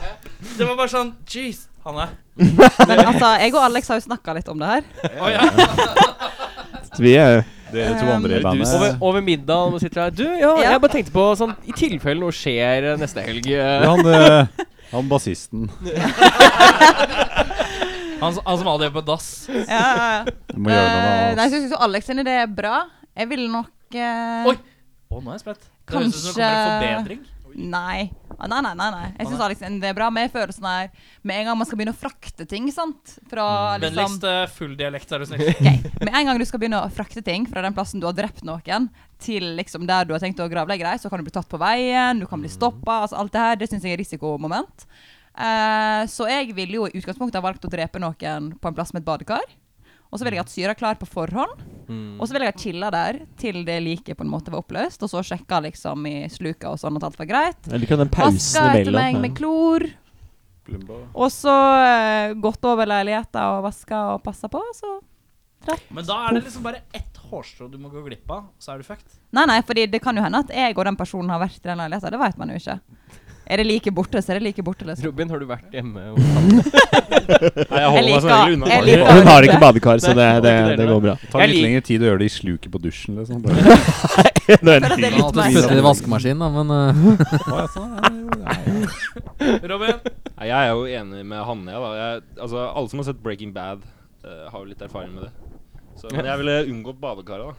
Speaker 3: Det var bare sånn Jeez, Hanne.
Speaker 4: Men altså, jeg og Alex har jo snakka litt om det her.
Speaker 3: Å ja.
Speaker 5: vi er
Speaker 1: Dere to andre i
Speaker 5: Um,
Speaker 1: bandet.
Speaker 2: Over, over middag når man sitter her. Du, ja,
Speaker 4: Ja.
Speaker 2: jeg bare tenkte på sånn I tilfelle noe skjer eh, neste helg. eh.
Speaker 1: Han, eh, han bassisten.
Speaker 3: Han, s- han som aldri er på dass.
Speaker 4: Ja, ja, ja.
Speaker 1: Du må gjøre noe
Speaker 4: Eh,
Speaker 1: med
Speaker 4: Nei,
Speaker 1: oss.
Speaker 4: så jeg syns jo Alex sin idé er bra. Jeg ville nok eh,
Speaker 3: Oi! Å, nå er jeg spent. Det høres ut som det kommer en
Speaker 4: Kanskje-
Speaker 3: forbedring.
Speaker 4: Nei. Ah, nei, nei, nei, nei. Jeg syns Alex sin idé er bra, men jeg føler sånn her Med en gang man skal begynne å frakte ting, sant Fra liksom
Speaker 3: Vennligst eh, full dialekt, er du snill.
Speaker 4: Ok, Med en gang du skal begynne å frakte ting fra den plassen du har drept noen, til liksom der du har tenkt å gravlegge deg, så kan du bli tatt på veien, du kan bli stoppa. Altså alt det her, det syns jeg er risikomoment. Eh, så jeg ville jo i utgangspunktet ha valgt å drepe noen på en plass med et badekar. Og så ville jeg hatt syra klar på forhånd. Og så ville jeg ha chilla der til det liket på en måte var oppløst, og så sjekka liksom i sluka og sånn at alt var greit.
Speaker 5: Jeg liker den pausen
Speaker 4: Vaska etter meg
Speaker 5: imellom.
Speaker 4: med klor. Og så eh, gått over leiligheta og vaska og passa på, så
Speaker 3: Men da er det liksom bare ett hårstrå du må gå glipp av, så er du fucked.
Speaker 4: Nei, nei, fordi det kan jo hende at jeg og den personen har vært i den leiligheten. Det vet man jo ikke. Er det like borte, så er det like borte. Liksom.
Speaker 2: Robin, har du vært hjemme?
Speaker 6: Nei, jeg holder meg som regel unna.
Speaker 4: jeg
Speaker 5: Ja.
Speaker 4: liker
Speaker 5: Og hun
Speaker 4: å
Speaker 5: har
Speaker 4: rydde.
Speaker 5: ikke badekar, så det, det, det går bra.
Speaker 1: Det tar
Speaker 2: Jeg
Speaker 1: litt
Speaker 2: lik-
Speaker 1: lengre tid å gjøre det i sluket på dusjen, liksom. Bare.
Speaker 5: Det er
Speaker 4: For at det er
Speaker 7: Jeg har
Speaker 4: litt
Speaker 7: alltid
Speaker 4: meg.
Speaker 7: spyttet i vaskemaskinen, da, men eh,
Speaker 1: Å, ja, sånn, ja, ja, ja.
Speaker 3: Robin?
Speaker 6: Nei, jeg er jo enig med Hanne. jeg, Da. Jeg, altså, alle som har sett Breaking Bad, eh, har jo litt erfaring med det. Så, men jeg ville unngått badekaret, da.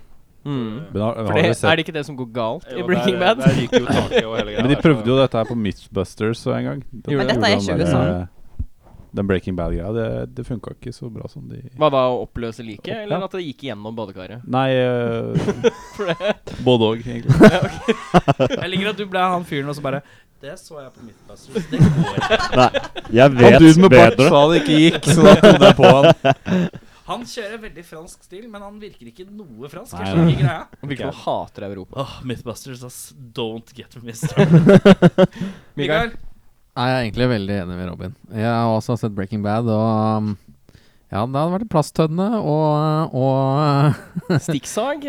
Speaker 2: Mm.
Speaker 1: Men har,
Speaker 2: For
Speaker 1: har
Speaker 2: det,
Speaker 1: dere
Speaker 2: er
Speaker 1: sett
Speaker 2: det ikke det som går galt
Speaker 6: Jo,
Speaker 2: i Breaking
Speaker 6: der-
Speaker 2: Bad?
Speaker 6: Der ryker jo taket og hele greia.
Speaker 1: Men de prøvde jo dette her på Mythbusters en gang.
Speaker 2: Men
Speaker 1: Da prøvde
Speaker 4: dette er sånn.
Speaker 1: de
Speaker 4: ikke
Speaker 1: der,
Speaker 4: USA.
Speaker 1: eh, Den Breaking Bad-greia, det, det funka ikke så bra som de
Speaker 2: Hva da, å oppløse liket, eller
Speaker 1: Ja.
Speaker 2: at det gikk gjennom badekaret?
Speaker 1: Nei eh,
Speaker 2: For det
Speaker 1: Både òg, egentlig.
Speaker 3: Jeg liker at du ble han fyren og så bare Det så jeg på mitt plass. Det går ikke.
Speaker 5: Jeg
Speaker 1: Han duden med bart
Speaker 5: bedre.
Speaker 1: sa det ikke gikk, så da trodde jeg på han.
Speaker 3: Han kjører veldig fransk stil, men han virker ikke noe fransk.
Speaker 1: Nei,
Speaker 3: Jeg skjønner ikke greia.
Speaker 2: virker som han hater Europa.
Speaker 3: Åh, Mythbusters, ass. Don't get me started. Mikael?
Speaker 7: Nei, jeg er egentlig veldig enig med Robin. Jeg har også sett Breaking Bad, og um, ja, det hadde vært en plasttønne og, og
Speaker 2: Stikksag?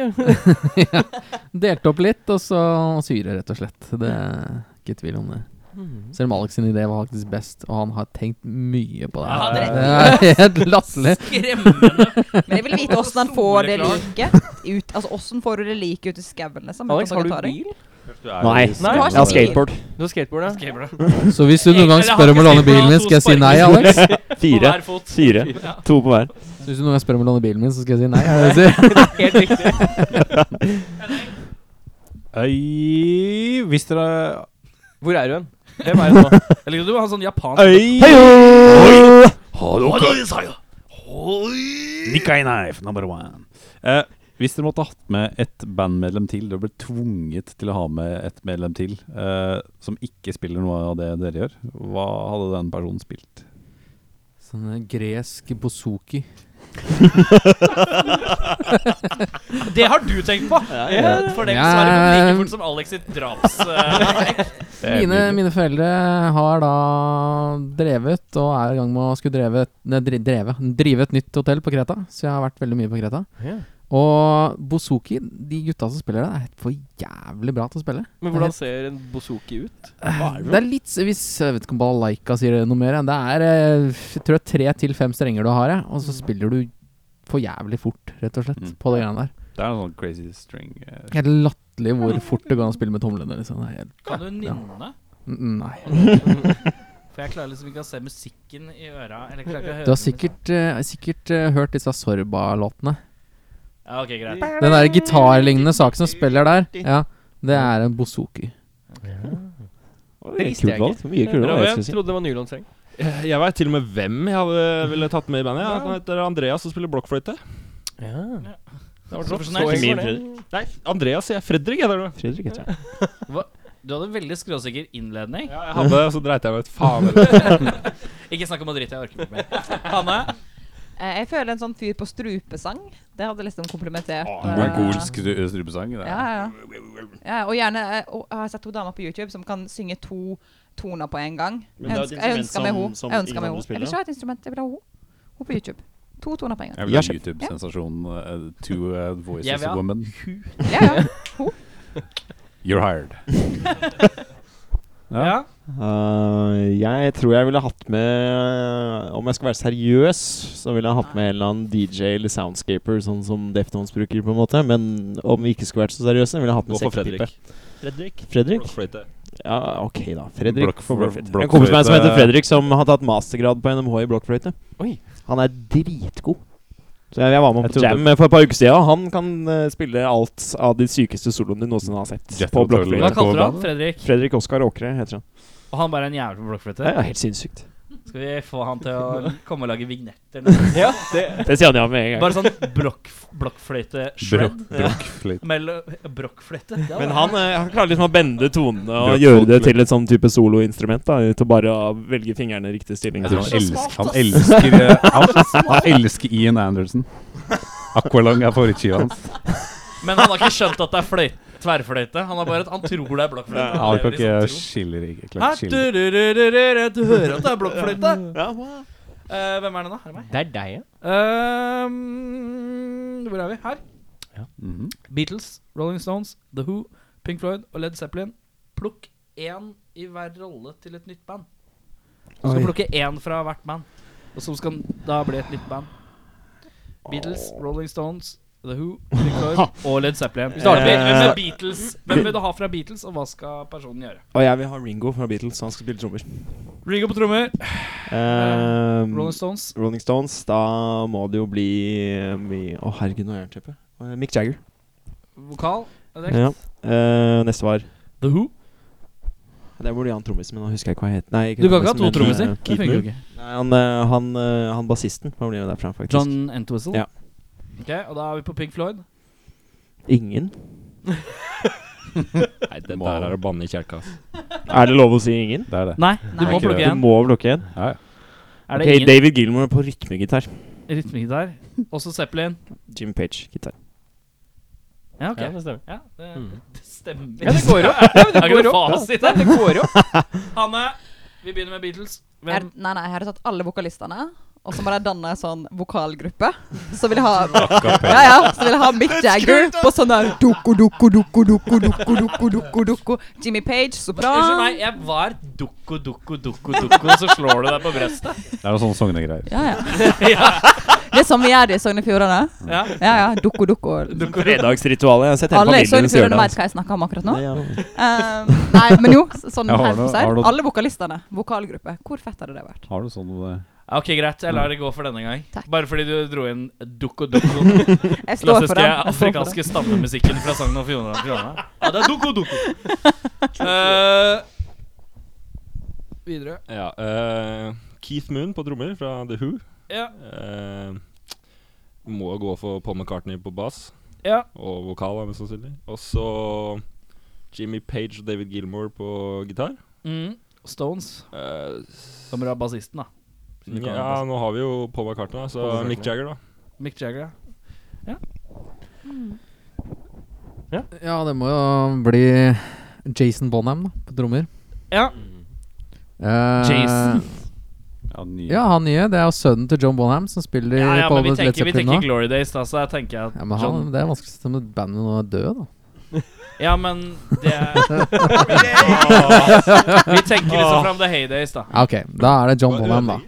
Speaker 7: delt opp litt, og så syre, rett og slett. Det er ikke tvil om det. Selv om Alex sin idé var faktisk best, og han har tenkt mye på det.
Speaker 3: Ja, det
Speaker 7: her. Det er helt latterlig.
Speaker 3: Skremmende.
Speaker 4: Men jeg vil vite åssen han får det liket ut. Altså åssen får du det liket ut i skauen, liksom?
Speaker 2: Alex, har du
Speaker 4: Ta det.
Speaker 2: bil?
Speaker 5: Nei.
Speaker 2: Nei.
Speaker 5: Jeg har skateboard.
Speaker 2: Du har skateboard, ja?
Speaker 3: Gamer, da.
Speaker 7: Så hvis du noen gang spør om å låne bilen min, skal jeg si nei, Alex?
Speaker 3: På
Speaker 5: Fire.
Speaker 3: hver fot.
Speaker 5: Fire.
Speaker 3: Ja.
Speaker 5: To på hver.
Speaker 7: Så hvis du noen gang spør om å låne bilen min, så skal jeg si nei? Er det det du sier?
Speaker 2: Helt riktig.
Speaker 1: Øy, hvis dere
Speaker 2: Hvor er du hen? Hvem er du nå?
Speaker 3: Jeg liker at du har en sånn japansk
Speaker 1: Øy!
Speaker 5: Heio!
Speaker 1: Nikai knife, number one. Eh, hvis dere måtte hatt med et bandmedlem til, dere ble tvunget til å ha med et medlem til eh, som ikke spiller noe av det dere gjør, hva hadde den personen spilt?
Speaker 7: Sånn eh, gresk bozuki.
Speaker 3: Det har du tenkt på! Ja, For det
Speaker 7: Ja.
Speaker 3: svarer på like fort som Alex sitt draps... eh,
Speaker 1: Det er
Speaker 7: Mine,
Speaker 1: mye.
Speaker 7: mine foreldre har da drevet, og er i gang med å skulle dreve, et- nei, dri- dreve, drive et nytt hotell på Kreta. Så jeg har vært veldig mye på Kreta. Og Bozuki, de gutta som spiller der, er helt for jævlig bra til å spille.
Speaker 2: Men hvordan ser en bozuki ut?
Speaker 7: Det er litt hvis, Jeg vet ikke om balalaika sier det noe mer. ja. Det er eh, jeg tror det er tre til fem strenger du har, ja, og så spiller du for jævlig fort, rett og slett,
Speaker 1: Mm.
Speaker 7: på det greiene der.
Speaker 1: Det er en sånn crazy string eh,
Speaker 7: Helt latterlig hvor fort det går an å spille med tomlene. Liksom. Det er helt,
Speaker 3: Kan du nynne?
Speaker 7: Mm, nei.
Speaker 3: For jeg klarer liksom ikke å se musikken i øra. Eller klarer ikke å høre
Speaker 7: Du har
Speaker 3: musikken.
Speaker 7: sikkert, eh, sikkert eh, hørt disse Sorba-låtene.
Speaker 3: Ja, ok, greit.
Speaker 7: Den der gitarlignende saken som spiller der, ja, det er en bozuki.
Speaker 5: Det er kult valg. Mye kulere enn hva jeg
Speaker 2: Jeg
Speaker 5: skulle si.
Speaker 2: trodde det var nylonstreng.
Speaker 6: Eh, Jeg veit til og med hvem jeg hadde ville tatt med i bandet. Ja. Han heter Andreas og spiller blokkfløyte. Det var sånn.
Speaker 3: Profesjonelt.
Speaker 5: Ikke min, Fredrik.
Speaker 6: Nei, Andreas sier jeg. Fredrik heter det.
Speaker 5: Fredrik heter jeg.
Speaker 3: Du hadde veldig skråsikker innledning.
Speaker 6: Ja, jeg hadde det, så dreit jeg meg ut. Faen heller.
Speaker 3: Ikke snakk om å drite, jeg orker ikke mer. Hanne?
Speaker 4: Eh, Jeg føler en sånn fyr på strupesang. Det hadde liksom komplementert eh,
Speaker 1: Mongolsk stru- strupesang. det er-
Speaker 4: Ja, ja. ja og gjerne eh, og, Jeg har sett to damer på YouTube som kan synge to toner på en gang. Jeg
Speaker 5: Men det er et
Speaker 4: ønsker, jeg ønsker meg
Speaker 5: instrument
Speaker 4: henne.
Speaker 5: som-
Speaker 4: Jeg
Speaker 5: som
Speaker 4: ønsker
Speaker 5: ingen
Speaker 4: meg
Speaker 5: andre
Speaker 4: henne. Jeg
Speaker 5: spiller,
Speaker 4: vil ikke ha et instrument, jeg vil ha henne. Hun på YouTube. To toner på en gang.
Speaker 1: Jeg vil ha
Speaker 5: Ja,
Speaker 1: en
Speaker 5: sjef.
Speaker 1: YouTube-sensasjon. eh, two eh,
Speaker 3: Jeg
Speaker 1: voices
Speaker 3: vil ha-
Speaker 1: woman.
Speaker 4: Ja, ja.
Speaker 1: You're hired. ja.
Speaker 5: Eh, jeg tror jeg ville hatt med eh, Om jeg skal være seriøs, så ville jeg hatt med en eller annen DJ eller soundscaper, sånn som Deftones bruker, på en måte. Men om vi ikke skulle vært så seriøse, ville jeg hatt med
Speaker 6: Gå for
Speaker 5: sekkepipe.
Speaker 6: Fredrik. Fredrik?
Speaker 5: Fredrik?
Speaker 6: Blokkfløyte.
Speaker 5: Ja, ok, da. Fredrik
Speaker 1: Blokk-
Speaker 5: for blokkfløyte.
Speaker 1: blokk-
Speaker 5: En kompis av meg som heter
Speaker 1: blokkfløyte.
Speaker 5: Fredrik, som har tatt mastergrad på NMH i blokkfløyte. Han er dritgod. Så jeg, jeg var med
Speaker 1: Jeg
Speaker 5: på
Speaker 1: trodde-
Speaker 5: jam eh, for et par uker siden, og han kan eh, spille alt av de sykeste soloene du noensinne har sett på
Speaker 1: Jethro Tull, ja.
Speaker 5: blokkfløyte.
Speaker 3: Hva kalte du han? Fredrik?
Speaker 5: Fredrik Oskar Åkre heter han.
Speaker 3: Og han bare er en jævel på
Speaker 5: Det
Speaker 3: blokkfløyte?
Speaker 5: er helt sinnssykt.
Speaker 3: Skal vi få han til å komme og lage vignetter? nå?
Speaker 5: Det sier han ja med en gang.
Speaker 3: Bare sånn blokk, blokkfløyte-shred.
Speaker 1: Brokk, brokkfløyte.
Speaker 3: Mellom Brokkfløyte? det hadde
Speaker 5: Men
Speaker 3: vært-
Speaker 5: han, eh, han klarer liksom å bende tonene og
Speaker 1: Blokkfløyte.
Speaker 5: gjøre det til et sånn type soloinstrument. da, Til å bare å velge fingrene i riktig stilling.
Speaker 1: Jeg tror
Speaker 5: Så-
Speaker 1: han, elsker, han elsker eh, han, han elsker Ian Anderson. Aqualung er favorittskiva hans.
Speaker 3: Men han har ikke skjønt at det er fløy- tverrfløyte. Han, har bare, han tror det er blokkfløyte.
Speaker 1: Han
Speaker 3: Det er
Speaker 1: kan
Speaker 3: liksom
Speaker 1: ikke
Speaker 3: tro.
Speaker 1: skille
Speaker 3: Hæ?
Speaker 1: ikke klart
Speaker 3: Du, du,
Speaker 1: skille.
Speaker 3: du, du, du, du, du hører at det er blokkfløyte?
Speaker 5: Ja, wow.
Speaker 3: Eh, hvem er det, da? Er det meg?
Speaker 2: Det er deg, ja.
Speaker 3: Ehm, hvor er vi? Her.
Speaker 1: Mhm.
Speaker 3: Beatles, Rolling Stones, The Who, Pink Floyd og Led Zeppelin. Plukk én i hver rolle til et nytt band. Du skal plukke én fra hvert band, og som skal da bli et nytt band. Beatles, Rolling Stones, The Who, Pink Floyd og Led Zeppelin. Vi starter med, hvem er Beatles? Hvem vil du ha fra Beatles, og hva skal personen gjøre?
Speaker 5: Og jeg vil ha Ringo fra Beatles, så han skal spille trommer.
Speaker 3: Ringo på trommer,
Speaker 5: Um,
Speaker 3: Rolling Stones.
Speaker 5: Rolling Stones, da må det jo bli um, i- Å, herregud, nå er jernteppe. Eh, Mick Jagger.
Speaker 3: Vokal. er det
Speaker 5: Ja. Eh, neste var
Speaker 3: The Who.
Speaker 5: Det burde jeg ha en trommis, men nå husker jeg ikke hva jeg het. Nei, ikke
Speaker 3: Du kan ikke ha
Speaker 5: trommisen, men,
Speaker 3: to trommiser.
Speaker 5: eh,
Speaker 3: Det funker jo ikke.
Speaker 5: Nei, han, eh, han, eh, han bassisten. Hva blir det derfra, faktisk?
Speaker 3: John Entwistle.
Speaker 5: Ja.
Speaker 3: Ok, Og da er vi på Pink Floyd.
Speaker 5: Ingen?
Speaker 6: Nei, det der er å banne i kjelka. ass.
Speaker 5: Er det lov å si ingen?
Speaker 1: Det er det.
Speaker 3: Nei, du
Speaker 4: Nei.
Speaker 3: må
Speaker 1: Ikke
Speaker 3: plukke
Speaker 1: det.
Speaker 5: Du
Speaker 3: én.
Speaker 5: må blokke en.
Speaker 1: Ja, ja.
Speaker 3: Er
Speaker 5: Ok,
Speaker 3: det ingen
Speaker 5: David Gilmour på rytmegitar.
Speaker 3: rytmegitar? Også Zeppelin.
Speaker 5: Jim Page, gitar.
Speaker 3: Ja, ok.
Speaker 2: ja det stemmer. Mm.
Speaker 3: Ja, det, det stemmer.
Speaker 2: Ja, det går opp. Ja, det
Speaker 3: Er det
Speaker 2: går
Speaker 3: noe
Speaker 2: opp.
Speaker 3: fasit
Speaker 2: Nei,
Speaker 3: der?
Speaker 2: det går opp.
Speaker 3: Hanne, vi begynner med Beatles.
Speaker 4: Jeg,
Speaker 3: Hvem?
Speaker 4: nei, nei, jeg hadde tatt alle vokalistene. Og så må jeg danne en sånn vokalgruppe. Så vil jeg ha Ja, ja, så vil jeg ha Mick Jagger på sånn der doko, doko, doko, doko, doko, doko, doko, doko. Jimmy Page,
Speaker 3: Unnskyld
Speaker 4: sopran.
Speaker 3: meg, jeg var dukko, dukko, dukko, dukko, og så slår du deg på brøstet.
Speaker 1: Det er noen sånne Sogne-greier.
Speaker 4: Ja, ja. Det er sånn vi gjør det i Sogn og Fjordane.
Speaker 2: Mm.
Speaker 3: Ja.
Speaker 4: Ja, ja. Doko, doko.
Speaker 5: Fredagsritualet. Jeg har sett hele
Speaker 4: Alle i
Speaker 5: familien
Speaker 4: Sogn og
Speaker 5: som gjør
Speaker 4: Fjordane vet
Speaker 5: det. altså.
Speaker 4: hva jeg snakker om akkurat nå.
Speaker 5: Nei, ja.
Speaker 4: Ehm, nei, men jo, s- sånn
Speaker 1: Jeg har
Speaker 4: helt på
Speaker 1: noe- har
Speaker 4: seg.
Speaker 1: noe-
Speaker 4: Alle vokalistene. Vokalgruppe. Hvor fett hadde det vært?
Speaker 1: Har du sånn eh,
Speaker 3: Ja, Ok, greit. Jeg lar det gå for denne gang.
Speaker 4: Takk.
Speaker 3: Bare fordi du dro inn dukko, dukko.
Speaker 4: Jeg står for den. Jeg står
Speaker 3: Klassiske
Speaker 4: for den.
Speaker 3: afrikanske stammemusikken fra Sogn og Fjordane. Fjordane. Ja, det er dukko, dukko. Eh, videre.
Speaker 6: Ja, eh, Keith Moon på trommer fra The Who.
Speaker 3: Ja.
Speaker 6: Eh, må gå for Paul McCartney på bass
Speaker 3: Ja.
Speaker 6: og vokal, da, mest sannsynlig. Og så Jimmy Page og David Gilmore på gitar.
Speaker 3: Mm. Stones.
Speaker 6: Eh,
Speaker 3: Da må du ha bassisten, da. Siden vi kan ha
Speaker 6: ja, nå har vi jo Paul McCartney, da, så
Speaker 7: Paul McCartney.
Speaker 6: Mick Jagger, da.
Speaker 3: bass- Mick Jagger, ja.
Speaker 7: Ja, det må jo bli Jason Bonham da, på trommer.
Speaker 3: Ja.
Speaker 7: Eh,
Speaker 3: Jason.
Speaker 1: Ja, den nye.
Speaker 7: Ja, han nye. Det er jo sønnen til John Bonham som spiller
Speaker 3: Ja, ja,
Speaker 7: på
Speaker 3: men vi
Speaker 7: Led
Speaker 3: tenker, vi
Speaker 7: Zeppelin nå.
Speaker 3: tenker Glory Days, da, så jeg tenker at
Speaker 7: Ja, men han,
Speaker 3: John
Speaker 7: Det er vanskelig å si om bandet nå er død, da.
Speaker 3: Ja, men det Åh. Vi tenker liksom fram The Heydays, da.
Speaker 7: Ja, ok, da er det John Bonham, da.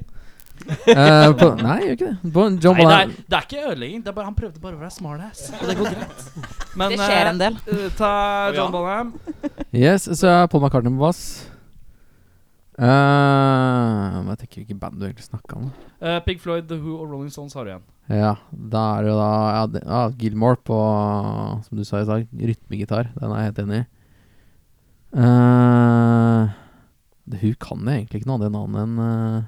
Speaker 7: Eh, på, nei, gjør ikke det. Bon, John
Speaker 3: Nei, det er,
Speaker 7: Bonham
Speaker 3: det er ikke ødelegging. Det er bare, han prøvde bare å være smartass, og det går greit. Men,
Speaker 4: Det skjer
Speaker 3: eh,
Speaker 4: en del.
Speaker 3: eh, ta John Bonham.
Speaker 7: Yes, så er Paul McCartney på bass. Eh, men jeg tenker hvilket band du egentlig snakka om.
Speaker 3: Eh, Pig Floyd, The Who og Rolling Stones har du igjen.
Speaker 7: Ja, da er det jo da ja, det, ja, Gilmore på, som du sa i stad, rytmegitar. Den er jeg helt enig i. Eh, det, hun kan jeg egentlig ikke noe annet enn annen enn eh,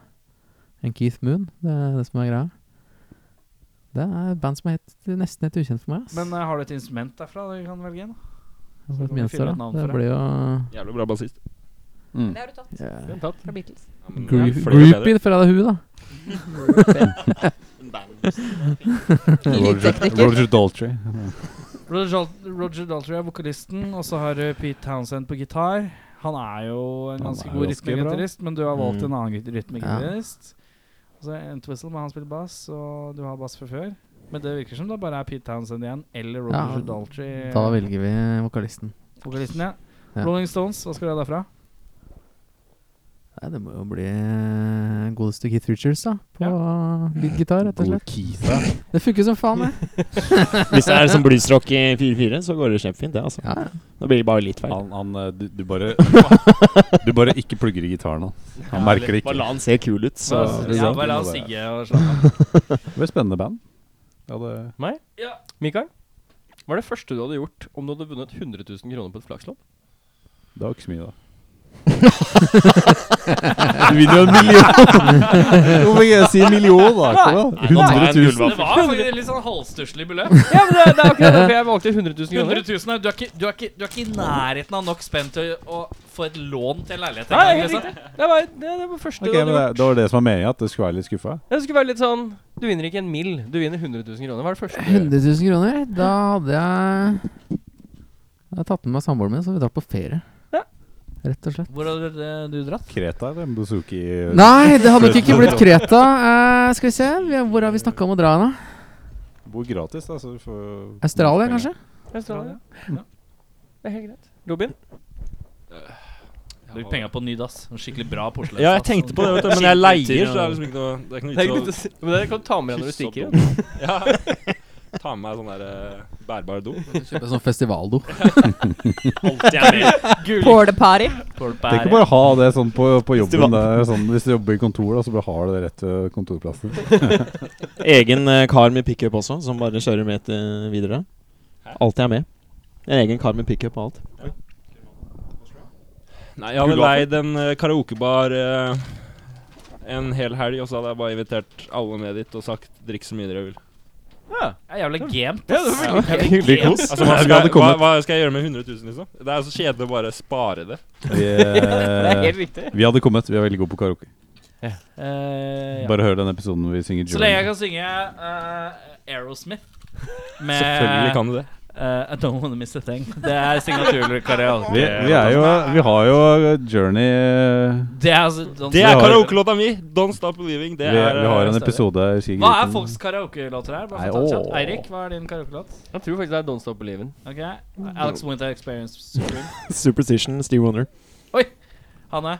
Speaker 7: enn Keith Moon. Det er det som er greia. Det er et band som er helt, nesten helt ukjent for meg. ass.
Speaker 3: Men eh, har du et instrument derfra du kan velge? Da?
Speaker 7: Jeg får
Speaker 3: så
Speaker 7: et
Speaker 3: må vi
Speaker 7: minste,
Speaker 3: finne
Speaker 7: da.
Speaker 3: et navn
Speaker 7: det
Speaker 3: for det.
Speaker 7: blir jo
Speaker 6: Jævlig bra bassist.
Speaker 1: Mm.
Speaker 4: Det har du tatt
Speaker 7: yeah.
Speaker 3: Den tatt.
Speaker 4: fra Beatles.
Speaker 6: Ja, men det er
Speaker 7: Group,
Speaker 6: flere bedre.
Speaker 7: Groupie fra det hun, da.
Speaker 1: Roger, Roger Daltrey.
Speaker 3: Roger, Dal- Roger Daltrey er vokalisten, og så har du Pete Townsend på gitar. Han er jo en
Speaker 1: Han
Speaker 3: ganske
Speaker 1: er
Speaker 3: god
Speaker 1: ganske bra.
Speaker 3: rytmegitarist, men du har valgt
Speaker 5: Mm.
Speaker 3: en annen git- rytmegitarist. Og Så er Entwistle, men han spiller bass, og du har bass fra før. Men det virker som det bare er Pete Townsend igjen, eller Roger
Speaker 7: Ja,
Speaker 3: Daltrey.
Speaker 7: Da velger vi vokalisten.
Speaker 3: Vokalisten, ja.
Speaker 7: Ja.
Speaker 3: Rolling Stones, hva skal du ha derfra?
Speaker 7: Nei, det må jo bli eh, godeste Keith Richards, da. På leadgitar, rett og
Speaker 1: God
Speaker 7: slett.
Speaker 1: Keith.
Speaker 7: Det funker som faen, det.
Speaker 5: Hvis det er som bluesrock i 4-4, så går det kjempefint, det, altså.
Speaker 7: Ja, ja.
Speaker 5: Da blir det bare litt feil.
Speaker 1: Han, han eh, du, du bare Du bare ikke plugger i gitaren, han. Han merker det ikke.
Speaker 5: Bare la han se kul ut, så
Speaker 3: ja,
Speaker 1: sant?
Speaker 3: bare la oss
Speaker 1: Det må
Speaker 3: sigge og sånn. slappe av.
Speaker 1: Det blir et spennende band. Ja, det
Speaker 2: Meg?
Speaker 3: Ja.
Speaker 2: Mikael? Hva er det første du hadde gjort om du hadde vunnet 100 000 kroner på et flakslodd?
Speaker 1: det var ikke så mye, da.
Speaker 5: Du vinner jo en million!
Speaker 1: Hvorfor ikke si million, da? Kom,
Speaker 5: Nei, da tar jeg en gullvaffel.
Speaker 3: Det
Speaker 1: 100 000.
Speaker 3: var faktisk litt sånn halvstusslig beløp.
Speaker 2: Ja, men det, det er akkurat derfor jeg valgte 100 000 kroner.
Speaker 3: 100 000 er, du, er ikke, du, er ikke, du er ikke i nærheten av nok spent til å, å få et lån til en leilighet.
Speaker 2: Nei,
Speaker 3: engang,
Speaker 2: helt
Speaker 3: liksom.
Speaker 2: riktig. Det var det, det var første
Speaker 1: Ok,
Speaker 2: du
Speaker 1: men
Speaker 2: hadde
Speaker 1: det,
Speaker 2: gjort.
Speaker 1: det var det som var meningen, at det skulle være litt skuffa?
Speaker 2: Det skulle være litt sånn Du vinner ikke en mill, du vinner 100 000 kroner. Hva er det første du gjør?
Speaker 7: 100 000 kroner? Da hadde jeg Jeg hadde tatt med meg samboeren min, så hadde vi dratt på ferie.
Speaker 2: Ja.
Speaker 7: Rett og slett.
Speaker 3: Hvor hadde eh, du dratt?
Speaker 1: Kreta eller Mbuzuki?
Speaker 7: Nei, det hadde nok ikke blitt Kreta. Eh, skal vi se, vi, hvor har vi snakka om å dra hen, da?
Speaker 1: Bor gratis, da. Så du får
Speaker 7: Australia, kanskje?
Speaker 2: Australia? Det er helt greit. Robin?
Speaker 3: Bruk penga på ny dass. En skikkelig bra porselen.
Speaker 6: Ja, jeg tenkte på det, vet du, men jeg leier, så det er liksom ikke noe Det er
Speaker 2: Det er
Speaker 6: ikke noe
Speaker 2: ikke godt å
Speaker 6: vits
Speaker 2: si. Men det kan du ta med deg når du
Speaker 6: Kyss opp
Speaker 2: stikker.
Speaker 6: å ja. Ta med meg sånn der eh, bærbar do.
Speaker 7: Kjøpe sånn festivaldo.
Speaker 6: Alltid er med.
Speaker 4: Porta party.
Speaker 1: Tenk å bare ha det sånn på, på jobben. Der, sånn, hvis du jobber i kontor, da, så bare har du det rett ved kontorplassen.
Speaker 6: liksom-
Speaker 5: Egen eh, kar med pickup også, som bare kjører med til videre. Alltid er med. En egen kar med pickup og alt.
Speaker 6: Nei, jeg hadde leid en eh, karaokebar eh, en hel helg, og så hadde jeg bare invitert alle ned dit og sagt 'drikk så mye dere vil'.
Speaker 3: Det er jævlig gamet.
Speaker 2: Ja, det var
Speaker 6: Ja.
Speaker 5: Hyggelig kos.
Speaker 6: Altså, hva
Speaker 1: Vi
Speaker 6: skal,
Speaker 1: hadde
Speaker 6: jeg, hva,
Speaker 1: kommet.
Speaker 6: hva skal jeg gjøre med 100 000, liksom? Det er så kjedelig å bare spare det.
Speaker 1: Vi,
Speaker 2: Det er
Speaker 1: eh,
Speaker 2: helt riktig.
Speaker 1: vi hadde kommet. Vi er veldig gode på karaoke.
Speaker 3: Eh, ja.
Speaker 1: Bare hør den episoden hvor vi synger
Speaker 3: Så lenge jeg
Speaker 1: Journey.
Speaker 3: kan synge eh, Aerosmith med
Speaker 6: Selvfølgelig kan du det.
Speaker 3: eh, I don't wanna miss a thing. Det er signaturkaraoke.
Speaker 1: Vi, vi, er jo, vi har jo Journey eh,
Speaker 3: Det er, altså- sånn-
Speaker 6: Det
Speaker 1: Vi
Speaker 6: er
Speaker 1: har-
Speaker 6: karaokelåta mi! 'Don't Stop Believing'.
Speaker 1: vi,
Speaker 6: Det er
Speaker 1: vi har
Speaker 6: eh,
Speaker 1: en
Speaker 6: større.
Speaker 1: episode jeg husker ikke
Speaker 3: Hva er
Speaker 1: hvilken.
Speaker 3: folks karaokelåter her? Bare
Speaker 1: Nei,
Speaker 3: for å ta en
Speaker 1: åh.
Speaker 3: kjapp. Eirik, hva er din karaokelåt?
Speaker 2: Jeg tror faktisk det er Don't Stop Believing.
Speaker 3: Ok Alex Winter Experience Supreme.
Speaker 5: Superstition, Steve Wonder.
Speaker 3: Hanne?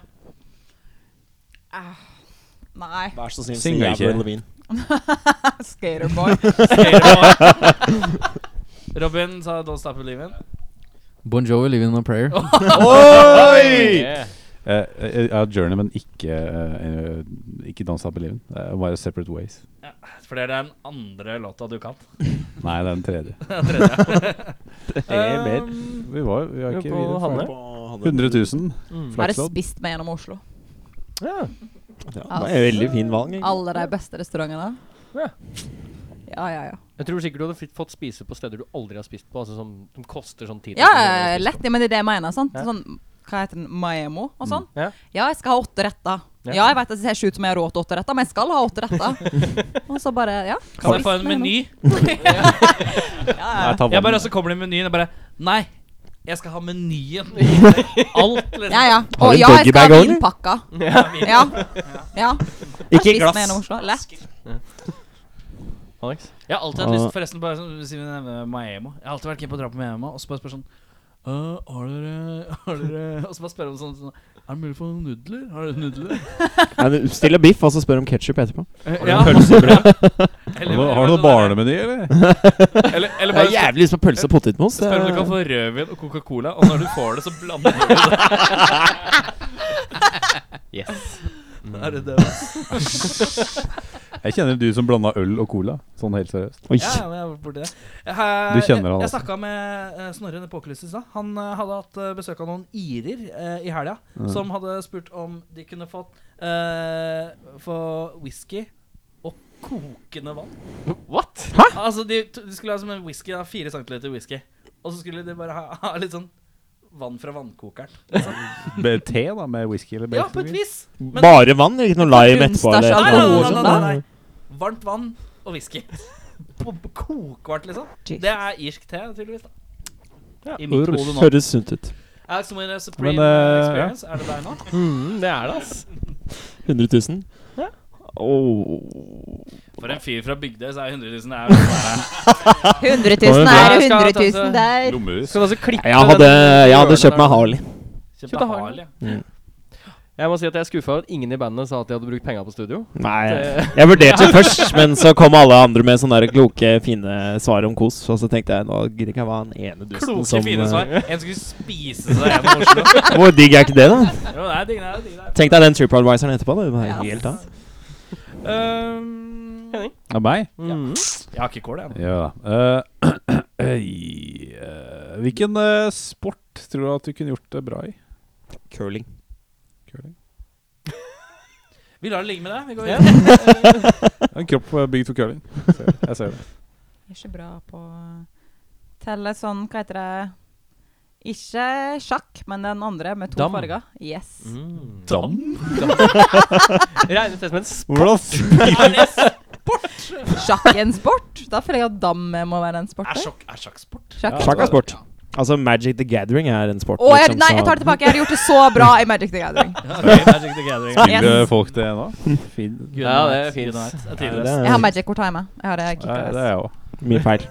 Speaker 4: Nei.
Speaker 5: Vær så snill,
Speaker 1: Synger ikke.
Speaker 4: Skaterboy.
Speaker 3: Robin sa Don't Stop Believin'.
Speaker 7: Bon Jovi, 'Living on a Prayer'.
Speaker 1: Oi!
Speaker 2: Yeah.
Speaker 1: Eh, eh, ja, Journey, men ikke, eh, eh, ikke Don't Stop Believin'. Det er bare Separate Ways.
Speaker 3: For det er den andre låta du kan.
Speaker 1: Nei, det er den tredje. Eh,
Speaker 3: Den tredje.
Speaker 5: er mer.
Speaker 3: Um,
Speaker 1: Vi var vi har
Speaker 2: Jo,
Speaker 1: ikke
Speaker 2: på
Speaker 1: videre.
Speaker 2: Hanne.
Speaker 1: 100
Speaker 4: Bare
Speaker 1: 000. Flakslodd.
Speaker 4: spist meg gjennom Oslo.
Speaker 2: Ja.
Speaker 5: Ja, det var et veldig fin valg. egentlig.
Speaker 4: Alle de beste restaurantene.
Speaker 2: Ja.
Speaker 4: Ja, ja, ja.
Speaker 2: Jeg tror sikkert du hadde fått spise på steder du aldri har spist på. Altså som, som koster sånn 10 000
Speaker 4: Ja, ja,
Speaker 2: kroner å spise
Speaker 4: lett. Ja, men det er det jeg mener. sant?
Speaker 2: Ja.
Speaker 4: Sånn, hva heter den? Maemo og sånn?
Speaker 2: Ja.
Speaker 4: Ja, jeg skal ha åtte retter.
Speaker 2: Ja.
Speaker 4: Ja, jeg vet det ser ikke ut som jeg har råd til åtte retter, men jeg skal ha åtte retter. og så bare, ja.
Speaker 3: kan jeg få
Speaker 4: spist
Speaker 3: en
Speaker 4: meg gjennom.
Speaker 3: meny?
Speaker 4: Ja,
Speaker 1: Jeg
Speaker 4: ja.
Speaker 1: tar
Speaker 3: Jeg bare
Speaker 1: vann.
Speaker 3: også kommer det i menyen og bare Nei, jeg skal ha menyen. Alt, liksom.
Speaker 4: ja, ja.
Speaker 5: Har
Speaker 4: Og
Speaker 5: du
Speaker 4: ja, jeg skal
Speaker 5: bag
Speaker 4: ha
Speaker 5: også?
Speaker 4: vinpakka. Ja. ja.
Speaker 5: Ikke i
Speaker 4: spist med en
Speaker 5: glass.
Speaker 4: Oslo. Lett.
Speaker 5: Alex?
Speaker 3: Jeg har alltid hatt lyst
Speaker 5: Og-
Speaker 3: Forresten, bare sånn, siden vi nevner Maemo Jeg har alltid vært keen på å dra på Maemo, og så bare spør sånn «Øh, har dere, har dere Og så bare spør om sånn, sånn Er det mulig å få nudler? Har dere nudler?
Speaker 5: Nei, du bestiller biff, og så spør om ketsjup etterpå.
Speaker 3: Ja.
Speaker 1: Har du- Har du noe barnemeny, eller?
Speaker 3: sånn
Speaker 5: Jeg
Speaker 3: Eller, eller
Speaker 5: har
Speaker 3: bare spør,
Speaker 5: jævlig lyst på pølse og potetmos.
Speaker 3: spør om du kan
Speaker 5: det-
Speaker 3: få rødvin og Coca-Cola, og når du får det, så blander du det. Er
Speaker 1: Mm.
Speaker 3: det det?
Speaker 1: Jeg kjenner du som blanda øl og cola. Sånn helt seriøst.
Speaker 5: Oi.
Speaker 3: Ja, ja, men jeg var borti det. Eh,
Speaker 1: Du kjenner han
Speaker 3: Jeg, jeg
Speaker 1: altså.
Speaker 3: snakka med eh, Snorre Påklyst i stad. Han eh, hadde hatt eh, besøk av noen irer eh, i helga
Speaker 1: Mm.
Speaker 3: som hadde spurt om de kunne fått eh, få whisky og kokende vann.
Speaker 2: What?
Speaker 3: Hæ? Altså, de, t- de skulle ha som en whisky, da, fire centiliter whisky, og så skulle de bare ha, ha litt sånn vann fra vannkokeren.
Speaker 1: Be- Te, da, med whisky eller
Speaker 3: Ja, på et
Speaker 1: bacon?
Speaker 3: vis! men-
Speaker 5: Eh, Bare vann? Ikke noe lime etterpå?
Speaker 4: Kunstners
Speaker 5: Eller?
Speaker 3: Nei, nei, nei, nei, nei,
Speaker 4: Alkohol,
Speaker 3: nei. Varmt vann og whisky. På- på Kokvarmt, liksom.
Speaker 4: Jesus.
Speaker 3: Det er irsk te, tydeligvis. da I mitt hode nå.
Speaker 5: Høres sunt ut.
Speaker 3: Alex Moore Supreme
Speaker 1: Men, eh,
Speaker 3: Experience, er det deg nå?
Speaker 2: Mm, det er det, ass.
Speaker 5: 100 000? Åh.
Speaker 3: For en fyr fra Bygdøy, så er 100 000 det er jo bare-
Speaker 4: 100 000 her, 100 000 der.
Speaker 1: Lommerus.
Speaker 9: Skal du altså klippe
Speaker 5: Jeg hadde,
Speaker 9: den
Speaker 5: jeg hadde
Speaker 9: hjørnet
Speaker 5: kjøpt
Speaker 9: der?
Speaker 5: meg Harley. Mm.
Speaker 3: Kjøpte Harley.
Speaker 2: Jeg må si at jeg er skuffa over at ingen i bandet sa at de hadde brukt penga på studio.
Speaker 5: Nei, jeg vurderte først, men så kom alle andre med sånne der kloke, fine svar om kos. Og så tenkte jeg nå gidder ikke jeg være den ene dusten
Speaker 3: Kloke,
Speaker 5: som
Speaker 3: fine
Speaker 5: eh,
Speaker 3: svar. En skulle spise seg gjennom Oslo.
Speaker 5: Hvor digg er ikke det, da?
Speaker 3: Jo, det er digg, det er digg. det er.
Speaker 5: Tenk deg den TripAdviseren etterpå. Det var helt av.
Speaker 3: Øhm,
Speaker 1: Av meg?
Speaker 3: jeg har ikke kål, jeg. nå.
Speaker 1: Ja da. Eh, i, eh, hvilken eh, sport tror du at du kunne gjort det bra i?
Speaker 5: Curling.
Speaker 1: Curling?
Speaker 3: Vi lar det ligge med det. Vi går videre.
Speaker 1: En kropp eh, bygd for curling. Jeg ser det. Jeg ser det.
Speaker 4: Jeg er ikke bra på å telle sånn, hva heter det Ikke sjakk, men den andre med to
Speaker 2: Dam.
Speaker 4: farger. Yes.
Speaker 5: Mm.
Speaker 1: Dam?
Speaker 2: Regnes det som en sp...
Speaker 1: Hvordan
Speaker 4: Sjakk er en sport? Da føler jeg at dam må være en sport.
Speaker 3: Er
Speaker 4: da.
Speaker 3: sjakk, er sjakk sport?
Speaker 4: Sjakk.
Speaker 5: Sjakk er sport. Altså Magic the Gathering er en sport.
Speaker 4: Å, jeg,
Speaker 5: liksom,
Speaker 4: nei,
Speaker 5: så-
Speaker 4: jeg tar det tilbake. Jeg hadde gjort det så bra i Magic the Gathering.
Speaker 1: spiller
Speaker 4: Yes.
Speaker 1: folk det nå? Fin.
Speaker 2: Ja, det er fint.
Speaker 5: Ja,
Speaker 3: Tidligere.
Speaker 5: det
Speaker 4: Jeg har
Speaker 5: er
Speaker 4: Magic Cortima. Jeg har eh, det
Speaker 1: Nei, det er
Speaker 4: kickass.
Speaker 1: jeg òg.
Speaker 5: mye feil.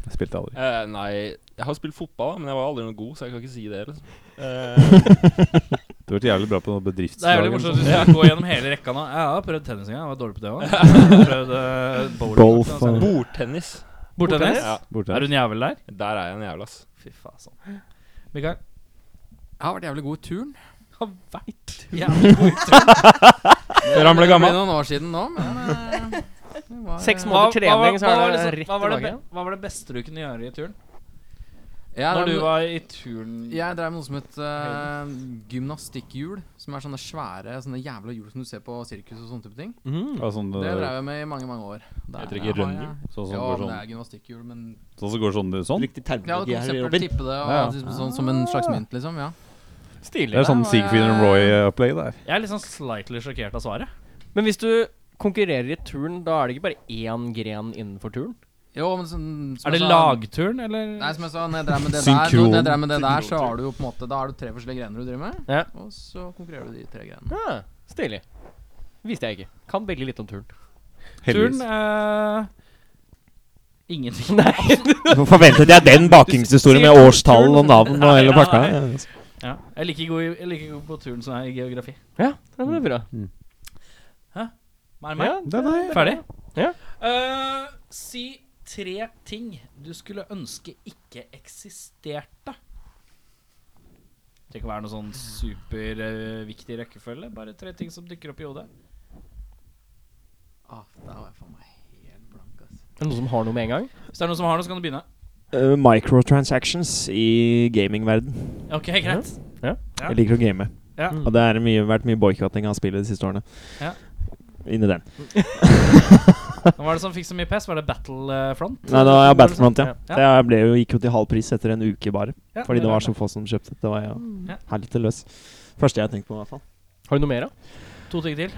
Speaker 1: Jeg spilte aldri.
Speaker 6: Eh, nei, jeg har spilt fotball, da, men jeg var aldri noe god, så jeg kan ikke si det. Liksom. Eh,
Speaker 1: Du har vært jævlig bra på
Speaker 3: Det
Speaker 1: noe
Speaker 3: er
Speaker 1: bedriftslag.
Speaker 3: jævlig
Speaker 1: eller
Speaker 3: morsomt
Speaker 1: noe
Speaker 3: hvis
Speaker 1: sånt.
Speaker 3: du går gjennom hele rekka nå. Jeg har prøvd tennis en gang, jeg var dårlig på det òg. Prøvd eh, bowling.
Speaker 5: Golf og
Speaker 6: bordtennis.
Speaker 3: Bordtennis?
Speaker 6: Ja,
Speaker 1: sånn, Borte.
Speaker 3: Er du en jævel der?
Speaker 6: der er jeg en jævel, ass.
Speaker 3: Fy faen. sånn. Mikael?
Speaker 7: Jeg har vært jævlig god i turn.
Speaker 3: Har vært jævlig god i turn.
Speaker 6: Før han ble
Speaker 7: Det
Speaker 6: gammel.
Speaker 7: blir noen år siden nå, men eh, det var,
Speaker 2: Seks
Speaker 7: eh,
Speaker 2: måneder trening, så
Speaker 3: hva var
Speaker 2: er det
Speaker 3: liksom-
Speaker 2: rett
Speaker 3: hva var det
Speaker 2: tilbake.
Speaker 3: be- Hva var det beste du kunne gjøre i turn?
Speaker 7: ja,
Speaker 3: Når
Speaker 7: det-
Speaker 3: du var i turn
Speaker 7: Jeg drev med noe som het eh, gymnastikkhjul. Som er sånne svære sånne jævla hjul som du ser på sirkus og sånne type ting.
Speaker 2: Mm.
Speaker 1: Ja, sånn,
Speaker 7: Det
Speaker 1: eh,
Speaker 7: drev jeg med i mange mange år. Der
Speaker 6: Heter det ikke
Speaker 7: har
Speaker 6: rønnhjul?
Speaker 7: jeg-
Speaker 1: sånn som
Speaker 7: Ja,
Speaker 1: går
Speaker 7: men det
Speaker 1: sånn,
Speaker 7: er gymnastikkhjul, men
Speaker 1: sånn som går sånn, du- sånn?
Speaker 5: Riktig
Speaker 7: Ja, du
Speaker 5: terminologi
Speaker 7: kan
Speaker 5: her,
Speaker 7: eksempel
Speaker 5: Robin.
Speaker 7: tippe det og,
Speaker 1: Ja, ja.
Speaker 7: liksom, sånn som en slags mynt, liksom. Ja.
Speaker 1: Det er sånn
Speaker 7: Der var
Speaker 1: Siegfried and
Speaker 7: jeg-
Speaker 1: Roy-opplegg der.
Speaker 3: Jeg er litt sånn slightly sjokkert av svaret.
Speaker 2: Men hvis du konkurrerer i turn, da er det ikke bare én gren innenfor turn?
Speaker 7: Jo, men sånn, som
Speaker 3: Er det
Speaker 7: jeg sa-
Speaker 3: lagturn, eller?
Speaker 7: Nei, som jeg sa, når jeg drev med det der, når jeg drev med det der så
Speaker 6: Synkron.
Speaker 7: har du jo på en måte Da er det tre forskjellige grener du driver med,
Speaker 2: Ja.
Speaker 7: og så konkurrerer du de tre grenene.
Speaker 2: Ah, stilig. Visste jeg ikke. Kan veldig litt om turn.
Speaker 3: turn
Speaker 1: Heldigvis.
Speaker 3: eh, Ingenting.
Speaker 5: Hvorfor Forventet jeg den bakingshistorien med årstall og navn og hele pakka?
Speaker 3: Ja. Jeg er like god, i- jeg er like god på turn som jeg er i geografi.
Speaker 2: Ja, ja, men det er bra.
Speaker 3: Meg, meg.
Speaker 2: Ja,
Speaker 1: Det er deg.
Speaker 3: Ferdig?
Speaker 2: Ja.
Speaker 3: Eh, si tre ting du skulle ønske ikke eksisterte. Det kan være noe sånn superviktig rekkefølge. Bare tre ting som dukker opp i hodet.
Speaker 7: Ah, der var jeg faen meg helt blank, ass.
Speaker 2: Er det noen som har noe med en gang?
Speaker 3: Hvis det er noen som har noe, så kan du begynne.
Speaker 5: Eh, Microtransactions i gamingverden
Speaker 3: Ok, greit. Ja.
Speaker 5: Jeg liker å game.
Speaker 3: Ja.
Speaker 5: Og det har mye, vært mye boikotting av spillet de siste årene.
Speaker 3: Ja.
Speaker 5: Inni den.
Speaker 3: Hva var det som fikk så mye pes? Var det Battlefront?
Speaker 5: Nei, det var ja, Battlefront, ja.
Speaker 3: Ja.
Speaker 5: Det ble jo, gikk jo til halv pris etter en uke bare.
Speaker 3: Ja,
Speaker 5: Fordi det var
Speaker 3: det.
Speaker 5: så få som kjøpte. Det var jo
Speaker 3: Ja.
Speaker 5: helvete løs. Første jeg tenkte på, i hvert fall.
Speaker 2: Har du noe mer, da?
Speaker 3: To ting til.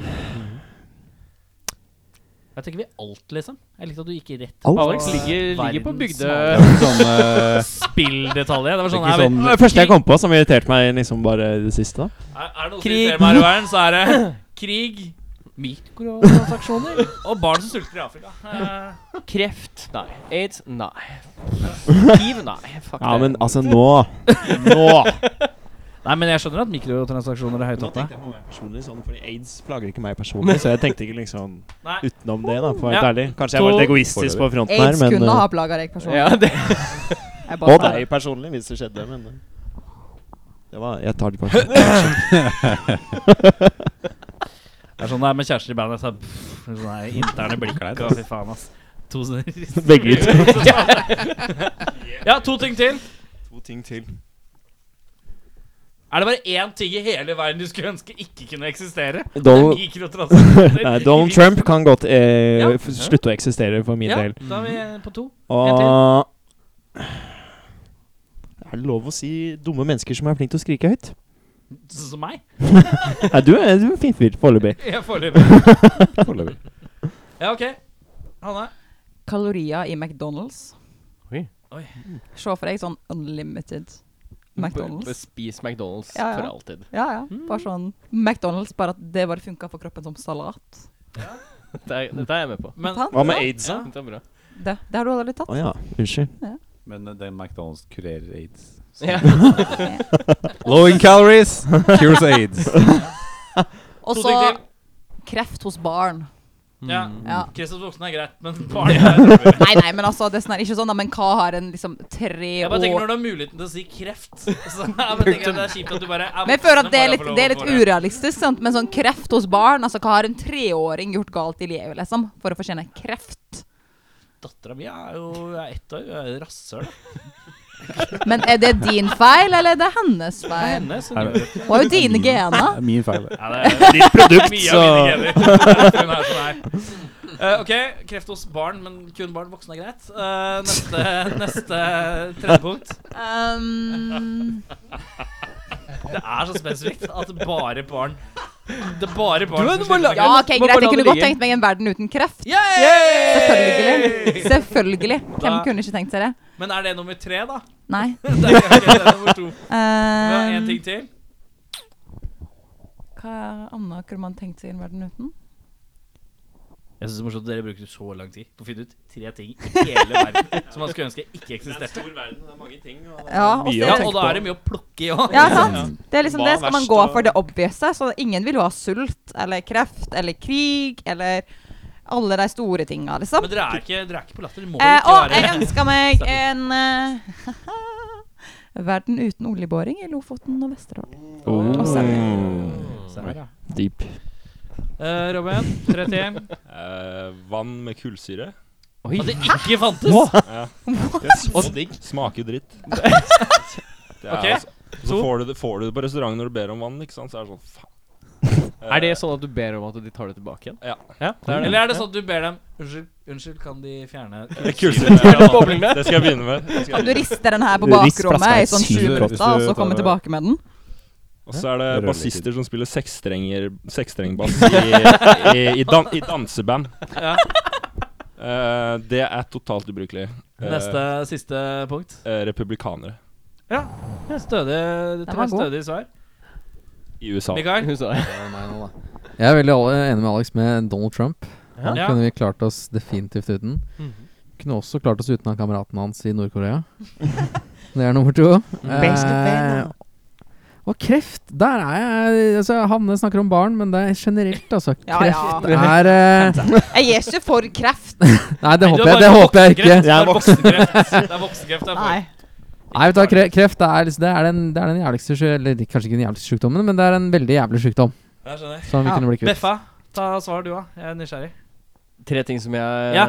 Speaker 3: Jeg tenker vi alt, liksom. Jeg likte at du gikk rett
Speaker 5: Alt?
Speaker 2: Alex
Speaker 3: eh,
Speaker 2: ligger, ligger på
Speaker 3: verdens
Speaker 2: bygde...
Speaker 1: Det er ikke sånn, eh,
Speaker 3: spilldetaljer. Det var
Speaker 1: det er
Speaker 3: sånn,
Speaker 1: ikke
Speaker 3: er, vi-
Speaker 1: sånn
Speaker 5: Det var det første jeg kom på som irriterte meg liksom bare i det siste. da
Speaker 3: er, er det noe som
Speaker 2: Krig.
Speaker 3: irriterer meg her i verden, så er det krig, Mikrotransaksjoner og barn som sulter i Afrika. Eh,
Speaker 2: Kreft? Nei. Aids? Nei. Hiv? Nei. Fuck
Speaker 5: Ja,
Speaker 2: det.
Speaker 5: men altså, nå Nå!
Speaker 3: Nei, men jeg skjønner at mikrotransaksjoner er høyt oppe.
Speaker 5: jeg på meg personlig sånn, fordi aids plager ikke meg personlig, så jeg tenkte ikke liksom
Speaker 3: Nei.
Speaker 5: utenom det, da, for å være
Speaker 3: Ja.
Speaker 5: ærlig. Kanskje jeg var litt egoistisk på fronten her,
Speaker 4: Aids
Speaker 5: men
Speaker 4: kunne ha
Speaker 5: eh,
Speaker 4: plaga deg personlig.
Speaker 2: Ja, det.
Speaker 4: Jeg bare
Speaker 5: Og
Speaker 4: sa
Speaker 5: deg
Speaker 4: det.
Speaker 5: personlig, hvis det skjedde, men eh, det var, Jeg tar det kanskje.
Speaker 3: Det er sånn det er med kjærester i bandet. Så, pff, sånn der interne blikker der. Å, Fy faen, ass. To sånne-
Speaker 5: Begge ut.
Speaker 3: ja, to ting til.
Speaker 5: To ting til.
Speaker 3: Er det bare én ting i hele verden du skulle ønske ikke kunne eksistere? Det er
Speaker 5: Donald,
Speaker 3: mikrotransaksjoner.
Speaker 5: nei, Donald Trump kan godt eh,
Speaker 3: Ja.
Speaker 5: f- slutte å eksistere for min
Speaker 3: Ja,
Speaker 5: del.
Speaker 3: da er vi på to. en til.
Speaker 5: Og Er det lov å si dumme mennesker som er flinke til å skrike høyt?
Speaker 3: Sånn som meg.
Speaker 5: Nei, du er du er en fin fyr foreløpig.
Speaker 3: Jeg foreløpig. Ja, OK. Hanne.
Speaker 4: Kalorier i McDonald's.
Speaker 2: Oi.
Speaker 3: Oi.
Speaker 4: Se for deg sånn unlimited
Speaker 2: B- b-
Speaker 4: McDonald's.
Speaker 2: Spis McDonald's
Speaker 4: Ja, ja.
Speaker 2: for alltid.
Speaker 4: Ja, ja. Bare sånn McDonald's, bare at det bare funka for kroppen som salat.
Speaker 2: Dette er, dette er jeg med på.
Speaker 3: Men
Speaker 4: Sant?
Speaker 5: Hva med aids, da?
Speaker 2: Dette er bra.
Speaker 4: Det, det har du allerede tatt.
Speaker 5: Å ja, unnskyld.
Speaker 1: Men eh, den McDonald's kurerer aids.
Speaker 2: Ja.
Speaker 1: Low in calories cures aids.
Speaker 4: Og
Speaker 3: To
Speaker 4: så
Speaker 3: ting til. Mm.
Speaker 4: kreft hos barn.
Speaker 3: Ja.
Speaker 4: Ja.
Speaker 3: Kristoffer Voksen er greit, men barn er
Speaker 4: Nei, nei, men altså, det er sånn, her- ikke sånn, da, men hva har en liksom tre
Speaker 3: Jeg bare tenker
Speaker 4: år
Speaker 3: når du har muligheten til å si kreft så, jeg bare tenker at Det er kjipt at du bare er
Speaker 4: men jeg føler
Speaker 3: voksen
Speaker 4: at det er
Speaker 3: og bare
Speaker 4: litt,
Speaker 3: får lov
Speaker 4: det er
Speaker 3: å
Speaker 4: litt
Speaker 3: få det.
Speaker 4: urealistisk, sant? men sånn kreft hos barn Altså, hva har en treåring gjort galt i livet, liksom, for å fortjene kreft?
Speaker 3: Dattera mi er jo er ett år, hun er jo rasshøl.
Speaker 4: Men er det din feil, eller er det hennes
Speaker 3: Det er
Speaker 4: feil?
Speaker 3: henne som
Speaker 1: Er
Speaker 3: gjør
Speaker 1: det-
Speaker 3: det.
Speaker 4: Hun har jo dine gener.
Speaker 1: Det er min feil.
Speaker 3: Ja, det er ditt produkt, så Hun er som er. Eh, ok, kreft hos barn, men kun barn. Voksne er greit. Eh, neste neste tredje punkt.
Speaker 4: Um,
Speaker 3: Det er så spesifikt at bare barn Det er bare barn
Speaker 2: Du er
Speaker 3: som
Speaker 2: bare
Speaker 3: sliter med
Speaker 2: la-
Speaker 4: ja, OK, greit.
Speaker 2: Må bare
Speaker 3: kreft.
Speaker 2: la
Speaker 4: Jeg
Speaker 2: det sånn.
Speaker 4: kunne godt
Speaker 2: ligge.
Speaker 4: tenkt meg en verden uten kreft.
Speaker 3: Yay!
Speaker 4: Selvfølgelig. Selvfølgelig. Hvem
Speaker 3: Da-
Speaker 4: kunne ikke tenkt seg det?
Speaker 3: Men er det nummer tre, da?
Speaker 4: Nei.
Speaker 3: Det er, ok, det er nummer to. Vi har
Speaker 4: Um,
Speaker 3: en ting til.
Speaker 4: hva annet kunne man tenkt seg i en verden uten?
Speaker 3: Jeg synes det er morsomt at dere bruker så lang tid på å finne ut tre ting i hele verden som man skulle ønske ikke eksisterte.
Speaker 4: Ja, og
Speaker 3: Ja,
Speaker 4: så-
Speaker 3: og da er det mye å plukke i òg.
Speaker 4: Ja, sant? Det er liksom
Speaker 5: Hva
Speaker 4: det
Speaker 5: er
Speaker 4: skal man
Speaker 5: verst
Speaker 4: gå
Speaker 5: da?
Speaker 4: for det obviouse. Så ingen vil jo ha sult eller kreft eller krig eller alle de store tinga, liksom.
Speaker 3: Men dere er ikke, dere er ikke på latter. Det må dere
Speaker 4: Eh,
Speaker 3: ikke
Speaker 4: og jeg
Speaker 3: være.
Speaker 4: ønska meg en eh, verden uten oljeboring i Lofoten og Vesterålen. Og Senja.
Speaker 3: Se her, ja.
Speaker 5: Oh, Deep.
Speaker 3: Eh, Robin, tre ting.
Speaker 6: Eh, vann med kullsyre.
Speaker 2: Oi.
Speaker 3: At det ikke fantes!
Speaker 6: Ja. Det er så digg. Smaker dritt. Det er
Speaker 3: Ok,
Speaker 6: altså- og Så
Speaker 3: to.
Speaker 6: får du, det, får du det på restaurant når du ber om vann, ikke sant? Så er det sånn faen. Eh,
Speaker 2: Er det sånn at du ber om at de tar det tilbake igjen?
Speaker 6: Ja.
Speaker 2: det er det.
Speaker 3: Eller er det sånn at du ber dem Unnskyld, unnskyld kan de fjerne
Speaker 6: Kullsyre.
Speaker 2: boblene.
Speaker 6: Det skal jeg begynne med. Det skal
Speaker 4: Kan
Speaker 6: jeg
Speaker 4: du rister den her på
Speaker 5: Rist flaska
Speaker 4: bakrommet
Speaker 5: i
Speaker 4: i sånn
Speaker 5: syv
Speaker 4: sju
Speaker 1: minutter, hvis
Speaker 4: minutter, og
Speaker 1: du
Speaker 4: så
Speaker 1: tar
Speaker 4: komme
Speaker 1: det-
Speaker 4: tilbake med den?
Speaker 6: Og så er
Speaker 1: Rører
Speaker 6: det
Speaker 1: litt
Speaker 6: bassister som spiller seksstrenger Seksstrengbass i, i, i, dan, i danseband.
Speaker 3: Ja.
Speaker 6: Eh, det er totalt ubrukelig. Eh,
Speaker 3: Neste siste punkt.
Speaker 6: eh, republikanere
Speaker 3: Stødig,
Speaker 4: Den var
Speaker 3: tre
Speaker 4: god.
Speaker 3: stødige svar.
Speaker 6: i USA.
Speaker 3: Mikael?
Speaker 2: Hun sa
Speaker 7: Det var meg nå, da. Jeg er veldig alle- enig med Alex med Donald Trump. Han
Speaker 3: Ja. Mhm.
Speaker 7: kunne vi klart oss definitivt uten. Kunne også klart oss uten han kameraten hans i Nord-Korea. det er nummer to. Eh,
Speaker 4: Best of them, da.
Speaker 7: og kreft! Der er jeg altså, Hanne snakker om barn, men det er generelt, altså.
Speaker 4: Ja,
Speaker 7: Kreft
Speaker 4: ja.
Speaker 7: er eh,
Speaker 4: Jeg er ikke for kreft.
Speaker 7: Nei,
Speaker 3: Nei,
Speaker 7: det
Speaker 3: du
Speaker 7: håper
Speaker 3: har
Speaker 7: jeg, det
Speaker 3: bare
Speaker 7: håper jeg ikke.
Speaker 3: voksenkreft. Det er voksenkreft. Det er voksenkreft. Det er for.
Speaker 4: Nei.
Speaker 7: Nei, vet du, hva, kre- kreft det er, liksom, det, er den, det er den jævligste sj- Eller kanskje ikke den jævligste sykdommen, men det er en veldig jævlig sykdom.
Speaker 3: Jeg skjønner.
Speaker 7: Som vi
Speaker 4: Ja.
Speaker 7: kunne bli kvitt.
Speaker 3: Beffa, ta svar du, da. Jeg er nysgjerrig.
Speaker 2: tre ting som jeg
Speaker 3: Ja.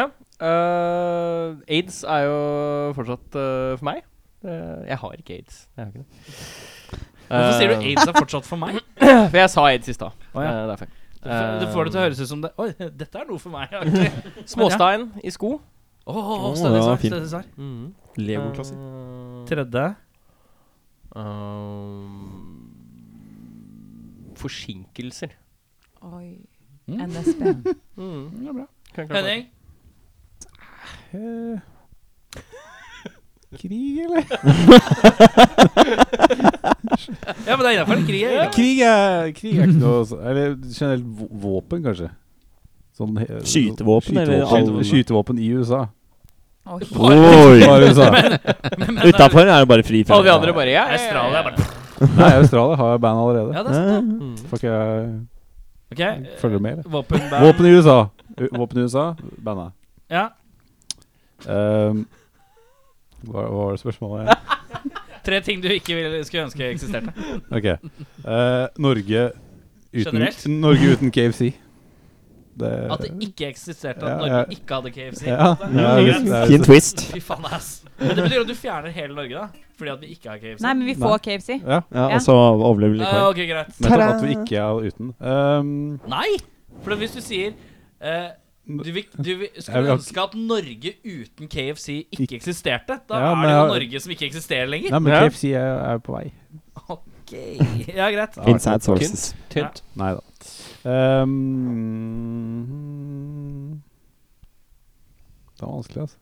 Speaker 2: Ja. Eh, aids er jo fortsatt eh, for meg. Eh, jeg har ikke aids. Jeg har ikke det.
Speaker 3: Hvorfor sier du
Speaker 2: Eh,
Speaker 3: aids er fortsatt for meg?
Speaker 2: For jeg sa aids i stad.
Speaker 3: Å, ja.
Speaker 2: Eh, derfor.
Speaker 3: Du f- du får det til å høres ut som det Oi, dette er noe for meg. egentlig.
Speaker 2: Småstein i sko.
Speaker 3: Å, oh,
Speaker 5: Å,
Speaker 3: stødig
Speaker 5: ja,
Speaker 3: svar.
Speaker 5: fint.
Speaker 3: Stødig svar.
Speaker 5: Leverklasse.
Speaker 2: Eh,
Speaker 3: Tredje.
Speaker 2: ehm, forsinkelser.
Speaker 4: Oi. NSB.
Speaker 2: Mm. Kan jeg klare det?
Speaker 3: Henning?
Speaker 1: Eh, Krig, eller?
Speaker 3: Ja, men det er innafor krig. Ja.
Speaker 1: Krig er, krig er ikke noe så- Eller generelt vå- våpen, kanskje. Sånn, he-
Speaker 5: Skytevåpen, eller
Speaker 1: skytevåpen,
Speaker 5: alle-
Speaker 1: skytevåpen i USA.
Speaker 4: Oi.
Speaker 5: Oi!
Speaker 1: Bare USA.
Speaker 5: Utafor er det bare fri
Speaker 2: Alle de andre bare ja, ja, ja,
Speaker 3: Australia bare
Speaker 1: Nei, Australia har band allerede.
Speaker 3: Ja, det er sant.
Speaker 5: Ja.
Speaker 3: Mm.
Speaker 1: Får ikke jeg
Speaker 3: Ok, eh,
Speaker 1: følge med, eller?
Speaker 3: Våpenband.
Speaker 1: Våpen i USA. U- Våpen i USA, bandet.
Speaker 3: Ja.
Speaker 1: Ehm, hva, hva var det spørsmålet igjen?
Speaker 3: Tre ting du ikke ville, skulle ønske eksisterte.
Speaker 1: Ok. Eh, Norge uten
Speaker 3: Generelt?
Speaker 1: Norge uten KFC. Det
Speaker 3: At det ikke eksisterte at
Speaker 1: Ja,
Speaker 3: Norge
Speaker 1: ja.
Speaker 3: ikke hadde KFC.
Speaker 1: Ja, ja,
Speaker 3: Det
Speaker 1: det-
Speaker 3: er-
Speaker 1: det er-
Speaker 5: Fin twist.
Speaker 3: Fy faen, ass. Men det betyr at du fjerner hele Norge, da? Fordi at vi ikke har KFC?
Speaker 4: Nei, men vi
Speaker 1: Nei.
Speaker 4: får KFC.
Speaker 1: ja,
Speaker 5: Ja,
Speaker 4: Ja.
Speaker 5: Og så overlever vi
Speaker 3: Eh,
Speaker 5: likevel.
Speaker 3: ok, greit.
Speaker 1: nettopp at vi ikke er uten. Ehm,
Speaker 3: Nei! For hvis du sier eh, du, vil, du vil,
Speaker 1: Jeg vil
Speaker 3: skulle
Speaker 1: ha-
Speaker 3: ønske at Norge uten KFC ikke eksisterte. Da
Speaker 1: Ja, men
Speaker 3: er det jo
Speaker 1: jeg-
Speaker 3: Norge som ikke eksisterer lenger.
Speaker 1: nei, men
Speaker 2: Ja.
Speaker 1: KFC er, er på vei.
Speaker 3: Ok, Ja, greit.
Speaker 5: Inside sources.
Speaker 2: Tynt.
Speaker 1: Nei da. Ehm, det er vanskelig, altså.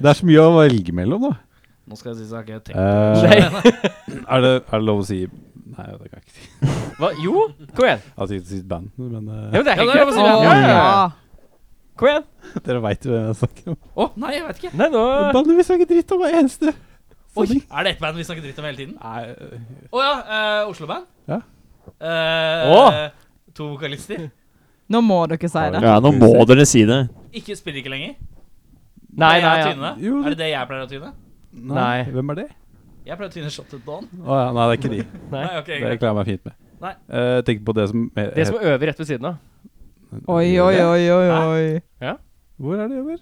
Speaker 1: Det er så mye å velge mellom, da.
Speaker 3: Nå skal jeg si sak. Jeg tenker
Speaker 1: Eh, er, det, er det lov å si Nei, det kan jeg ikke si.
Speaker 2: Hva? Jo, kom igjen.
Speaker 1: Jeg har sikkert sitt band, men eh,
Speaker 2: Ja, men det er
Speaker 3: Ja,
Speaker 2: helt
Speaker 3: det er lov å
Speaker 2: greit.
Speaker 3: si
Speaker 2: Å,
Speaker 3: det.
Speaker 2: ja, ja, ja. Kom igjen.
Speaker 1: dere veit jo hvem jeg snakker om.
Speaker 3: Å, nei, jeg vet ikke.
Speaker 2: Nei, nå
Speaker 1: Bandet vi snakker dritt om, er eneste.
Speaker 3: Oi,
Speaker 1: Sending.
Speaker 3: Er det ett band vi snakker dritt om hele tiden?
Speaker 1: Nei,
Speaker 3: Å ja, eh, Oslo-band.
Speaker 1: Ja.
Speaker 3: Eh,
Speaker 2: Å!
Speaker 3: To vokalister.
Speaker 4: Nå må dere si det.
Speaker 5: Ja, nå må dere si det.
Speaker 3: Ikke spiller ikke lenger.
Speaker 2: Nei,
Speaker 3: Er jeg
Speaker 2: nei.
Speaker 3: å
Speaker 2: ja.
Speaker 3: tyne?
Speaker 1: Jo,
Speaker 3: Er det det jeg pleier å tyne?
Speaker 1: nei. Hvem er det?
Speaker 3: Jeg pleier å tyne Shot at Dawn.
Speaker 1: Å ja, nei, det er ikke de.
Speaker 2: Nei.
Speaker 3: Nei, ok,
Speaker 1: Det
Speaker 3: greit.
Speaker 1: klarer jeg meg fint med.
Speaker 3: Nei.
Speaker 1: Eh, tenk på det som mer,
Speaker 2: Det som er øver rett ved siden av.
Speaker 4: Oi, oi, oi, oi, oi.
Speaker 1: Hvor er det over?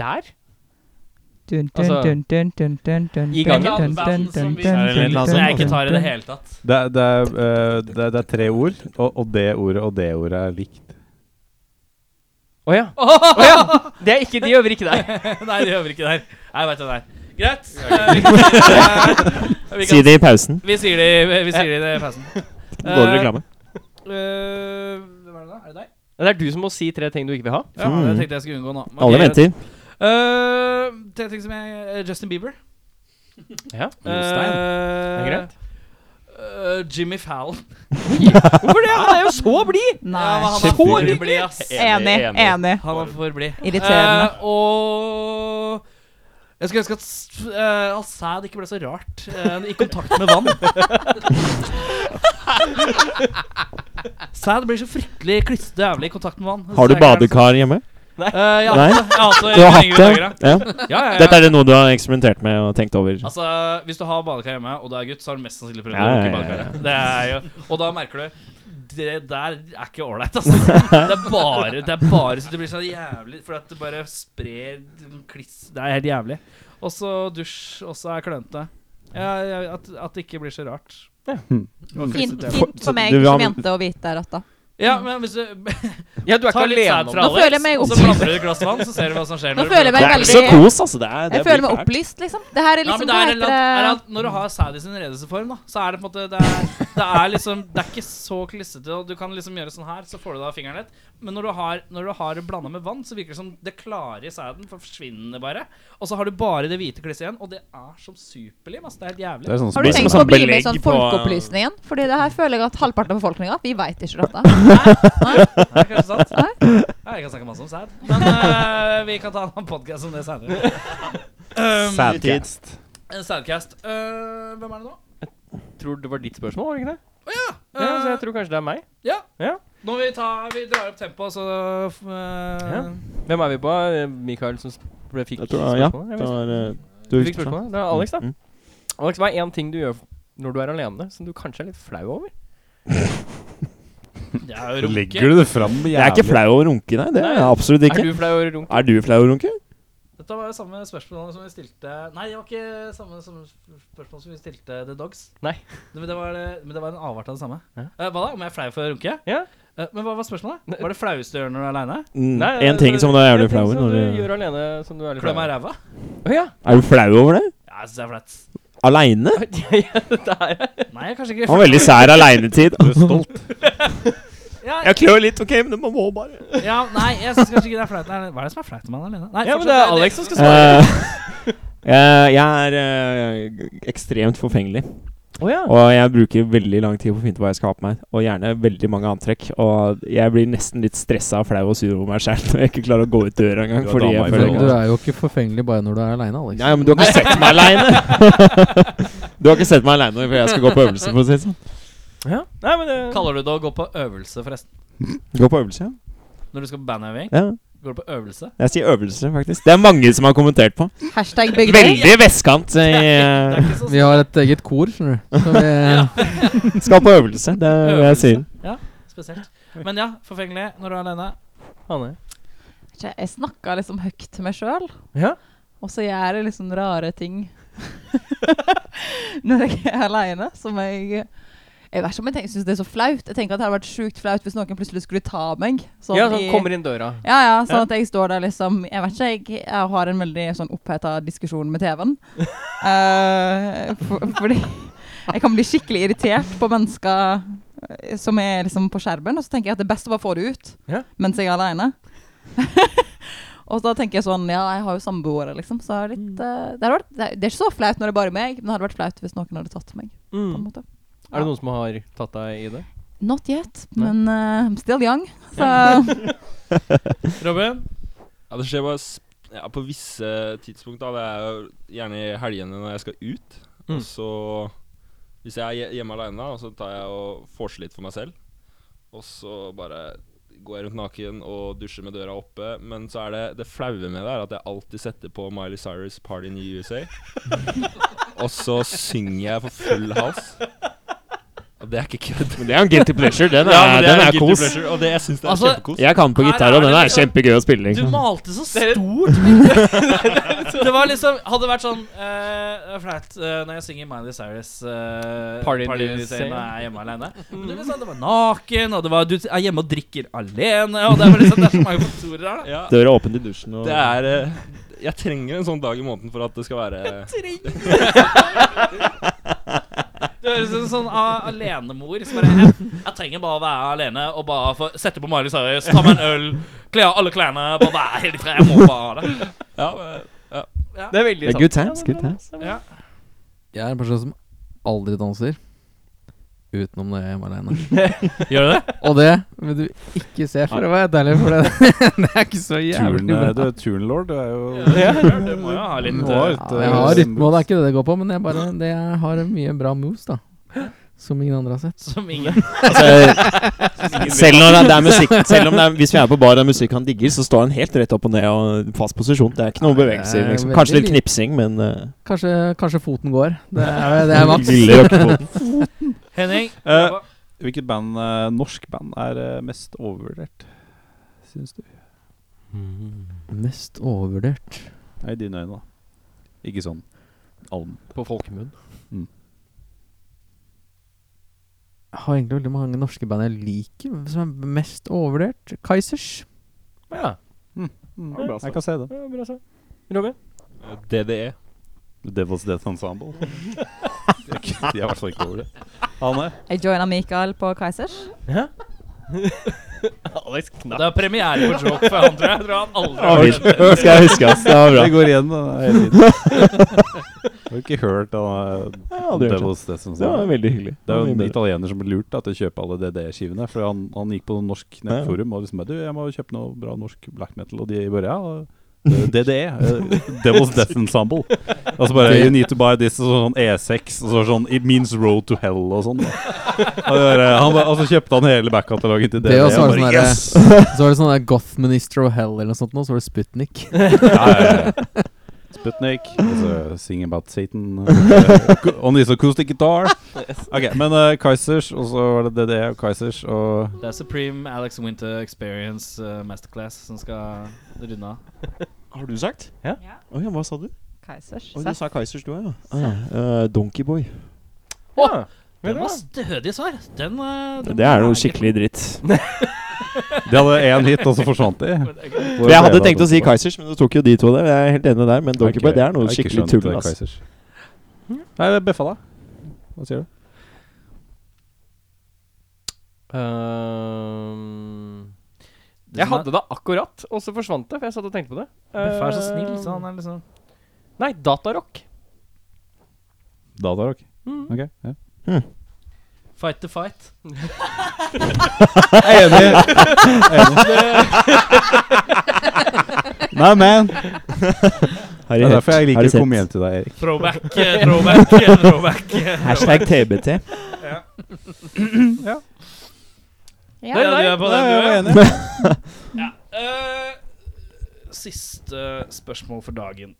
Speaker 2: Der?
Speaker 4: Dun, dun,
Speaker 2: Altså,
Speaker 4: dun, dun, dun, dun, dun,
Speaker 2: i
Speaker 4: dun,
Speaker 2: gangen.
Speaker 4: dun, dun,
Speaker 3: Band sånn som
Speaker 4: dun,
Speaker 3: vi-
Speaker 4: dun,
Speaker 1: Er det en
Speaker 4: dun,
Speaker 1: eller annen
Speaker 3: Som jeg
Speaker 4: dun,
Speaker 3: ikke tar i
Speaker 4: dun,
Speaker 3: det hele tatt.
Speaker 1: Det er, det er, eh, det er, det er tre ord, og, og det ordet og det ordet er likt.
Speaker 2: Å ja. Å, ja. Det er ikke de øver ikke der.
Speaker 3: Nei, det øver ikke der. Nei, vet du det er. Greit. Eh, vi,
Speaker 5: Si
Speaker 3: kan,
Speaker 5: det i pausen.
Speaker 3: vi sier det i- vi sier det i pausen.
Speaker 5: Dårlig reklame.
Speaker 3: Eh, Hvem er det da? Er det deg?
Speaker 2: Det er du som må si tre ting du ikke vil ha.
Speaker 3: Ja,
Speaker 5: Mm.
Speaker 3: det tenkte jeg skulle unngå nå. Men
Speaker 5: Alle
Speaker 3: ok,
Speaker 5: venter.
Speaker 3: Eh, tre ting som jeg eh, Justin Bieber.
Speaker 2: Ja.
Speaker 1: Ulstein.
Speaker 3: Eh,
Speaker 2: Oh, Det er greit.
Speaker 3: eh, Jimmy Fallon.
Speaker 2: Hvorfor det? Han er jo så blid!
Speaker 3: Ja, men
Speaker 4: Nei.
Speaker 3: han var for blid, ass.
Speaker 4: Enig, enig.
Speaker 3: Han var for blid.
Speaker 4: Irriterende.
Speaker 3: Eh, og jeg skulle ønske at s- eh, all sæd ikke ble så rart eh, i kontakt med vann. Sæd blir så fryktelig klissete jævlig i kontakt med vann.
Speaker 5: Har du badekar hjemme?
Speaker 3: Uh, ja,
Speaker 5: Nei? Du har hatt det? Ja.
Speaker 3: Ja, ja, ja.
Speaker 5: Dette er det noe du har eksperimentert med og tenkt over?
Speaker 3: Altså, Hvis du har badekar hjemme, og du er gutt, så har du mest sannsynlig prøvd
Speaker 5: Ja,
Speaker 3: å
Speaker 5: ja,
Speaker 3: bruke
Speaker 5: ja, ja.
Speaker 3: badekaret. Det er jo, og da merker du det der er ikke ålreit, altså. Det er bare Det er bare så det blir så jævlig For at det bare sprer kliss Det er helt jævlig. Og så dusj også er klønete. Ja, ja, at, at det ikke blir så rart. Mm. Og
Speaker 4: Fint,
Speaker 3: klissete.
Speaker 4: fint for meg
Speaker 5: Du vil ha-
Speaker 4: som jente å vite dette.
Speaker 3: Ja, men hvis du
Speaker 2: Ja, du er ikke
Speaker 3: tar litt sæd
Speaker 2: alene
Speaker 3: fra
Speaker 2: om det.
Speaker 4: Nå føler jeg
Speaker 3: Alex,
Speaker 4: meg
Speaker 3: og så
Speaker 4: opplyst.
Speaker 3: blander du i et glass vann, så ser du hva som skjer.
Speaker 4: Nå
Speaker 3: når du
Speaker 4: føler jeg
Speaker 5: Det
Speaker 4: meg
Speaker 5: er ikke så
Speaker 4: veldig
Speaker 5: kos, altså. Det er, det
Speaker 4: Jeg føler
Speaker 5: blir
Speaker 4: meg
Speaker 5: fælt.
Speaker 4: opplyst, liksom. Det her er
Speaker 3: Ja,
Speaker 4: liksom
Speaker 3: men det er,
Speaker 4: hva
Speaker 3: en
Speaker 4: heter
Speaker 3: eller annen- er det
Speaker 4: det?
Speaker 3: at Når du har sæd i sin redeste form, da, så er det på en måte Det er, det er liksom Det er ikke så klissete. Og du kan liksom gjøre sånn her, så får du det av fingeren litt. Men når du har, når du har det blanda med vann, så virker det som det klare i sæden for forsvinner bare. Og så har du bare det hvite klisset igjen, og det er som superlim. ass. Det er helt
Speaker 1: Det
Speaker 3: jævlig.
Speaker 1: er sånn
Speaker 4: Har
Speaker 1: som
Speaker 4: du
Speaker 5: blir
Speaker 1: bare-
Speaker 4: tenkt på å
Speaker 5: som sånn
Speaker 4: bli med i
Speaker 5: belegg
Speaker 4: sånn
Speaker 5: på-
Speaker 4: folkeopplysningen? Fordi det her føler jeg at halvparten av befolkninga Vi vet ikke dette.
Speaker 3: Det er kanskje sant? Ja, jeg kan snakke masse om sæd. Men eh, vi kan ta en annen podkast om det senere. Um,
Speaker 1: Sadcast.
Speaker 3: En Sædcast. Eh, hvem er det nå?
Speaker 2: Tror det var ditt spørsmål, var det ikke det?
Speaker 3: Eh,
Speaker 2: Ja, så jeg tror kanskje det er meg.
Speaker 3: ja.
Speaker 2: Ja.
Speaker 3: Nå må vi ta Vi drar opp tempoet, så eh,
Speaker 2: Ja. Hvem er vi på? Eh, Mikael som sp- ble- fikk
Speaker 5: Jeg tror, ja,
Speaker 2: spørsmålet?
Speaker 5: det
Speaker 2: Jeg vet
Speaker 5: var, eh,
Speaker 2: ikke.
Speaker 5: du
Speaker 2: Du fikk spørsmålet? Det er Alex, da.
Speaker 5: Mm.
Speaker 2: Alex, hva er én ting du gjør når du er alene, som du kanskje er litt flau over?
Speaker 3: Det er jo runke.
Speaker 1: Legger du det fram jævlig?
Speaker 5: Jeg er ikke flau over å runke, nei. Det er jeg absolutt ikke.
Speaker 2: Er du flau over runk?
Speaker 5: Er du flau over å runke?
Speaker 3: Dette var jo samme spørsmål som vi stilte Nei, det var ikke samme, samme spørsmål som vi stilte The Dogs.
Speaker 2: Nei.
Speaker 3: Det, men, det var, eh, men det var en avart av det samme.
Speaker 2: Ja.
Speaker 3: Eh, hva da? Om jeg er flau for å runke?
Speaker 2: Ja.
Speaker 3: Eh, men hva var spørsmålet? Var det flaueste du gjør når du er aleine?
Speaker 5: Mm,
Speaker 2: Nei,
Speaker 5: en
Speaker 2: altså,
Speaker 5: ting som du er jævlig
Speaker 2: en ting
Speaker 5: flau over
Speaker 2: som
Speaker 5: når
Speaker 2: du
Speaker 5: du
Speaker 2: gjør alene som du er litt
Speaker 3: Klø meg i
Speaker 2: flau over.
Speaker 3: ræva?
Speaker 2: Å ja.
Speaker 5: Er du flau over det?
Speaker 3: Ja, jeg syns det er flaut.
Speaker 5: Aleine?
Speaker 2: ja! Det er
Speaker 3: Nei, jeg er kanskje ikke
Speaker 5: Han har veldig sær aleinetid.
Speaker 1: Du er stolt.
Speaker 3: Ja,
Speaker 5: Jeg klør litt, OK, men man må bare
Speaker 3: ja, nei, jeg syns kanskje ikke det er flaut. Nei, Hva er det som er flaut om man er alene? Nei,
Speaker 2: Ja,
Speaker 3: fortsatt,
Speaker 2: men det er Alex som skal
Speaker 5: Eh, eh, jeg er eh, ekstremt forfengelig.
Speaker 10: Å ja.
Speaker 5: Og jeg bruker veldig lang tid på å finne ut hva jeg skal ha på meg, og gjerne veldig mange antrekk. Og jeg blir nesten litt stressa og flau og sur over meg sjæl når jeg ikke klarer å gå ut døra engang.
Speaker 1: Du er
Speaker 5: Fordi
Speaker 1: dama i
Speaker 5: jeg føler
Speaker 1: forhold.
Speaker 7: Men du
Speaker 5: ikke
Speaker 7: er jo ikke forfengelig bare når du er aleine, Alex.
Speaker 5: Nei, men du har ikke sett meg aleine! du har ikke sett meg aleine før jeg skal gå på øvelse, for å si det sånn.
Speaker 10: ja. Nei, men det
Speaker 3: Kaller du det å gå på øvelse, forresten?
Speaker 5: Gå på øvelse, ja.
Speaker 3: Når du skal på bandøving?
Speaker 5: ja.
Speaker 3: Går du på øvelse?
Speaker 5: Jeg sier øvelse, faktisk. Det er mange som har kommentert på.
Speaker 4: Hashtag Bygdøy.
Speaker 5: Veldig vestkant. eh, Jeg
Speaker 7: Vi har et eget kor, skjønner du. Så vi,
Speaker 5: skal på øvelse, det er det jeg sier.
Speaker 3: Spesielt. Men ja, forfengelig når du er aleine.
Speaker 10: Hanne.
Speaker 4: Ikke, Jeg snakker liksom høyt til meg sjøl,
Speaker 10: Ja.
Speaker 4: og så gjør jeg liksom rare ting når jeg er aleine, som jeg jeg vet ikke om jeg tenker- synes det er så flaut. Jeg tenker at Det hadde vært sjukt flaut hvis noen plutselig skulle ta meg. sånn
Speaker 2: Ja, sånn
Speaker 4: i-
Speaker 2: kommer inn døra.
Speaker 4: Ja, ja, sånn at jeg står der liksom Jeg vet ikke, jeg, jeg har en veldig sånn oppheta diskusjon med TV-en. Eh, for, fordi jeg kan bli skikkelig irritert på mennesker eh, som er liksom på skjermen, og så tenker jeg at det er best å bare få det ut
Speaker 10: Ja.
Speaker 4: mens jeg er aleine. og da tenker jeg sånn Ja, jeg har jo samboere, liksom, så jeg er litt, eh, det, hadde vært, det, er, det er ikke så flaut når det er bare meg, men det hadde vært flaut hvis noen hadde tatt meg. På en
Speaker 10: Mm.
Speaker 4: måte.
Speaker 2: Er det noen som har tatt deg i det?
Speaker 4: Not yet, men eh, I'm still young. Så
Speaker 3: Robin?
Speaker 6: Ja, det skjer bare sp ja, på visse tidspunkt. da Det er jo gjerne i helgene når jeg skal ut.
Speaker 5: Mm.
Speaker 6: Og så Hvis jeg er hje- hjemme aleine, da, så tar jeg og forser litt for meg selv. Og så bare går jeg rundt naken og dusjer med døra oppe. Men så er det det flaue med det er at jeg alltid setter på Miley Cyrus 'Party in the USA'. og så synger jeg for full hals. Og det er ikke kødd.
Speaker 5: Men det er en guilty pleasure. Den er,
Speaker 6: Ja, men det
Speaker 5: den
Speaker 6: en
Speaker 5: er,
Speaker 6: guilty
Speaker 5: kos.
Speaker 6: pleasure, Og det, jeg syns det er
Speaker 3: Altså,
Speaker 6: kjempekos.
Speaker 5: Jeg kan på
Speaker 3: Her
Speaker 5: gitar,
Speaker 3: er
Speaker 5: og den
Speaker 3: det
Speaker 5: er
Speaker 3: liksom-
Speaker 5: kjempegøy å spille.
Speaker 3: Du
Speaker 5: Liksom.
Speaker 3: malte så stort! det var liksom Hadde det vært sånn eh, Det er flaut eh, når jeg synger Miley Cyrus eh,
Speaker 2: Party in
Speaker 3: in
Speaker 2: the
Speaker 3: the Sea
Speaker 2: Sea.
Speaker 3: når jeg er hjemme alene. Men det, er liksom, det var naken, og det var, du er hjemme og drikker alene, og det, var liksom, det er så mange faktorer her. da.
Speaker 6: Ja,
Speaker 5: Døra åpen til dusjen og
Speaker 6: det er eh, Jeg trenger en sånn dag i måneden for at det skal være
Speaker 3: Det høres ut som en sånn a- alenemor som bare jeg, jeg trenger bare å være alene og bare få sette på Miley Cyrus, ta meg en øl, kle av alle klærne, bare være helt fri. Jeg må bare ha det.
Speaker 6: Ja, men-
Speaker 2: Det er veldig
Speaker 5: Det er good times. Good times.
Speaker 7: jeg er en person som aldri danser. Utenom når jeg er hjemme aleine.
Speaker 3: Gjør du det?
Speaker 7: Og det vil du ikke se, for å være helt ærlig, for det, det er ikke så
Speaker 1: Turn,
Speaker 7: jævlig
Speaker 1: eh,
Speaker 7: bra.
Speaker 1: du er turnlord. Du er jo
Speaker 3: Du må jo ha litt
Speaker 1: Må
Speaker 3: eh,
Speaker 1: ha litt,
Speaker 7: Ja,
Speaker 1: eh,
Speaker 7: jeg har rytme, og det
Speaker 1: moves.
Speaker 7: er ikke det det går på, men jeg, bare, det jeg har mye bra moves, da. Som ingen andre har sett.
Speaker 3: som ingen
Speaker 5: Altså, selv når det er musikk Selv om det er, Hvis vi er på bar og det er musikk han digger, så står han helt rett opp og ned og fast posisjon. Det er ikke noe
Speaker 7: Nei,
Speaker 5: bevegelse.
Speaker 7: det er
Speaker 5: Liksom.
Speaker 7: veldig
Speaker 5: Kanskje litt
Speaker 7: lite.
Speaker 5: knipsing, men eh,
Speaker 7: Kanskje, kanskje foten går. Det er, det er maks.
Speaker 5: lille rockefoten.
Speaker 3: Henning.
Speaker 1: Eh, Hvilket band, eh, norsk band er eh, mest overvurdert, syns du?
Speaker 7: Mest overvurdert
Speaker 1: Nei, i dine øyne, da. Ikke sånn alm.
Speaker 2: På folkemunn.
Speaker 7: Jeg har egentlig veldig mange norske band jeg liker, men som er mest overvurdert. Kaizers.
Speaker 2: Ja.
Speaker 7: Mm.
Speaker 1: Jeg kan se det.
Speaker 2: Robin?
Speaker 6: eh, DDE.
Speaker 1: Devil's Death Ensemble. De er ikke- de er i hvert fall ikke over det. Anne?
Speaker 4: jeg joina Mikael på Kaizers.
Speaker 2: Alex Knapp.
Speaker 3: Det er premiere på joke for han, tror jeg. Jeg tror han aldri har
Speaker 5: Det
Speaker 3: hørt det.
Speaker 5: skal jeg huske, ass. Det var bra.
Speaker 1: Det går igjen da, hele tiden. Har du ikke hørt av
Speaker 5: Jeg
Speaker 1: eh,
Speaker 5: har aldri hørt det.
Speaker 1: Devil's Death
Speaker 5: Det var
Speaker 1: Ensemble?
Speaker 5: veldig hyggelig.
Speaker 1: Det er jo en
Speaker 5: mye bedre.
Speaker 1: italiener som ble lurt da, til å kjøpe alle DDE-skivene. For han, han gikk på noe norsk nettforum og liksom bare Du, jeg må kjøpe noe bra norsk black metal. Og de bare Ja, eh, DDE. eh, Devil's Death Ensemble. Og så bare You need to buy this. Og så sånn E6. Og så sånn It means road to hell og sånn. da. Og, det bare, han, bare- og så kjøpte han hele backkatalogen til
Speaker 7: Det
Speaker 1: DDE.
Speaker 7: også var
Speaker 1: og
Speaker 7: sånn
Speaker 1: bare,
Speaker 7: der-
Speaker 1: yes!
Speaker 7: Så var det sånn der Goth Minister of Hell eller noe sånt, nå, så var det Sputnik.
Speaker 1: Ja, ja, ja. Sputnik. Altså, sing about Satan. eh, co- on this acoustic guitar. Ok, Men eh, Kaizers, og så var det DDE og Kaizers og
Speaker 3: Det er Supreme Alex Winter Experience eh, Masterclass som skal runde av.
Speaker 5: Har du sagt?
Speaker 2: Ja.
Speaker 5: Oi, ja, hva sa du?
Speaker 4: Kaizers.
Speaker 5: Oi, du sa Kaizers, du òg, ja. Ah, ja. Eh, Donkeyboy.
Speaker 2: Ja.
Speaker 3: Det var stødig svar. Den, eh, den
Speaker 5: Det er noe
Speaker 3: ikke-
Speaker 5: skikkelig dritt.
Speaker 1: De hadde én hit, og så forsvant de.
Speaker 5: For jeg hadde tenkt å si Kaizers, men du tok jo de to der. Jeg er helt enig der, men Donkeyboy det er noe skikkelig tull. ass.
Speaker 1: Nei, det er Beffa, da. Hva sier du?
Speaker 2: Ehm,
Speaker 3: Det
Speaker 2: jeg
Speaker 3: som er-
Speaker 2: hadde det akkurat, og så forsvant det. For jeg satt og tenkte på det.
Speaker 3: Beffa er så snill,
Speaker 2: Ehm,
Speaker 3: så han er liksom
Speaker 2: Nei, Datarock.
Speaker 1: Datarock?
Speaker 2: Mm.
Speaker 1: Ok. Ja.
Speaker 3: Fight the fight.
Speaker 1: Jeg er enig. Nei, man.
Speaker 5: Har
Speaker 1: Det
Speaker 5: jeg
Speaker 1: er
Speaker 5: hørt?
Speaker 1: derfor jeg
Speaker 5: Har
Speaker 1: liker
Speaker 5: du
Speaker 1: å
Speaker 5: sett?
Speaker 1: komme hjem til deg, Erik.
Speaker 3: Throwback, eh, throwback, eh, throwback. eh.
Speaker 5: Hashtag TBT.
Speaker 4: Ja.
Speaker 3: Der, ja, du er på den, du er.
Speaker 1: jeg var enig.
Speaker 3: Eh, siste spørsmål for dagen.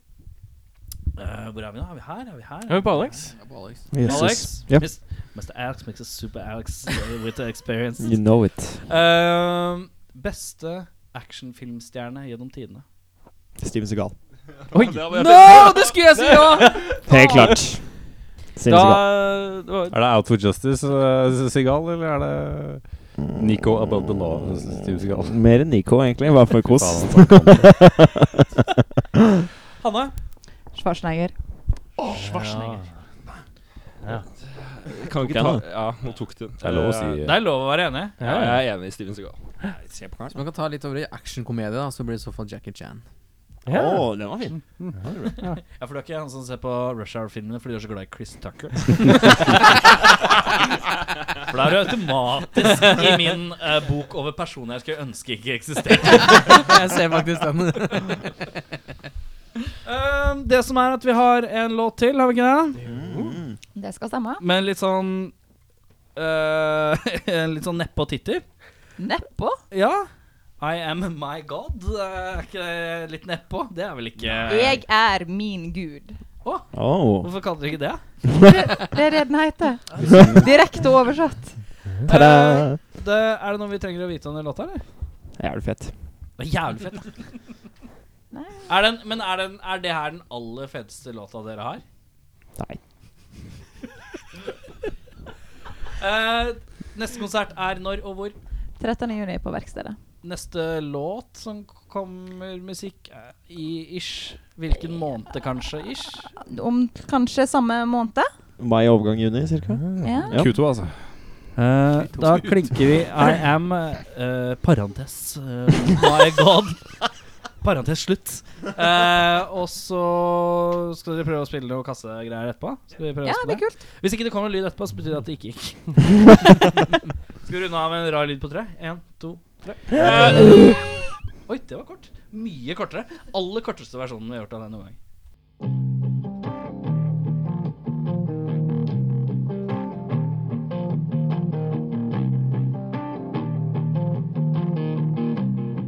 Speaker 3: Eh, hvor er vi nå? Er vi her? Er vi her?
Speaker 2: Er vi på Alex?
Speaker 7: Ja, på Alex.
Speaker 5: Jesus.
Speaker 3: Alex?
Speaker 5: Ja.
Speaker 3: Mis- Mr. Alex makes a super Alex eh, with the experience.
Speaker 5: You know it.
Speaker 3: Eh, beste actionfilmstjerne gjennom tidene.
Speaker 5: Steven Segal.
Speaker 2: Oi!
Speaker 6: det hadde
Speaker 2: Nå,
Speaker 6: jeg
Speaker 2: det skulle jeg si ja!
Speaker 5: Helt klart. Steven
Speaker 2: Da
Speaker 5: Segal.
Speaker 2: det var,
Speaker 1: Er det Out for Justice, uh, Sigal, eller er det Nico Above the Law, Steven Segal?
Speaker 5: Mer enn Nico, egentlig. Bare for kos.
Speaker 3: Hanne?
Speaker 4: Schwarzenegger.
Speaker 3: Schwarzenegger.
Speaker 6: Kan ikke ta
Speaker 5: han.
Speaker 6: Ja, nå tok du den.
Speaker 1: Det er lov å si.
Speaker 6: Eh,
Speaker 3: Det er lov å være enig.
Speaker 6: Ja, jeg er enig i Steven Segal.
Speaker 7: Hvis man kan ta litt over i actionkomedie, da, så blir det i så fall Jackie Chan.
Speaker 2: ja.
Speaker 5: den var fin.
Speaker 3: Ja, for du er ikke han som ser på Rush Hour-filmene fordi du er så glad i Chris Tucker. for da er du automatisk i min eh, bok over personer jeg skulle ønske ikke eksisterte.
Speaker 7: Jeg ser faktisk den.
Speaker 3: Um, det som er at vi har en låt til, har vi ikke det?
Speaker 4: Det skal stemme.
Speaker 3: Med en litt sånn eh, En litt sånn neppe tittel.
Speaker 4: Neppå.
Speaker 3: Ja. I am my god. Eh, Er ikke det litt nedpå? Det er vel ikke
Speaker 4: Jeg er min gud.
Speaker 5: Oh.
Speaker 3: Hvorfor kaller dere ikke det?
Speaker 4: Det er det den heter. Direkte oversatt.
Speaker 5: Ta-da!
Speaker 3: Eh, det, er det noe vi trenger å vite om den låta, eller?
Speaker 5: Jævlig fett.
Speaker 3: Det er jævlig fett. da.
Speaker 4: Nei.
Speaker 3: er den, men er, den, er det her den aller feteste låta dere har?
Speaker 5: Nei.
Speaker 3: Eh, neste konsert er når og hvor?
Speaker 4: 13. juni på Verkstedet.
Speaker 3: Neste låt som kommer musikk eh, i ish Hvilken måned, kanskje? Ish?
Speaker 4: Om kanskje samme måned.
Speaker 5: Mai overgang juni, cirka.
Speaker 4: Ja.
Speaker 5: Ja.
Speaker 1: Q2, altså.
Speaker 3: Eh, da klinker vi I am eh, Parentes. eh, my god. Parentes slutt. Eh, og så skal dere prøve å spille noe kassegreier etterpå? Skal vi prøve
Speaker 4: Ja,
Speaker 3: oss på
Speaker 4: det blir kult.
Speaker 3: Hvis ikke det kommer lyd etterpå, så betyr det at det ikke gikk. Skal vi runde av med en rar lyd på tre? Én, to, tre. Eh, Oi, det var kort. Mye kortere. Aller korteste versjonen vi har gjort av det noen gang.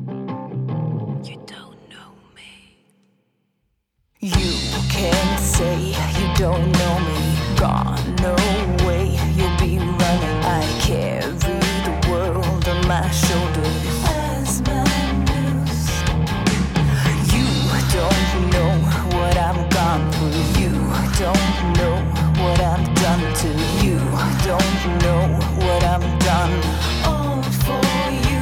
Speaker 8: You don't know me. You can say you don't know me. Gone away, you'll be running. I carry the world on my shoulders. As my noose. You don't know what I've gone through. You don't know what I've done to you. Don't know what I've done. All for you.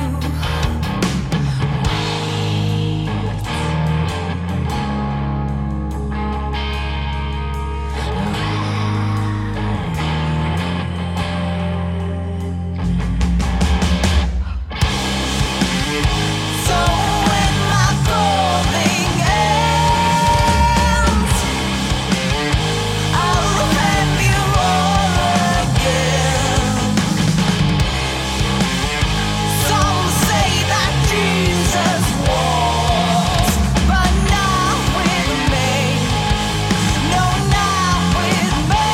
Speaker 8: So when my falling ends, I'll have you all again. Some say that Jesus walks, but not with me. No, not with me.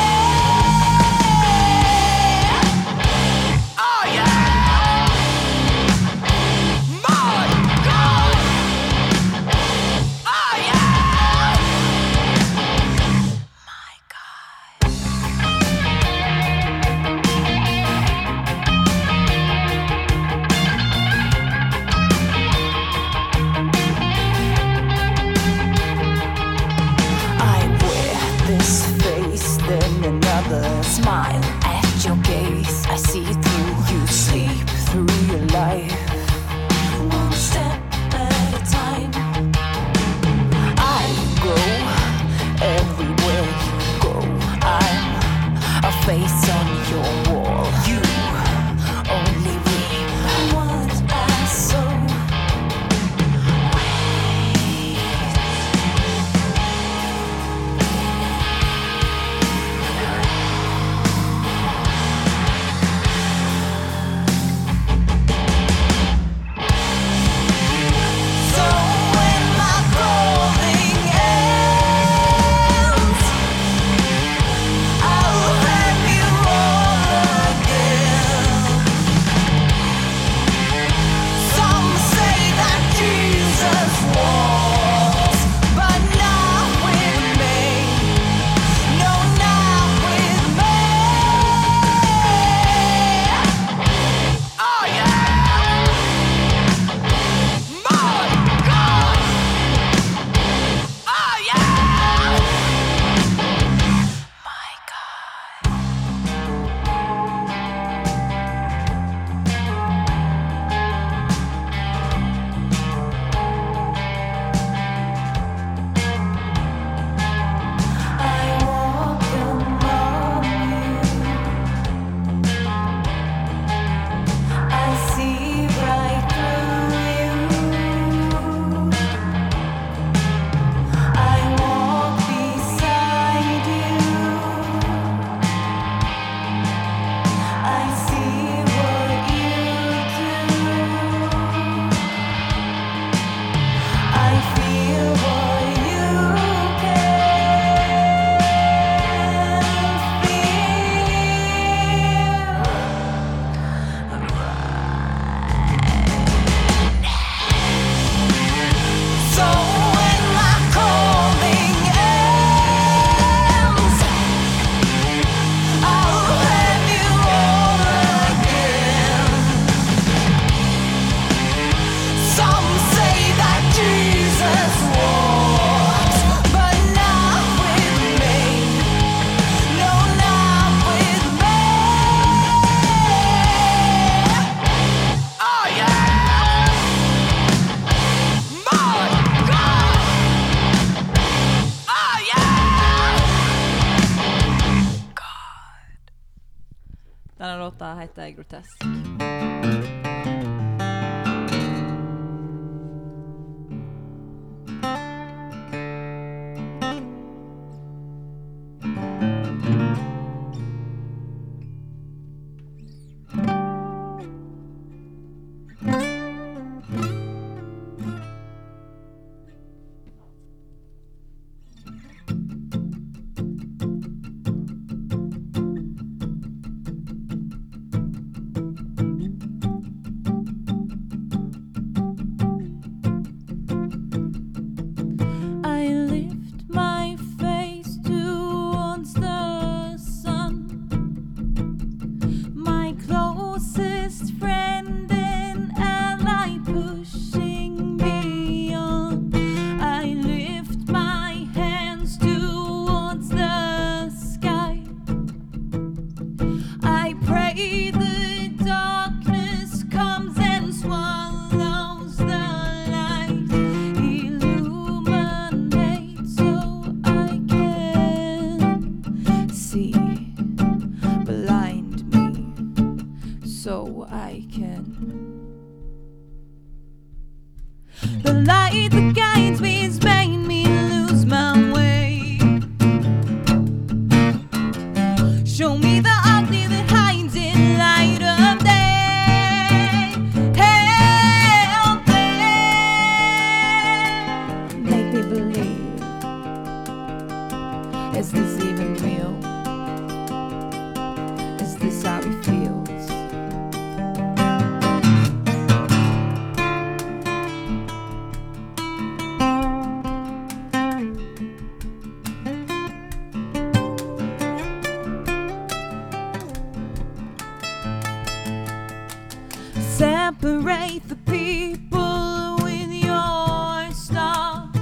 Speaker 8: Oh yeah. My God! Oh yeah! My God. I wear this face, then another smile at your gaze. I see through you, sleep through your life. One step at a time. I grow everywhere you go. I'm a face on your wall. You only reap what I sow. Wait. Oh, Oh,
Speaker 11: Denne låta heter 'Grotesk'. I lift my face towards the sun. My closest friend and ally pushing me on. I lift my hands towards the sky. I pray the darkness comes and swallows the light. Illuminate so I can see. Blind me so I can. The light that guides me has made me lose my way. Show me the ugly that hides in light of day. Help me. Make me believe. Is this even real? Is this how it feels? Separate the people with your star.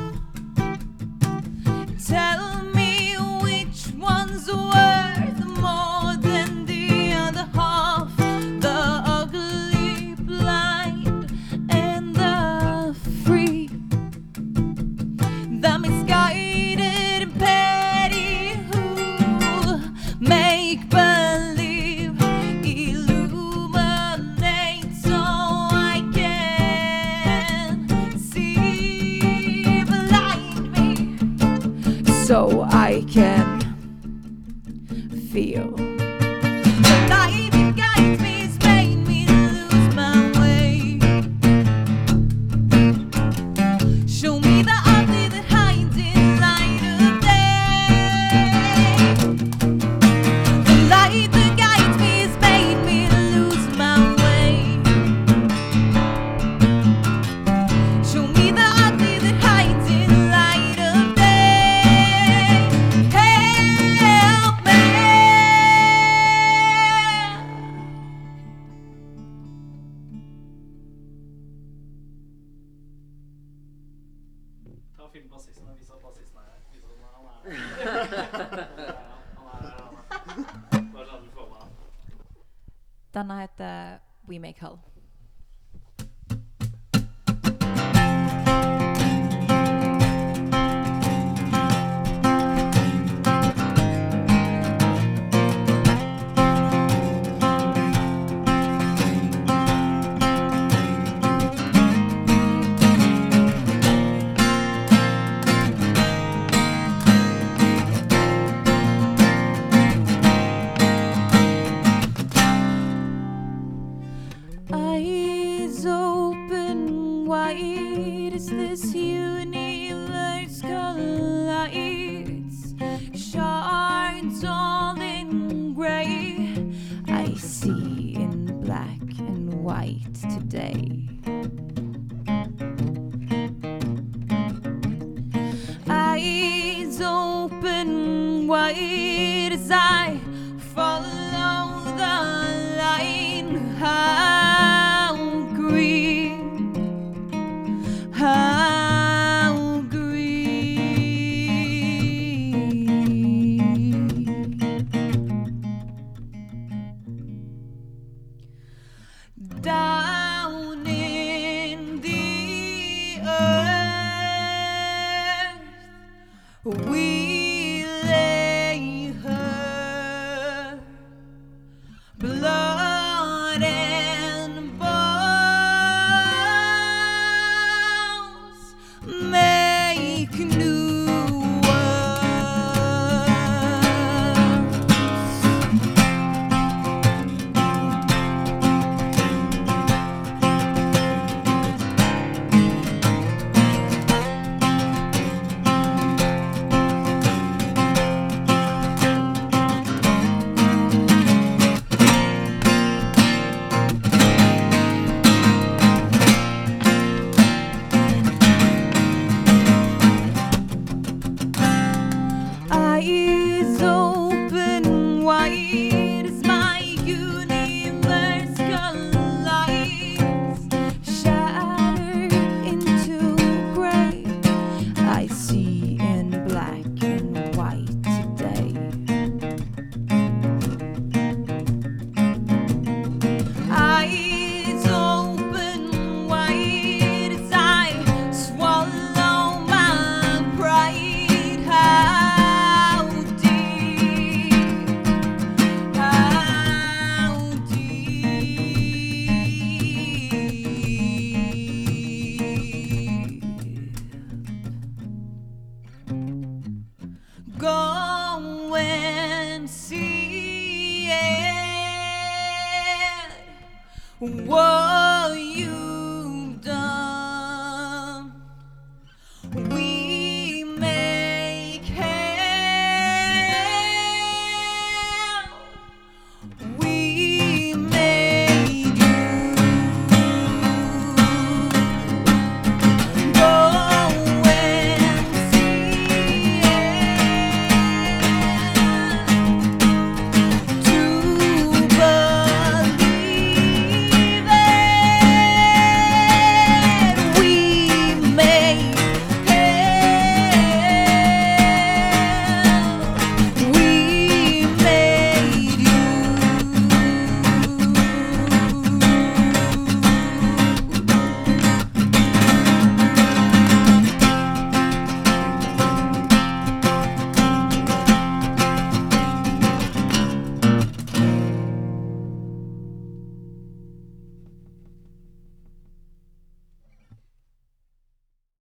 Speaker 11: Tell me which one's worth more than the other half. The ugly, blind, and the free. The misguided and petty who make believe illuminate so I can see blind me so I can feel. The light that guides me has made me lose my way. Show me the ugly that hides in light of day. The light that guides me has made me lose my way. Show me the ugly that hides in light of day. Help me. Denne heter We Make Hell. Eyes open wide as this universe collides. Shards all in gray. I see in black and white today. Eyes open wide as I follow the line. How green, how green. Down in Whoa.